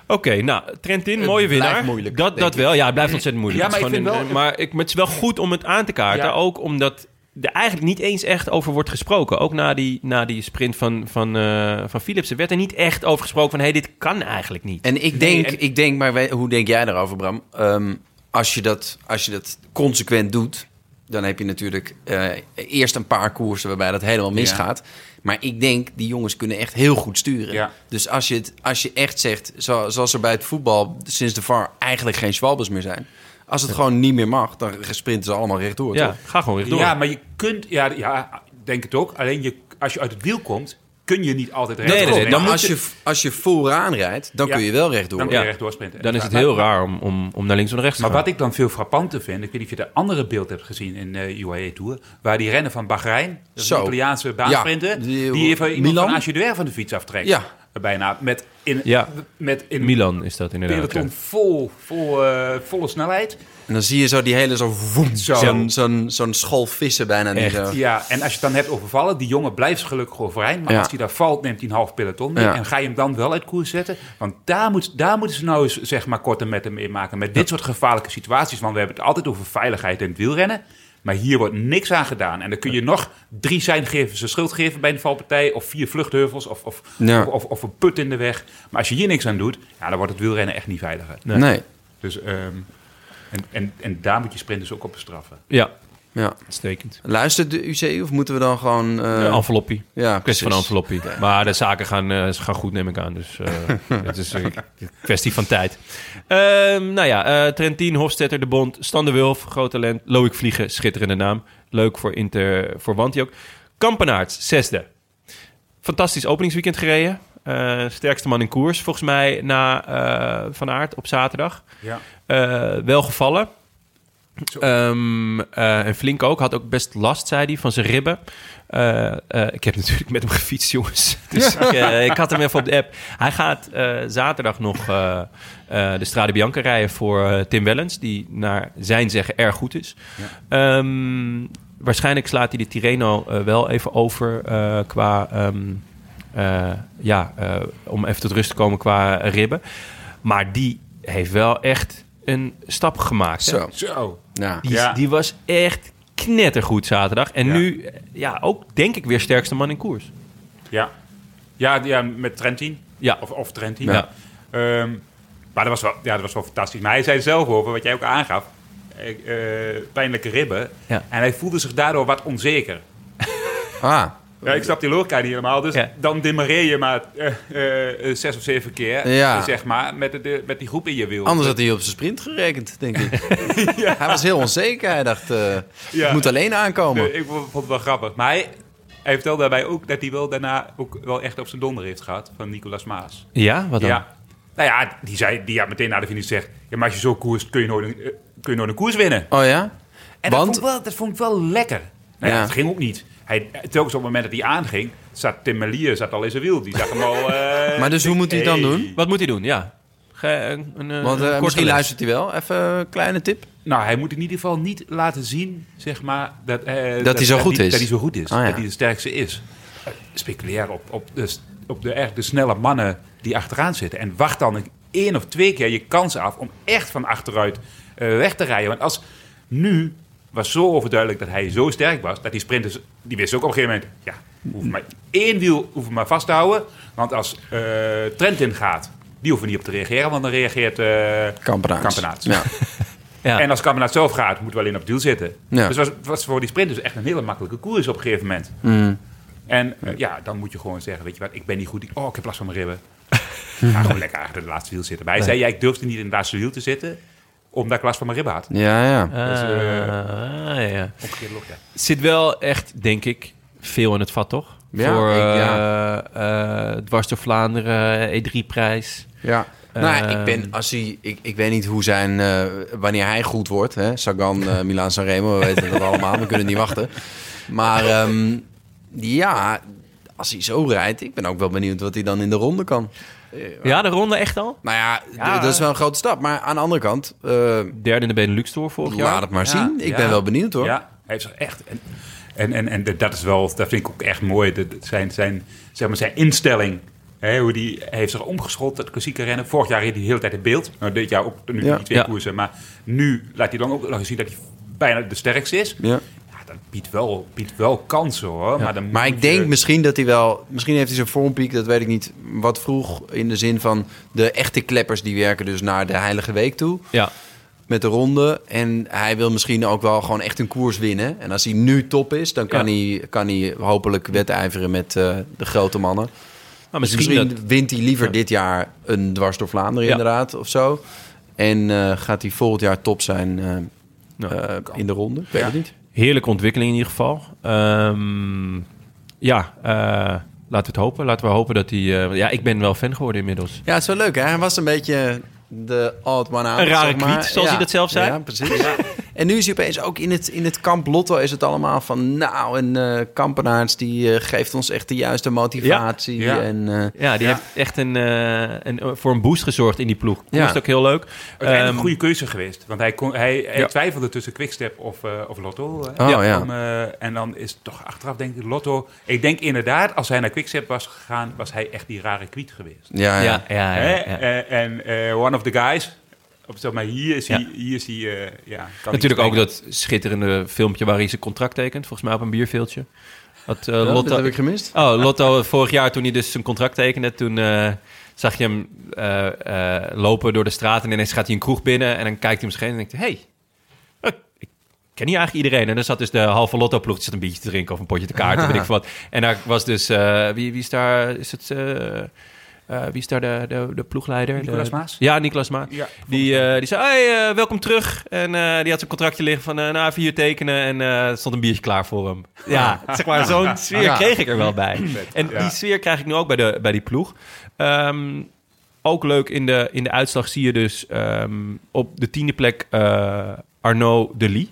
[SPEAKER 3] Oké, nou, Trentin, mooie
[SPEAKER 1] blijft
[SPEAKER 3] winnaar.
[SPEAKER 1] moeilijk,
[SPEAKER 3] dat
[SPEAKER 1] denk
[SPEAKER 3] dat wel. Ja, het blijft ontzettend moeilijk.
[SPEAKER 6] Ja,
[SPEAKER 3] Het is
[SPEAKER 6] maar ik
[SPEAKER 3] gewoon
[SPEAKER 6] vind
[SPEAKER 3] een-
[SPEAKER 6] wel-
[SPEAKER 3] maar ik, maar het is wel goed om het aan te kaarten.
[SPEAKER 6] Ja.
[SPEAKER 3] Ook omdat er eigenlijk niet eens echt over wordt gesproken. Ook na die, na die sprint van, van, eh, van Philipsen werd er niet echt over gesproken van... hé, hey, dit kan eigenlijk niet.
[SPEAKER 1] En ik denk, ik denk maar wij- hoe denk jij daarover, Bram? Ehm, als, je dat, als je dat consequent doet, dan heb je natuurlijk eh, eerst een paar koersen waarbij dat helemaal misgaat. Maar ik denk, die jongens kunnen echt heel goed sturen.
[SPEAKER 6] Ja.
[SPEAKER 1] Dus als je, het, als je echt zegt, zo- zoals er bij het voetbal sinds de VAR eigenlijk geen Schwalbes meer zijn. Als het gewoon niet meer mag, dan sprinten ze allemaal rechtdoor.
[SPEAKER 3] ja,
[SPEAKER 1] toch?
[SPEAKER 3] ga gewoon rechtdoor.
[SPEAKER 6] maar je kunt... Ja, ja, ik denk het ook. Alleen je, als je uit het wiel komt... kun je niet altijd recht
[SPEAKER 3] nee, nee,
[SPEAKER 6] opnemen.
[SPEAKER 3] dan
[SPEAKER 1] Maar
[SPEAKER 3] moet
[SPEAKER 1] als je, als je vooraan rijdt, dan
[SPEAKER 6] Ja.
[SPEAKER 1] kun je wel rechtdoor.
[SPEAKER 6] Dan kun
[SPEAKER 1] Ja.
[SPEAKER 6] je
[SPEAKER 3] Ja.
[SPEAKER 6] rechtdoor sprinten.
[SPEAKER 3] Dan is het
[SPEAKER 6] Maar-
[SPEAKER 3] heel raar om, om, om naar links of naar rechts te
[SPEAKER 6] Maar
[SPEAKER 3] gaan.
[SPEAKER 6] wat ik dan veel frappanter vind, ik weet niet of je dat andere beeld hebt gezien in eh, de UAE E Tour, waar die rennen van Bahrein, dat is een
[SPEAKER 1] Zo.
[SPEAKER 6] Italiaanse baansprinter,
[SPEAKER 1] Ja, die-
[SPEAKER 6] die, even iemand
[SPEAKER 1] Milan?
[SPEAKER 6] van Ageduer van de fiets aftrekt. Eh,
[SPEAKER 1] Ja.
[SPEAKER 6] Bijna. Met in,
[SPEAKER 3] Ja.
[SPEAKER 6] met in
[SPEAKER 3] Milan is dat
[SPEAKER 6] een
[SPEAKER 3] inderdaad.
[SPEAKER 6] peloton vol, vol, eh, volle snelheid.
[SPEAKER 1] En dan zie je zo die hele zo woem,
[SPEAKER 6] Zo.
[SPEAKER 1] zo'n zo'n zo'n school vissen bijna. Die
[SPEAKER 3] Echt.
[SPEAKER 1] zo-
[SPEAKER 6] Ja, en als je het dan hebt overvallen, die jongen blijft gelukkig overeind. Maar
[SPEAKER 1] Ja.
[SPEAKER 6] als hij daar valt, neemt hij een half peloton mee.
[SPEAKER 1] Ja.
[SPEAKER 6] En ga je hem dan wel uit koers zetten? Want daar, moet, daar moeten ze nou eens zeg maar, korte metten mee maken. Met dit soort gevaarlijke situaties. Want we hebben het altijd over veiligheid in het wielrennen. Maar hier wordt niks aan gedaan. En dan kun je nog drie zijngevers een schuld geven bij een valpartij. Of vier vluchtheuvels. Of, of,
[SPEAKER 1] Ja.
[SPEAKER 6] of, of, of een put in de weg. Maar als je hier niks aan doet, ja, dan wordt het wielrennen echt niet veiliger.
[SPEAKER 3] Nee.
[SPEAKER 1] Nee.
[SPEAKER 6] Dus, ehm, en, en, en daar moet je sprinters ook op bestraffen.
[SPEAKER 3] Ja,
[SPEAKER 1] Ja.
[SPEAKER 3] uitstekend.
[SPEAKER 1] Luistert de UCI of moeten we dan gewoon... eh,
[SPEAKER 3] Een enveloppie.
[SPEAKER 1] ja,
[SPEAKER 3] Kwestie van
[SPEAKER 1] precies.
[SPEAKER 3] enveloppie. Maar de zaken gaan, eh, ze gaan goed, neem ik aan. Dus eh, het is een kwestie van tijd. Ehm, nou ja, eh, Trentin, Hofstetter, De Bond, Stan de Wulf, groot talent. Loïc Vliegen, schitterende naam. Leuk voor Inter, voor Wanti ook. Kampenaerts, zesde. Fantastisch openingsweekend gereden. Eh, sterkste man in koers, volgens mij, na eh, Van Aert op zaterdag.
[SPEAKER 6] Ja.
[SPEAKER 3] Eh, wel gevallen. Ehm, eh, en flink ook. Had ook best last, zei hij, van zijn ribben. Eh, eh, ik heb natuurlijk met hem gefietst, jongens. Dus ik, eh, ik had hem even op de app. Hij gaat eh, zaterdag nog eh, eh, de Strade Bianca rijden voor eh, Tim Wellens. Die naar zijn zeggen erg goed is. Ehm, waarschijnlijk slaat hij de Tirreno eh, wel even over eh, qua... ehm, eh, ja, eh, om even tot rust te komen qua ribben. Maar die heeft wel echt een stap gemaakt. hè?
[SPEAKER 1] Zo.
[SPEAKER 6] Zo.
[SPEAKER 1] Ja.
[SPEAKER 3] Die,
[SPEAKER 6] Ja.
[SPEAKER 3] die was echt knettergoed zaterdag. En
[SPEAKER 6] Ja.
[SPEAKER 3] nu, eh, ja, ook denk ik weer sterkste man in koers.
[SPEAKER 6] Ja. Ja, ja met Trentin.
[SPEAKER 3] Ja.
[SPEAKER 6] Of, of Trentin.
[SPEAKER 3] Ja.
[SPEAKER 6] Ehm, maar dat was, wel, ja, dat was wel fantastisch. Maar hij zei zelf over, wat jij ook aangaf, eh, eh, pijnlijke ribben.
[SPEAKER 3] Ja.
[SPEAKER 6] En hij voelde zich daardoor wat onzeker.
[SPEAKER 1] Ah,
[SPEAKER 6] Ja, ik snap die logica niet helemaal. Dus
[SPEAKER 3] Ja.
[SPEAKER 6] dan demarreer je maar eh, eh, eh, zes of zeven keer,
[SPEAKER 1] Ja.
[SPEAKER 6] eh, zeg maar, met, de- de, met die groep in je wiel.
[SPEAKER 1] anders had hij op zijn sprint gerekend, denk ik. Hij was heel onzeker. Hij dacht, eh,
[SPEAKER 6] Ja.
[SPEAKER 1] ik moet alleen aankomen.
[SPEAKER 6] Nee, Eh, ik vond vond het wel grappig. Maar hij, hij vertelde daarbij ook dat hij wel daarna ook wel echt op zijn donder heeft gehad van Nicolas Maas.
[SPEAKER 3] Ja, wat dan?
[SPEAKER 6] Ja. Nou ja, die zei die had meteen na de finish gezegd... Ja, maar als je zo koerst, kun je nooit een, eh, kun je nooit een koers winnen.
[SPEAKER 1] Oh ja?
[SPEAKER 6] En dat,
[SPEAKER 1] Want...
[SPEAKER 6] vond ik wel, dat vond ik wel lekker. Nou ja,
[SPEAKER 1] Ja.
[SPEAKER 6] dat ging ook niet. Hij, telkens op het moment dat hij aanging, zat Tim Melier zat al in zijn wiel. Die zag hem al... eh,
[SPEAKER 1] Maar dus hoe moet hij het dan doen?
[SPEAKER 3] Wat moet hij doen? Ja. Ge- een, een, een
[SPEAKER 1] Want eh,
[SPEAKER 3] korte
[SPEAKER 1] misschien
[SPEAKER 3] les.
[SPEAKER 1] luistert hij wel. Even een kleine tip.
[SPEAKER 6] Nou, hij moet in ieder geval niet laten zien, zeg maar... Dat, eh,
[SPEAKER 1] Dat hij zo goed is.
[SPEAKER 6] Dat hij zo goed is.
[SPEAKER 1] Ah, ja.
[SPEAKER 6] Dat hij de sterkste is. Speculeer op, op, de, s- op de, echt de snelle mannen die achteraan zitten. En wacht dan een- één of twee keer je kans af om echt van achteruit eh, weg te rijden. Want als nu was zo overduidelijk dat hij zo sterk was... dat die sprinters, die wisten ook op een gegeven moment... ja, hoef maar één wiel hoef maar vast te houden. Want als eh Trentin gaat, die hoeven niet op te reageren... want dan reageert eh
[SPEAKER 1] Kampenaerts.
[SPEAKER 6] Kampenaerts.
[SPEAKER 1] Ja.
[SPEAKER 3] Ja.
[SPEAKER 6] En als Kamerad zelf gaat, moet wel in op het doel zitten.
[SPEAKER 1] Ja.
[SPEAKER 6] Dus was, was voor die sprinters echt een hele makkelijke koers op een gegeven moment. En eh, ja, dan moet je gewoon zeggen, weet je wat, ik ben niet goed. Ik- Oh, ik heb last van mijn ribben. Ga gewoon lekker achter de laatste wiel zitten. Maar hij zei, ja, ik durfde niet in het laatste wiel te zitten, omdat ik last van mijn ribben had.
[SPEAKER 1] Ja, ja.
[SPEAKER 6] Dus, eh,
[SPEAKER 3] Ah, ja.
[SPEAKER 6] Omgekeerde logica.
[SPEAKER 3] Zit wel echt, denk ik, veel in het vat, toch?
[SPEAKER 1] Ja,
[SPEAKER 3] Voor
[SPEAKER 1] ik-
[SPEAKER 3] eh
[SPEAKER 1] ja.
[SPEAKER 3] eh, Dwars door Vlaanderen, E E3-prijs.
[SPEAKER 1] Ja. Nou,
[SPEAKER 3] Ehm.
[SPEAKER 1] ik ben, als hij, ik, ik weet niet hoe zijn, eh, wanneer hij goed wordt. Hè? Sagan, eh Milan Sanremo, we weten dat allemaal. We kunnen niet wachten. Maar ehm, ja, als hij zo rijdt, ik ben ook wel benieuwd wat hij dan in de ronde kan.
[SPEAKER 3] Ja, de ronde echt al?
[SPEAKER 1] Nou ja, d- dat
[SPEAKER 6] eh,
[SPEAKER 1] is wel een grote stap. Maar aan de andere kant, eh,
[SPEAKER 3] Derde in de Benelux Tour vorig jaar.
[SPEAKER 1] laat het maar
[SPEAKER 6] Ja,
[SPEAKER 1] zien. Ik
[SPEAKER 6] ja.
[SPEAKER 1] ben wel benieuwd hoor.
[SPEAKER 6] Ja, hij heeft zich echt... En, en, en, en dat is wel, dat vind ik ook echt mooi. Dat- dat zijn, zijn, zeg maar zijn instelling, hè, hoe die hij heeft zich omgeschot, dat klassieke rennen. Vorig jaar reed hij de hele tijd in beeld. Nou, dit jaar ook, nu
[SPEAKER 1] Ja.
[SPEAKER 6] die twee
[SPEAKER 3] Ja.
[SPEAKER 6] koersen. Maar nu laat hij dan ook laten zien dat hij bijna de sterkste is.
[SPEAKER 1] Ja.
[SPEAKER 6] Ja, dat biedt wel, biedt wel kansen hoor. Maar, dan
[SPEAKER 1] Maar
[SPEAKER 6] moet
[SPEAKER 1] ik denk
[SPEAKER 6] je-
[SPEAKER 1] misschien dat hij wel... Misschien heeft hij zijn vormpiek, dat weet ik niet, wat vroeg. In de zin van de echte kleppers die werken dus naar de Heilige Week toe.
[SPEAKER 3] Ja. Nou,
[SPEAKER 1] met de ronde. En hij wil misschien ook wel gewoon echt een koers winnen. En als hij nu top is, dan kan,
[SPEAKER 3] Ja.
[SPEAKER 1] hij, kan hij hopelijk wedijveren met eh, de grote mannen.
[SPEAKER 3] Maar
[SPEAKER 1] Dus
[SPEAKER 3] misschien,
[SPEAKER 1] misschien
[SPEAKER 3] dat-
[SPEAKER 1] wint hij liever
[SPEAKER 3] Ja.
[SPEAKER 1] dit jaar een dwars door Vlaanderen,
[SPEAKER 3] Ja.
[SPEAKER 1] inderdaad, of zo. En eh, gaat hij volgend jaar top zijn eh,
[SPEAKER 3] Nou,
[SPEAKER 1] eh, in de ronde? Ik weet het niet.
[SPEAKER 3] Heerlijke ontwikkeling in ieder geval. Ehm, ja, eh, laten we het hopen. Laten we hopen dat hij... eh, ja, ik ben wel fan geworden inmiddels.
[SPEAKER 1] Ja, het is wel leuk. Hè? Hij was een beetje de old man out.
[SPEAKER 3] Een rare
[SPEAKER 1] zeg maar.
[SPEAKER 3] kwiet, zoals hij dat zelf zei.
[SPEAKER 1] Ja, precies. En nu is hij opeens ook in het, in het kamp Lotto is het allemaal van... nou, een eh kampenaars die eh, geeft ons echt de juiste motivatie.
[SPEAKER 6] Ja, ja.
[SPEAKER 1] En, eh,
[SPEAKER 3] Ja, die heeft echt een, eh, een, voor een boost gezorgd in die ploeg. Dat
[SPEAKER 1] Ja.
[SPEAKER 3] is ook heel leuk.
[SPEAKER 6] Uiteindelijk
[SPEAKER 3] Ehm,
[SPEAKER 6] een goede keuze geweest. Want hij, kon, hij, hij
[SPEAKER 3] Ja.
[SPEAKER 6] twijfelde tussen Quickstep of, eh, of Lotto. hè.
[SPEAKER 1] Oh, ja.
[SPEAKER 6] Om, eh, en dan is het toch achteraf denk ik Lotto. Ik denk inderdaad, als hij naar Quickstep was gegaan, was hij echt die rare kwiet geweest.
[SPEAKER 1] ja, ja.
[SPEAKER 3] ja, ja, ja,
[SPEAKER 6] Hè?
[SPEAKER 3] ja.
[SPEAKER 6] Eh, En eh, one of the guys. Of zeg maar, hier is
[SPEAKER 3] Ja.
[SPEAKER 6] hij... Hier is hij eh, ja, kan
[SPEAKER 3] Natuurlijk
[SPEAKER 6] niet
[SPEAKER 3] ook dat schitterende filmpje waar hij zijn contract tekent. Volgens mij op een bierveeltje. Dat, eh,
[SPEAKER 1] Ja, dat
[SPEAKER 3] Lotto,
[SPEAKER 1] heb ik gemist.
[SPEAKER 3] oh, Lotto vorig jaar toen hij dus zijn contract tekende, toen eh, zag je hem eh, eh, lopen door de straat en ineens gaat hij een kroeg binnen en dan kijkt hij om zich heen en denkt, hey, eh, ik ken hier eigenlijk iedereen. En dan zat dus de halve Lotto ploeg, die zat een biertje te drinken of een potje te kaarten, weet ik veel wat. En daar was dus, eh, wie, wie is daar, is het... eh, eh, wie is daar de, de, de ploegleider?
[SPEAKER 6] Nicolas
[SPEAKER 3] De-
[SPEAKER 6] Maas?
[SPEAKER 3] Ja, Nicolas Maas.
[SPEAKER 6] Ja,
[SPEAKER 3] Die, eh, die zei, hey, eh, welkom terug. En eh, die had zijn contractje liggen van, eh nou, even hier tekenen. En eh, er stond een biertje klaar voor hem. Ja, zeg maar, zo'n sfeer
[SPEAKER 1] Ja.
[SPEAKER 3] kreeg ik er wel bij. En
[SPEAKER 6] ja.
[SPEAKER 3] die sfeer krijg ik nu ook bij, de, bij die ploeg. Ehm, ook leuk, in de, in de uitslag zie je dus ehm, op de tiende plek eh Arnaud Delis.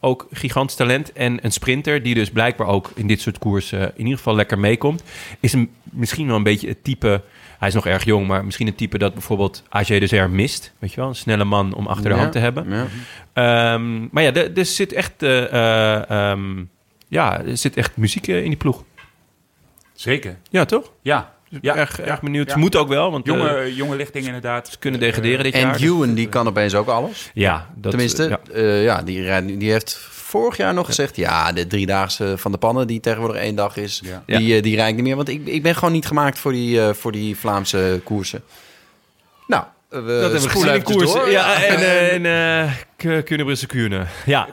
[SPEAKER 3] Ook gigantisch talent en een sprinter die dus blijkbaar ook in dit soort koersen eh, in ieder geval lekker meekomt. Is een, misschien wel een beetje het type, hij is nog erg jong, maar misschien het type dat bijvoorbeeld AJ Deser mist. Weet je wel, een snelle man om achter de
[SPEAKER 1] Ja,
[SPEAKER 3] hand te hebben.
[SPEAKER 1] Ja.
[SPEAKER 3] Ehm, maar ja, er- er zit echt, eh, eh, ehm, ja, er zit echt muziek eh, in die ploeg.
[SPEAKER 6] Zeker,
[SPEAKER 3] Ja, toch?
[SPEAKER 6] ja. ja.
[SPEAKER 3] erg, erg benieuwd.
[SPEAKER 6] Ja.
[SPEAKER 3] Ze moeten ook wel, want eh,
[SPEAKER 6] Jonge, jonge lichting inderdaad.
[SPEAKER 3] ze kunnen degraderen dit
[SPEAKER 1] En
[SPEAKER 3] jaar. dus-
[SPEAKER 1] Ewan, die kan opeens ook alles.
[SPEAKER 3] Ja, dat, eh,
[SPEAKER 1] Tenminste,
[SPEAKER 3] ja.
[SPEAKER 1] ja, ja die, rijdt nu- die heeft vorig jaar nog gezegd... ja, de driedaagse van de pannen, die tegenwoordig één dag is...
[SPEAKER 6] Ja.
[SPEAKER 1] die, eh, die rijdt niet meer. Want ik, ik ben gewoon niet gemaakt voor die, eh, voor die Vlaamse koersen. Nou, we
[SPEAKER 3] Dat hebben we gezien in koers.
[SPEAKER 1] Door.
[SPEAKER 3] Ja, en, eh en eh, K- Kuurne-Brussel Kuurne. Ja.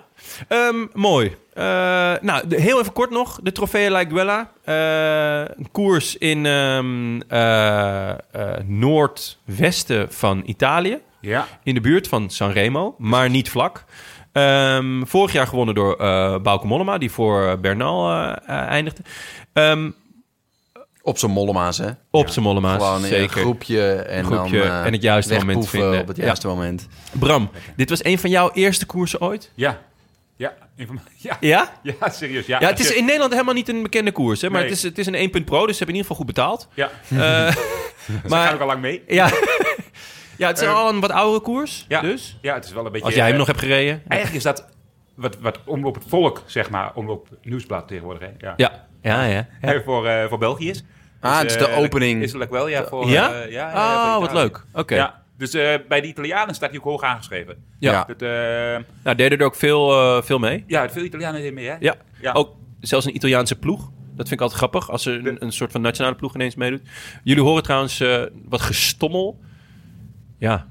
[SPEAKER 3] Ehm, mooi. Eh, nou, de- heel even kort nog. De Trofee La Guella. Eh, een koers in ehm, eh, eh, noordwesten van Italië.
[SPEAKER 6] Ja,
[SPEAKER 3] In de buurt van Sanremo, maar niet vlak. Ehm, vorig jaar gewonnen door eh Bauke Mollema, die voor eh, Bernal eh, eh, eindigde. Ehm,
[SPEAKER 1] Op zijn mollema's, hè?
[SPEAKER 3] op zijn Mollema's,
[SPEAKER 1] Gewoon in een
[SPEAKER 3] zeker.
[SPEAKER 1] groepje en
[SPEAKER 3] Groepje
[SPEAKER 1] dan eh,
[SPEAKER 3] en het juiste moment
[SPEAKER 1] wegpoeven
[SPEAKER 3] vinden. Dus,
[SPEAKER 1] op het juiste moment.
[SPEAKER 3] Bram, dit was een van jouw eerste koersen ooit?
[SPEAKER 6] ja. Ja, een van mijn- ja.
[SPEAKER 3] Ja?
[SPEAKER 6] ja serieus. Ja,
[SPEAKER 3] Ja, het
[SPEAKER 6] als
[SPEAKER 3] is
[SPEAKER 6] je-
[SPEAKER 3] in Nederland helemaal niet een bekende koers, hè? maar
[SPEAKER 6] Nee.
[SPEAKER 3] het, is, het is een 1 punt pro, dus ze hebben in ieder geval goed betaald.
[SPEAKER 6] Ja,
[SPEAKER 3] Eh,
[SPEAKER 6] daar ga ik
[SPEAKER 3] maar
[SPEAKER 6] al lang mee.
[SPEAKER 3] ja, ja, het is
[SPEAKER 6] Eh,
[SPEAKER 3] al een wat oudere koers,
[SPEAKER 6] Ja,
[SPEAKER 3] dus
[SPEAKER 6] ja, het is wel een beetje...
[SPEAKER 3] als jij hem
[SPEAKER 6] eh,
[SPEAKER 3] nog hebt gereden.
[SPEAKER 6] Eigenlijk is dat wat, wat omloop het volk, zeg maar, omloop het nieuwsblad tegenwoordig. Hè? Ja.
[SPEAKER 3] Ja, ja, ja. ja.
[SPEAKER 6] Eh, Voor, eh, voor België is.
[SPEAKER 1] Ah, het is de
[SPEAKER 6] eh,
[SPEAKER 1] opening.
[SPEAKER 6] Is het wel, ja. Voor,
[SPEAKER 3] dus Ja?
[SPEAKER 6] eh, ja, ja,
[SPEAKER 3] Oh,
[SPEAKER 6] voor
[SPEAKER 3] wat
[SPEAKER 6] Italië.
[SPEAKER 3] leuk. Oké.
[SPEAKER 6] Ja, dus eh, bij de Italianen staat hij ook hoog aangeschreven.
[SPEAKER 3] Ja.
[SPEAKER 6] Dat, eh,
[SPEAKER 3] Nou, deden er ook veel, eh, veel mee.
[SPEAKER 6] ja, veel Italianen deden mee, hè?
[SPEAKER 3] Ja.
[SPEAKER 6] Ja.
[SPEAKER 3] ook zelfs een Italiaanse ploeg. Dat vind ik altijd grappig, als er een, een soort van nationale ploeg ineens meedoet. Jullie horen trouwens eh, wat gestommel. Ja,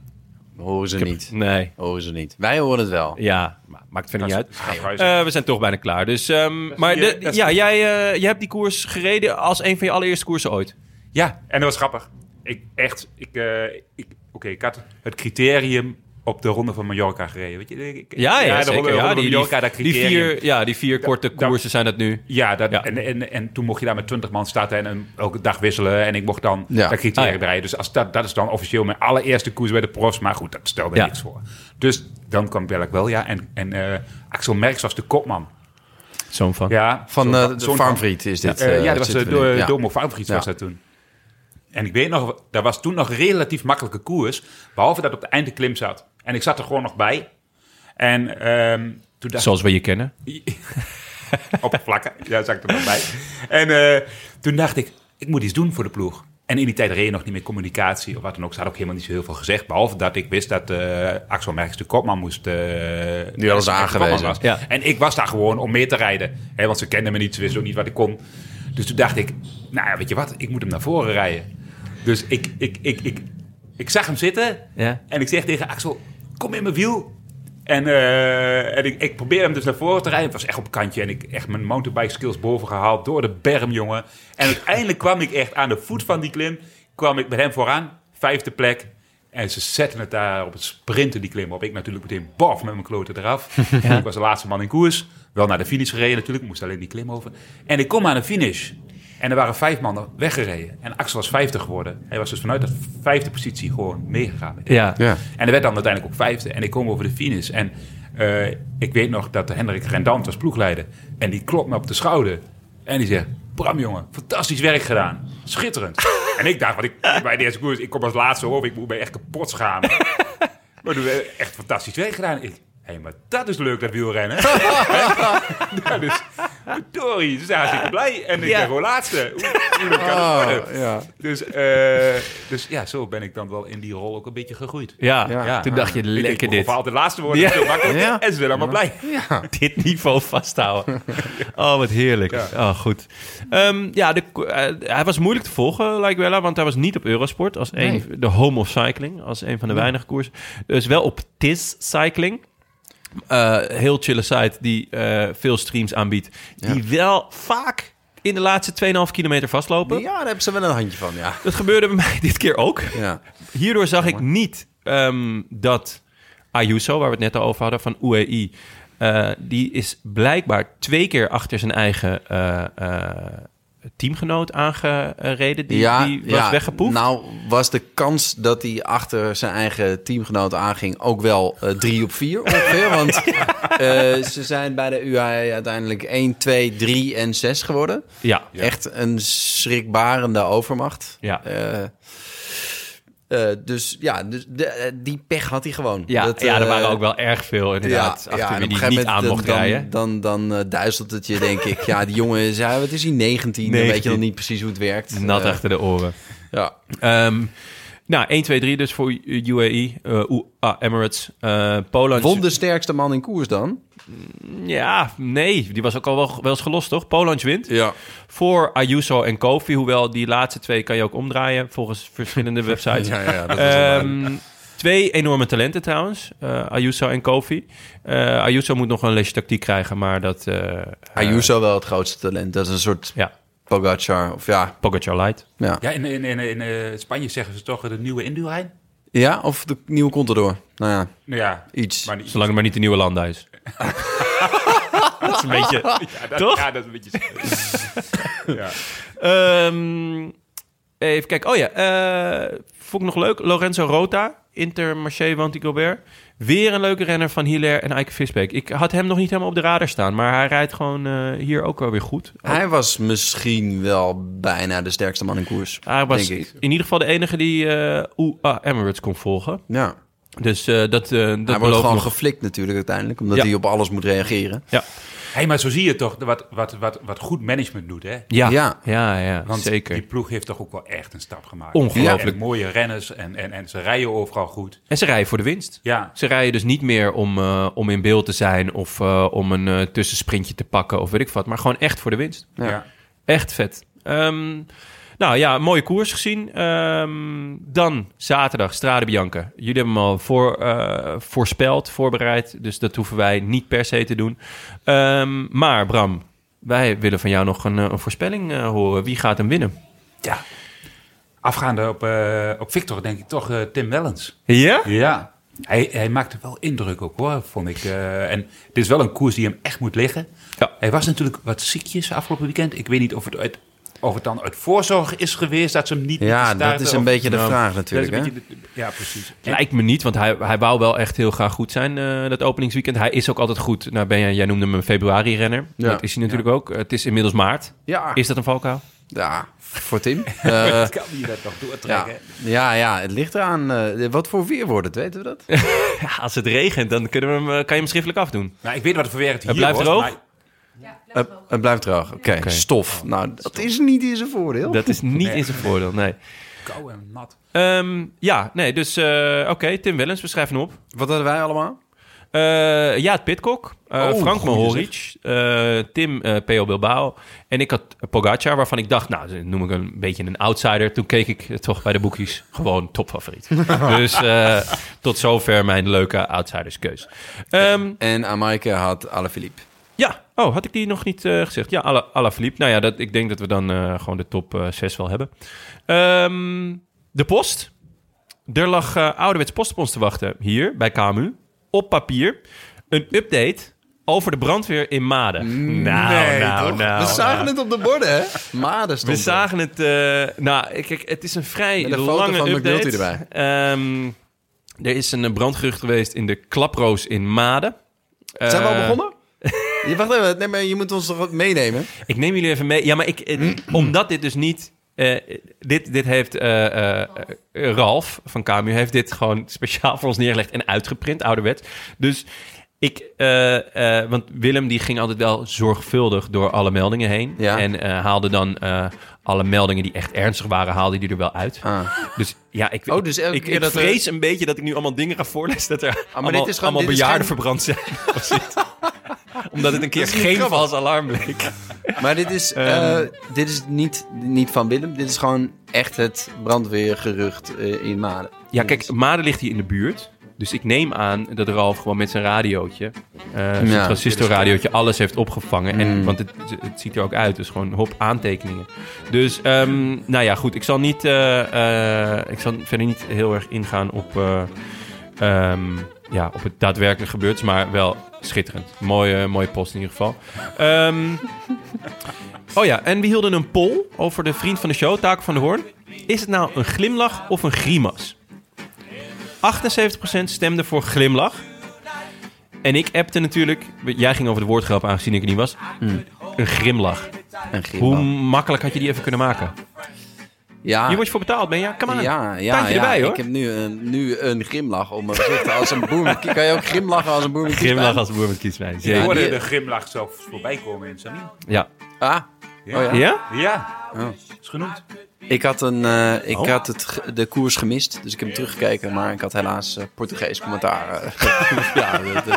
[SPEAKER 1] Horen ze niet.
[SPEAKER 3] nee,
[SPEAKER 1] Horen ze niet. Wij horen het wel.
[SPEAKER 3] ja, maar maakt verder niet uit.
[SPEAKER 6] Schaafhuizen.
[SPEAKER 3] Eh, we zijn toch bijna klaar. Dus, ehm, maar
[SPEAKER 6] hier,
[SPEAKER 3] de-
[SPEAKER 6] dat is
[SPEAKER 3] ja,
[SPEAKER 6] hier.
[SPEAKER 3] jij, eh, jij hebt die koers gereden als een van je allereerste koersen ooit.
[SPEAKER 6] Ja, en dat was grappig. Ik echt, ik, eh, ik, oké, ik had het criterium op de ronde van Mallorca gereden. Weet je, ik,
[SPEAKER 3] Ja, ja,
[SPEAKER 6] de
[SPEAKER 3] zeker.
[SPEAKER 6] ronde,
[SPEAKER 3] ja,
[SPEAKER 6] ronde
[SPEAKER 3] die,
[SPEAKER 6] van
[SPEAKER 3] die-
[SPEAKER 6] Mallorca, dat
[SPEAKER 3] die
[SPEAKER 6] criterium.
[SPEAKER 3] vier, ja, die vier korte
[SPEAKER 6] da-
[SPEAKER 3] koersen zijn dat nu.
[SPEAKER 6] Ja, dat,
[SPEAKER 3] Ja.
[SPEAKER 6] En, en, en toen mocht je daar met 20 man staan en een- elke dag wisselen. En ik mocht dan
[SPEAKER 1] Ja.
[SPEAKER 6] dat criterium
[SPEAKER 3] Ah, ja.
[SPEAKER 6] rijden. Dus als dat, dat is dan officieel mijn allereerste koers bij de profs. Maar goed, dat stelde
[SPEAKER 3] Ja.
[SPEAKER 6] niks voor. Dus dan kwam Belk wel, ja. En, en eh, Axel Merks was de kopman.
[SPEAKER 3] Zo'n van.
[SPEAKER 6] Ja,
[SPEAKER 1] Van
[SPEAKER 6] zo'n-
[SPEAKER 1] eh, de
[SPEAKER 6] zo'n-
[SPEAKER 1] Farmvriet is dit.
[SPEAKER 6] Eh,
[SPEAKER 1] eh,
[SPEAKER 6] ja, dat was
[SPEAKER 1] zitten
[SPEAKER 6] de
[SPEAKER 1] we nu.
[SPEAKER 6] Do-
[SPEAKER 1] Ja.
[SPEAKER 6] Domo Farmvriet was
[SPEAKER 1] Ja.
[SPEAKER 6] dat toen. En ik weet nog, dat was toen nog een relatief makkelijke koers. Behalve dat op de einde klim zat. En ik zat er gewoon nog bij. En ehm, toen dacht
[SPEAKER 3] Zoals we je kennen.
[SPEAKER 6] oppervlakken. Ja, zag ik er nog bij. En eh, toen dacht ik, ik moet iets doen voor de ploeg. En in die tijd reed je nog niet meer communicatie of wat dan ook. Ze had ook helemaal niet zo heel veel gezegd. Behalve dat ik wist dat eh, Axel Merks de kopman moest... eh die
[SPEAKER 1] hadden ze aangewezen.
[SPEAKER 3] Ja.
[SPEAKER 6] En ik was daar gewoon om mee te rijden. Hè, want ze kenden me niet, ze wisten ook niet wat ik kon. Dus toen dacht ik, nou ja, weet je wat, ik moet hem naar voren rijden. Dus ik, ik, ik, ik, ik zag hem zitten
[SPEAKER 3] Ja.
[SPEAKER 6] en ik zeg tegen Axel, kom in mijn wiel. En, eh, en ik, ik probeer hem dus naar voren te rijden. Het was echt op kantje. En ik echt mijn mountainbike skills boven gehaald door de berm, jongen. En uiteindelijk kwam ik echt aan de voet van die klim. Kwam ik met hem vooraan. Vijfde plek. En ze zetten het daar op het sprinten, die klim op. Ik natuurlijk meteen bof met mijn kloten eraf. Ik was de laatste man in koers. Wel naar de finish gereden natuurlijk. Moest alleen die klim over. En ik kom aan de finish. En er waren vijf mannen weggereden. En Axel was vijfde geworden. Hij was dus vanuit de vijfde positie gewoon meegegaan. met
[SPEAKER 3] Ja.
[SPEAKER 1] Ja.
[SPEAKER 6] en er werd dan uiteindelijk ook vijfde. En ik kom over de finish. En eh, ik weet nog dat Hendrik Rendant was ploegleider. En die klopt me op de schouder. En die zegt, Bram jongen, fantastisch werk gedaan. Schitterend. en ik dacht, wat ik, bij de eerste koers, ik kom als laatste over. Ik moet me echt kapot schamen. maar toen werd echt fantastisch werk gedaan. Ik, hé, maar dat is leuk, dat wielrennen. dat is, Dory, dus daar zit ik blij. En ik
[SPEAKER 3] Ja. Oh,
[SPEAKER 6] ben gewoon laatste. Hoe, hoe kan het worden?
[SPEAKER 1] ja.
[SPEAKER 6] Dus, eh, dus ja, zo ben ik dan wel in die rol ook een beetje gegroeid.
[SPEAKER 3] Ja,
[SPEAKER 1] Ja.
[SPEAKER 3] toen dacht je,
[SPEAKER 6] Ik-
[SPEAKER 3] lekker
[SPEAKER 6] ik
[SPEAKER 3] dit.
[SPEAKER 6] hoef altijd laatste worden.
[SPEAKER 3] Ja.
[SPEAKER 6] Veel makkelijker.
[SPEAKER 1] Ja.
[SPEAKER 6] En ze zijn allemaal blij.
[SPEAKER 3] dit niveau vasthouden. Oh, wat heerlijk.
[SPEAKER 6] Ja.
[SPEAKER 3] Oh, goed. Ehm, ja, de, eh, hij was moeilijk te volgen, Laiguela, want hij was niet op Eurosport. Als een, De home of cycling, als een van de weinige koersen. Dus wel op TIS Cycling. Eh, heel chille site die eh, veel streams aanbiedt. Die wel vaak in de laatste 2,5 kilometer vastlopen.
[SPEAKER 1] Ja, daar hebben ze wel een handje van, ja.
[SPEAKER 3] Dat gebeurde bij mij dit keer ook.
[SPEAKER 1] Ja,
[SPEAKER 3] Hierdoor zag ik niet ehm, dat Ayuso, waar we het net al over hadden, van UAE... eh, die is blijkbaar twee keer achter zijn eigen eh, eh, teamgenoot aangereden. Die,
[SPEAKER 1] ja,
[SPEAKER 3] die was
[SPEAKER 1] ja.
[SPEAKER 3] weggepoept.
[SPEAKER 1] Nou was de kans dat hij achter zijn eigen teamgenoot aanging ook wel eh, drie op vier ongeveer. Want eh, ze zijn bij de UAE uiteindelijk 1, 2, 3 en 6 geworden.
[SPEAKER 3] ja.
[SPEAKER 1] Echt een schrikbarende overmacht.
[SPEAKER 3] Ja.
[SPEAKER 1] Eh, eh, dus ja, dus de- eh, die pech had hij gewoon.
[SPEAKER 3] Ja,
[SPEAKER 1] Dat,
[SPEAKER 3] ja, er
[SPEAKER 1] eh,
[SPEAKER 3] waren ook wel erg veel inderdaad, achter
[SPEAKER 1] en
[SPEAKER 3] wie
[SPEAKER 1] op een
[SPEAKER 3] die
[SPEAKER 1] gegeven
[SPEAKER 3] niet aan
[SPEAKER 1] moment
[SPEAKER 3] mocht
[SPEAKER 1] dan,
[SPEAKER 3] rijden.
[SPEAKER 1] Dan, dan, eh, duizelt het je, denk ik. Ja, die jongen is, ja, wat is hij, 19? Dan weet je
[SPEAKER 3] 19.
[SPEAKER 1] nog niet precies hoe het werkt.
[SPEAKER 3] Nat
[SPEAKER 1] Eh,
[SPEAKER 3] achter de oren.
[SPEAKER 1] Ja.
[SPEAKER 3] Ehm, nou, 1, 2, 3 dus voor UAE, eh, U- ah, Emirates, eh Polen.
[SPEAKER 1] Won de sterkste man in koers dan?
[SPEAKER 3] Ja, nee, die was ook al wel, wel eens gelost, toch? Poland wint.
[SPEAKER 1] Ja.
[SPEAKER 3] voor Ayuso en Kofi. Hoewel die laatste twee kan je ook omdraaien volgens verschillende websites.
[SPEAKER 1] ja, dat
[SPEAKER 3] Ehm, twee enorme talenten trouwens, eh, Ayuso en Kofi. Eh, Ayuso moet nog een lesje tactiek krijgen, maar dat... eh,
[SPEAKER 1] Ayuso wel het grootste talent. Dat is een soort
[SPEAKER 3] Ja,
[SPEAKER 1] Pogacar. Of ja,
[SPEAKER 3] Pogacar light.
[SPEAKER 1] ja.
[SPEAKER 6] Ja, in, in, in, in eh, Spanje zeggen ze toch eh, de nieuwe Indurain?
[SPEAKER 1] ja of de nieuwe Contador. Nou ja,
[SPEAKER 6] Nou ja,
[SPEAKER 1] iets.
[SPEAKER 6] maar die,
[SPEAKER 3] Zolang het maar niet de nieuwe Landa is. dat is een beetje...
[SPEAKER 6] ja, dat,
[SPEAKER 3] Toch?
[SPEAKER 6] ja, dat is een beetje... ja.
[SPEAKER 3] Ehm, even kijken. Oh ja, eh, vond ik nog leuk. Lorenzo Rota, Intermarché Wanty Gobert. Weer een leuke renner van Hilaire en Eike Visbeek. Ik had hem nog niet helemaal op de radar staan, maar hij rijdt gewoon eh, hier ook wel weer goed.
[SPEAKER 1] Hij was misschien wel bijna de sterkste man in koers.
[SPEAKER 3] Hij was
[SPEAKER 1] denk ik.
[SPEAKER 3] in ieder geval de enige die eh UAE Emirates kon volgen.
[SPEAKER 1] Ja.
[SPEAKER 3] Dus eh, dat, eh dat
[SPEAKER 1] hij wordt
[SPEAKER 3] belooft
[SPEAKER 1] gewoon
[SPEAKER 3] nog.
[SPEAKER 1] geflikt natuurlijk uiteindelijk, omdat
[SPEAKER 3] Ja.
[SPEAKER 1] hij op alles moet reageren.
[SPEAKER 3] ja.
[SPEAKER 6] Hey, maar zo zie je toch wat, wat, wat, wat goed management doet, hè?
[SPEAKER 3] Ja, ja,
[SPEAKER 1] Ja.
[SPEAKER 3] ja,
[SPEAKER 6] Want
[SPEAKER 3] zeker.
[SPEAKER 6] die ploeg heeft toch ook wel echt een stap gemaakt.
[SPEAKER 3] Ongelooflijk.
[SPEAKER 6] En mooie renners en, en, en ze rijden overal goed.
[SPEAKER 3] En ze rijden voor de winst.
[SPEAKER 6] Ja,
[SPEAKER 3] Ze rijden dus niet meer om, eh, om in beeld te zijn of eh, om een eh, tussensprintje te pakken of weet ik wat. Maar gewoon echt voor de winst.
[SPEAKER 6] ja.
[SPEAKER 3] Echt vet. Ehm, nou ja, een mooie koers gezien. Ehm, dan zaterdag, Strade Bianca. Jullie hebben hem al voor, eh, voorspeld, voorbereid. Dus dat hoeven wij niet per se te doen. Ehm, maar Bram, wij willen van jou nog een, eh, een voorspelling eh, horen. Wie gaat hem winnen?
[SPEAKER 6] Ja. Afgaande op, eh, op Victor denk ik toch eh, Tim Wellens.
[SPEAKER 3] Ja?
[SPEAKER 6] Ja. Hij, hij maakte wel indruk op hoor, vond ik. Eh, en dit is wel een koers die hem echt moet liggen.
[SPEAKER 3] Ja.
[SPEAKER 6] Hij was natuurlijk wat ziekjes afgelopen weekend. Ik weet niet of het, uit, of het dan uit voorzorg is geweest dat ze hem niet
[SPEAKER 1] Ja,
[SPEAKER 6] moeten
[SPEAKER 1] Dus dat
[SPEAKER 6] starten,
[SPEAKER 1] is een
[SPEAKER 6] of-
[SPEAKER 1] beetje de
[SPEAKER 6] Nou,
[SPEAKER 1] vraag
[SPEAKER 6] dat is
[SPEAKER 1] natuurlijk. hè?
[SPEAKER 6] een beetje de- ja, precies.
[SPEAKER 3] Lijkt me niet, want hij, hij wou wel echt heel graag goed zijn eh, dat openingsweekend. Hij is ook altijd goed. Nou, ben jij, jij noemde hem een februari-renner.
[SPEAKER 1] Ja.
[SPEAKER 3] Dat is hij natuurlijk ook. Het is inmiddels maart.
[SPEAKER 1] Ja.
[SPEAKER 3] Is dat een valkuil?
[SPEAKER 1] ja, voor Tim. Eh,
[SPEAKER 6] kan hij dat nog
[SPEAKER 1] ja.
[SPEAKER 6] doortrekken?
[SPEAKER 1] Ja, ja, het ligt eraan. eh, wat voor weer wordt het, weten we dat?
[SPEAKER 3] Ja, als het regent, dan kunnen we hem, eh, kan je hem schriftelijk afdoen.
[SPEAKER 6] Nou, ik weet wat voor weer het hier
[SPEAKER 3] blijft
[SPEAKER 6] wordt,
[SPEAKER 3] droog?
[SPEAKER 6] maar-
[SPEAKER 1] Eh, het blijft droog. Oké, stof. Nou, dat is niet in zijn voordeel.
[SPEAKER 3] Dat is niet in zijn voordeel, nee.
[SPEAKER 6] Kou en nat.
[SPEAKER 3] Ehm, ja, nee, dus eh, oké, Tim Wellens, we schrijven hem op.
[SPEAKER 1] Wat hadden wij allemaal?
[SPEAKER 3] Eh Jaat Pitcock, eh,
[SPEAKER 1] Oh,
[SPEAKER 3] Frank
[SPEAKER 1] goeie
[SPEAKER 3] Mohoric, eh, Tim eh P.O. Bilbao en ik had Pogacar, waarvan ik dacht, nou, dat noem ik een beetje een outsider. Toen keek ik eh, toch bij de boekjes gewoon topfavoriet. dus eh, tot zover mijn leuke outsiderskeus. Ehm,
[SPEAKER 1] En Amaike had Alaphilippe.
[SPEAKER 3] ja, oh, had ik die nog niet eh, gezegd? Ja, Ala- Alaphilippe. Nou ja, dat, ik denk dat we dan eh, gewoon de top 6 wel hebben. Ehm, de post. Er lag eh, ouderwets post op ons te wachten hier bij KMU. Op papier. Een update over de brandweer in Maden. Nou, nou, nou.
[SPEAKER 1] We zagen het op de borden, hè? Maden
[SPEAKER 3] We
[SPEAKER 1] stond er.
[SPEAKER 3] zagen het. eh, nou, kijk, het is een vrij
[SPEAKER 1] Met een foto
[SPEAKER 3] lange
[SPEAKER 1] van
[SPEAKER 3] update.
[SPEAKER 1] McNulty erbij.
[SPEAKER 3] Ehm, er is een eh, brandgerucht geweest in de klaproos in Maden.
[SPEAKER 1] Zijn we al
[SPEAKER 3] Eh,
[SPEAKER 1] begonnen? Je, wacht even, nee, maar je moet ons toch wat meenemen?
[SPEAKER 3] Ik neem jullie even mee. Ja, maar ik, eh, omdat dit dus niet. eh, dit, dit heeft eh, eh, eh, Ralf van KMU heeft dit gewoon speciaal voor ons neergelegd en uitgeprint, ouderwet. Dus Ik, eh, eh, want Willem die ging altijd wel zorgvuldig door alle meldingen heen.
[SPEAKER 1] Ja.
[SPEAKER 3] En eh, haalde dan eh, alle meldingen die echt ernstig waren, haalde die er wel uit.
[SPEAKER 1] Ah.
[SPEAKER 3] Dus ja, ik,
[SPEAKER 1] Oh, dus elke
[SPEAKER 3] ik,
[SPEAKER 1] keer
[SPEAKER 3] ik
[SPEAKER 1] dat er- Ah,
[SPEAKER 3] vrees een beetje dat ik nu allemaal dingen ga voorlezen. Dat er
[SPEAKER 1] maar
[SPEAKER 3] allemaal,
[SPEAKER 1] dit is gewoon- dit
[SPEAKER 3] allemaal
[SPEAKER 1] is
[SPEAKER 3] bejaarden
[SPEAKER 1] geen-
[SPEAKER 3] verbrand zijn. of zoiets. Omdat het een keer
[SPEAKER 1] Dat is niet
[SPEAKER 3] geen
[SPEAKER 1] grappig.
[SPEAKER 3] vals alarm bleek.
[SPEAKER 1] Maar dit is, eh, dit is niet, niet van Willem. Dit is gewoon echt het brandweergerucht eh, in Maden.
[SPEAKER 3] Ja, kijk, Maden ligt hier in de buurt. Dus ik neem aan dat Ralf gewoon met zijn radiootje, eh zijn
[SPEAKER 1] Ja.
[SPEAKER 3] transistorradiootje, alles heeft opgevangen. En,
[SPEAKER 1] Mm.
[SPEAKER 3] want het, het ziet er ook uit, dus gewoon hop aantekeningen. Dus, ehm, nou ja, goed. Ik zal, niet, eh, eh, ik zal verder niet heel erg ingaan op, eh, ehm, ja, op het daadwerkelijk gebeurd, maar wel schitterend. Mooie, mooie post in ieder geval. Ehm, oh ja, en we hielden een poll over de vriend van de show, Taak van de Hoorn. Is het nou een glimlach of een grimas? 78% stemde voor glimlach. En ik appte natuurlijk, jij ging over de woordgrap aangezien ik er niet was, een grimlach.
[SPEAKER 1] En Grim
[SPEAKER 3] Hoe
[SPEAKER 1] ook.
[SPEAKER 3] makkelijk had je die even kunnen maken?
[SPEAKER 1] Ja.
[SPEAKER 3] Hier word je voor betaald, ben je? Kom aan.
[SPEAKER 1] Ja, ja,
[SPEAKER 3] Tuintje
[SPEAKER 1] ja.
[SPEAKER 3] erbij, hoor.
[SPEAKER 1] ik heb nu een, nu een grimlach op mijn gezicht. Als een boer. met- Kan je ook glimlachen als een boer? met
[SPEAKER 3] Grimlach
[SPEAKER 1] kiespijn?
[SPEAKER 3] als boer met kiespijn.
[SPEAKER 6] Ik
[SPEAKER 3] Zeker.
[SPEAKER 6] hoorde
[SPEAKER 1] die-
[SPEAKER 6] de grimlach zelfs voorbij komen in Samin.
[SPEAKER 3] Ja.
[SPEAKER 1] Ah, Oh ja.
[SPEAKER 3] Ja?
[SPEAKER 6] Ja,
[SPEAKER 1] Oh.
[SPEAKER 6] is genoemd.
[SPEAKER 1] ik had, een, eh, ik
[SPEAKER 3] Oh.
[SPEAKER 1] had het, ge- de koers gemist, dus ik heb hem teruggekeken. Maar ik had helaas eh, Portugees commentaar. eh. ja, dat, eh,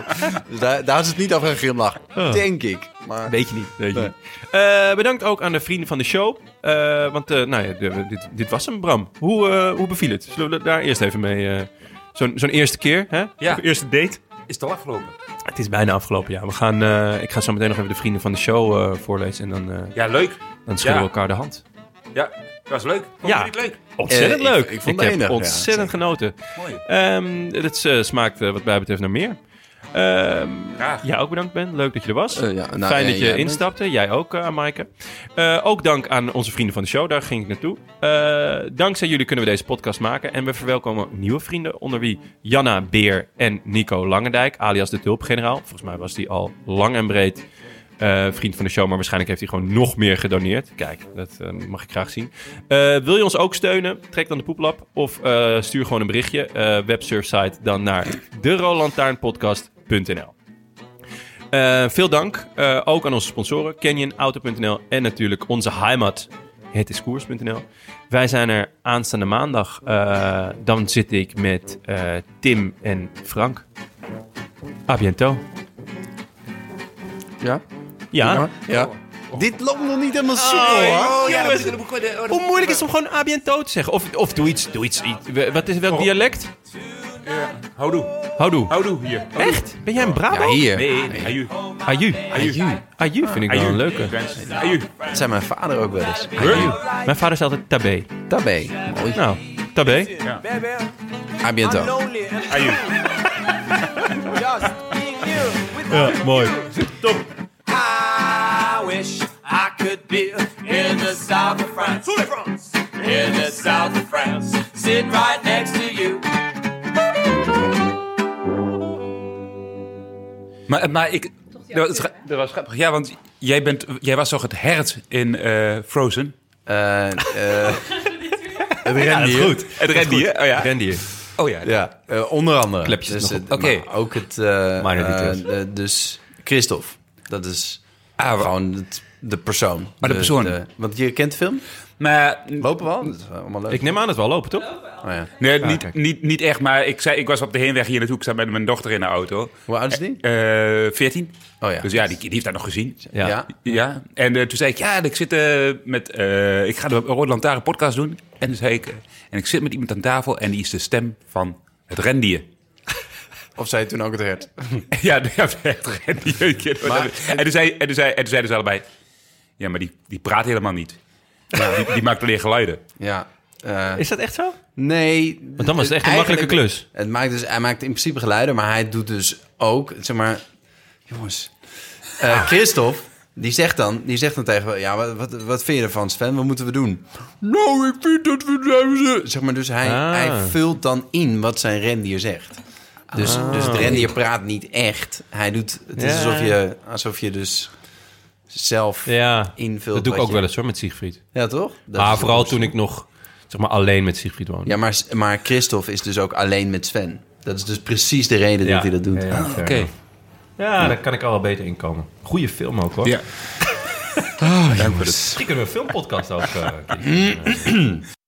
[SPEAKER 1] dus daar, daar is het niet over een grimlach. Denk ik. Maar
[SPEAKER 3] Oh. Weet je niet. Weet je
[SPEAKER 1] Nee.
[SPEAKER 3] niet. Eh, bedankt ook aan de vrienden van de show. Eh, want eh, nou ja, de- dit, dit was hem, Bram. Hoe, eh, hoe beviel het? Zullen we daar eerst even mee... eh, Zo'n zo'n eerste keer, hè?
[SPEAKER 6] Ja.
[SPEAKER 3] Of Eerste date.
[SPEAKER 6] Is het al afgelopen?
[SPEAKER 3] Het is bijna afgelopen, ja. We gaan, eh, ik ga zo meteen nog even de vrienden van de show eh, voorlezen. En dan, eh,
[SPEAKER 6] Ja, leuk.
[SPEAKER 3] dan schudden
[SPEAKER 6] Ja.
[SPEAKER 3] we elkaar de hand.
[SPEAKER 6] Ja, dat was leuk. Vond
[SPEAKER 3] Ja.
[SPEAKER 6] je niet leuk?
[SPEAKER 3] Ontzettend
[SPEAKER 1] Eh, ik-
[SPEAKER 3] leuk.
[SPEAKER 1] ik vond het
[SPEAKER 3] heb
[SPEAKER 1] enig, ja.
[SPEAKER 3] ontzettend genoten.
[SPEAKER 6] Mooi.
[SPEAKER 3] Ehm, het eh, smaakt eh, wat mij betreft naar meer. Ehm
[SPEAKER 6] Graag.
[SPEAKER 3] ja, ook bedankt Ben. Leuk dat je er was.
[SPEAKER 1] Eh, ja, nou,
[SPEAKER 3] Fijn
[SPEAKER 1] eh,
[SPEAKER 3] dat je
[SPEAKER 1] jij bent-
[SPEAKER 3] instapte. Jij ook, eh Maaike. Eh, ook dank aan onze vrienden van de show. Daar ging ik naartoe. Eh, dankzij jullie kunnen we deze podcast maken. En we verwelkomen nieuwe vrienden. Onder wie Janna Beer en Nico Langendijk. Alias de Tulpgeneraal. Volgens mij was die al lang en breed eh, vriend van de show. Maar waarschijnlijk heeft hij gewoon nog meer gedoneerd. Kijk, dat eh, mag ik graag zien. Eh, wil je ons ook steunen? Trek dan de poeplap. Of eh, stuur gewoon een berichtje. eh websurfsite dan naar derolantaarnpodcast.nl eh, veel dank eh, ook aan onze sponsoren Canyon, Auto.nl en natuurlijk onze heimat het is koers.nl. Wij zijn er aanstaande maandag. Eh, dan zit ik met eh, Tim en Frank. A bientôt.
[SPEAKER 1] ja.
[SPEAKER 3] Ja.
[SPEAKER 1] ja. Dit loopt nog niet helemaal soepel, hoor.
[SPEAKER 3] Oh, jongens, hoe moeilijk is het om gewoon A bientôt te zeggen? Of, of doe iets, doe iets. iets- we- Wat is welk dialect?
[SPEAKER 6] Houdoe.
[SPEAKER 3] Houdoe.
[SPEAKER 6] Houdoe hier. Houdoe.
[SPEAKER 3] Echt? Ben jij een Brabant?
[SPEAKER 1] Ja, hier.
[SPEAKER 6] Nee, nee. Aju.
[SPEAKER 3] Aju.
[SPEAKER 6] Aju.
[SPEAKER 3] Aju vind ik wel een leuke.
[SPEAKER 6] Aju.
[SPEAKER 1] Dat zei mijn vader ook wel eens.
[SPEAKER 3] Aju. Mijn vader is altijd tabé.
[SPEAKER 1] Daar ben je. Mooi.
[SPEAKER 3] Nou, tabé.
[SPEAKER 1] A bientôt.
[SPEAKER 6] Aju.
[SPEAKER 3] Ja, mooi.
[SPEAKER 5] I wish I could be in the south of France. In the south of France. Sitting right next to you.
[SPEAKER 6] Maar, eh, maar ik, dat, was, dat was grappig. Ja, want jij, bent, jij was toch het hert in eh, Frozen?
[SPEAKER 1] Eh, eh, het rendier.
[SPEAKER 6] Het rendier. Oh ja.
[SPEAKER 3] Rendier.
[SPEAKER 6] Oh ja.
[SPEAKER 1] Ja, eh, onder andere.
[SPEAKER 3] Klepjes nog op.
[SPEAKER 1] het-
[SPEAKER 6] Oké.
[SPEAKER 1] maar Ook het... eh,
[SPEAKER 3] Minor
[SPEAKER 1] eh,
[SPEAKER 3] details.
[SPEAKER 1] de- dus Christophe. Dat is
[SPEAKER 6] Ah, wa-
[SPEAKER 1] gewoon het, de persoon.
[SPEAKER 6] de persoon.
[SPEAKER 1] want je kent de film?
[SPEAKER 6] maar,
[SPEAKER 1] Lopen we al? Dat is allemaal leuk.
[SPEAKER 3] Ik neem aan dat we al lopen, toch?
[SPEAKER 1] Oh, ja.
[SPEAKER 6] nee, niet,
[SPEAKER 3] kijk.
[SPEAKER 6] niet, niet echt. Maar ik, zei, ik was op de heenweg hier naartoe. Ik zat met mijn dochter in de auto.
[SPEAKER 1] Hoe oud is die?
[SPEAKER 6] Eh, 14.
[SPEAKER 1] Oh ja.
[SPEAKER 6] Dus ja, die, die heeft dat nog gezien.
[SPEAKER 3] Ja.
[SPEAKER 6] Ja, en eh, toen zei ik, ja, ik zit eh, met, eh, ik ga de Rode Lantaarn podcast doen. En toen zei ik, eh, en ik zit met iemand aan tafel en die is de stem van het rendier.
[SPEAKER 1] Of zei je toen ook het hert?
[SPEAKER 6] ja, de- ja, het rendier.
[SPEAKER 1] Maar-
[SPEAKER 6] en, toen zei, en, toen zei, en toen zeiden ze allebei, ja, maar die, die praat helemaal niet. Die, die maakt alleen geluiden.
[SPEAKER 1] Ja. Eh,
[SPEAKER 3] Is dat echt zo?
[SPEAKER 1] nee.
[SPEAKER 3] Want dan was het echt een
[SPEAKER 1] Eigenlijk-
[SPEAKER 3] makkelijke klus.
[SPEAKER 1] Het maakt dus, hij maakt in principe geluiden, maar hij doet dus ook, zeg maar, jongens,
[SPEAKER 3] Ah.
[SPEAKER 1] eh Christophe, die zegt dan, die zegt dan tegen, me, ja, wat, wat, wat vind je ervan, Sven? Wat moeten we doen? Nou, ik vind dat we zeg maar, dus hij,
[SPEAKER 3] Ah.
[SPEAKER 1] hij vult dan in wat zijn rendier zegt. Dus, dus het rendier praat niet echt. Hij doet, het is
[SPEAKER 3] Ah. Ja.
[SPEAKER 1] alsof je, alsof je dus zelf
[SPEAKER 3] Ja.
[SPEAKER 1] invult.
[SPEAKER 3] Dat doe
[SPEAKER 1] wat
[SPEAKER 3] ik ook
[SPEAKER 1] je-
[SPEAKER 3] wel eens hoor, met Siegfried.
[SPEAKER 1] Ja, toch? Dat
[SPEAKER 3] Maar
[SPEAKER 1] is-
[SPEAKER 3] vooral toen ik nog, zeg maar, alleen met Siegfried woonde.
[SPEAKER 1] Ja, maar, maar Christophe is dus ook alleen met Sven. Dat is dus precies de reden
[SPEAKER 3] Ja.
[SPEAKER 1] dat hij dat doet.
[SPEAKER 3] Ja, ja,
[SPEAKER 1] Ah,
[SPEAKER 3] fair
[SPEAKER 1] oké.
[SPEAKER 3] enough. Ja, daar kan ik al wel beter in komen. Goeie film ook, hoor.
[SPEAKER 6] Ja.
[SPEAKER 3] Ah, Misschien kunnen we een filmpodcast ook... eh, een keer doen.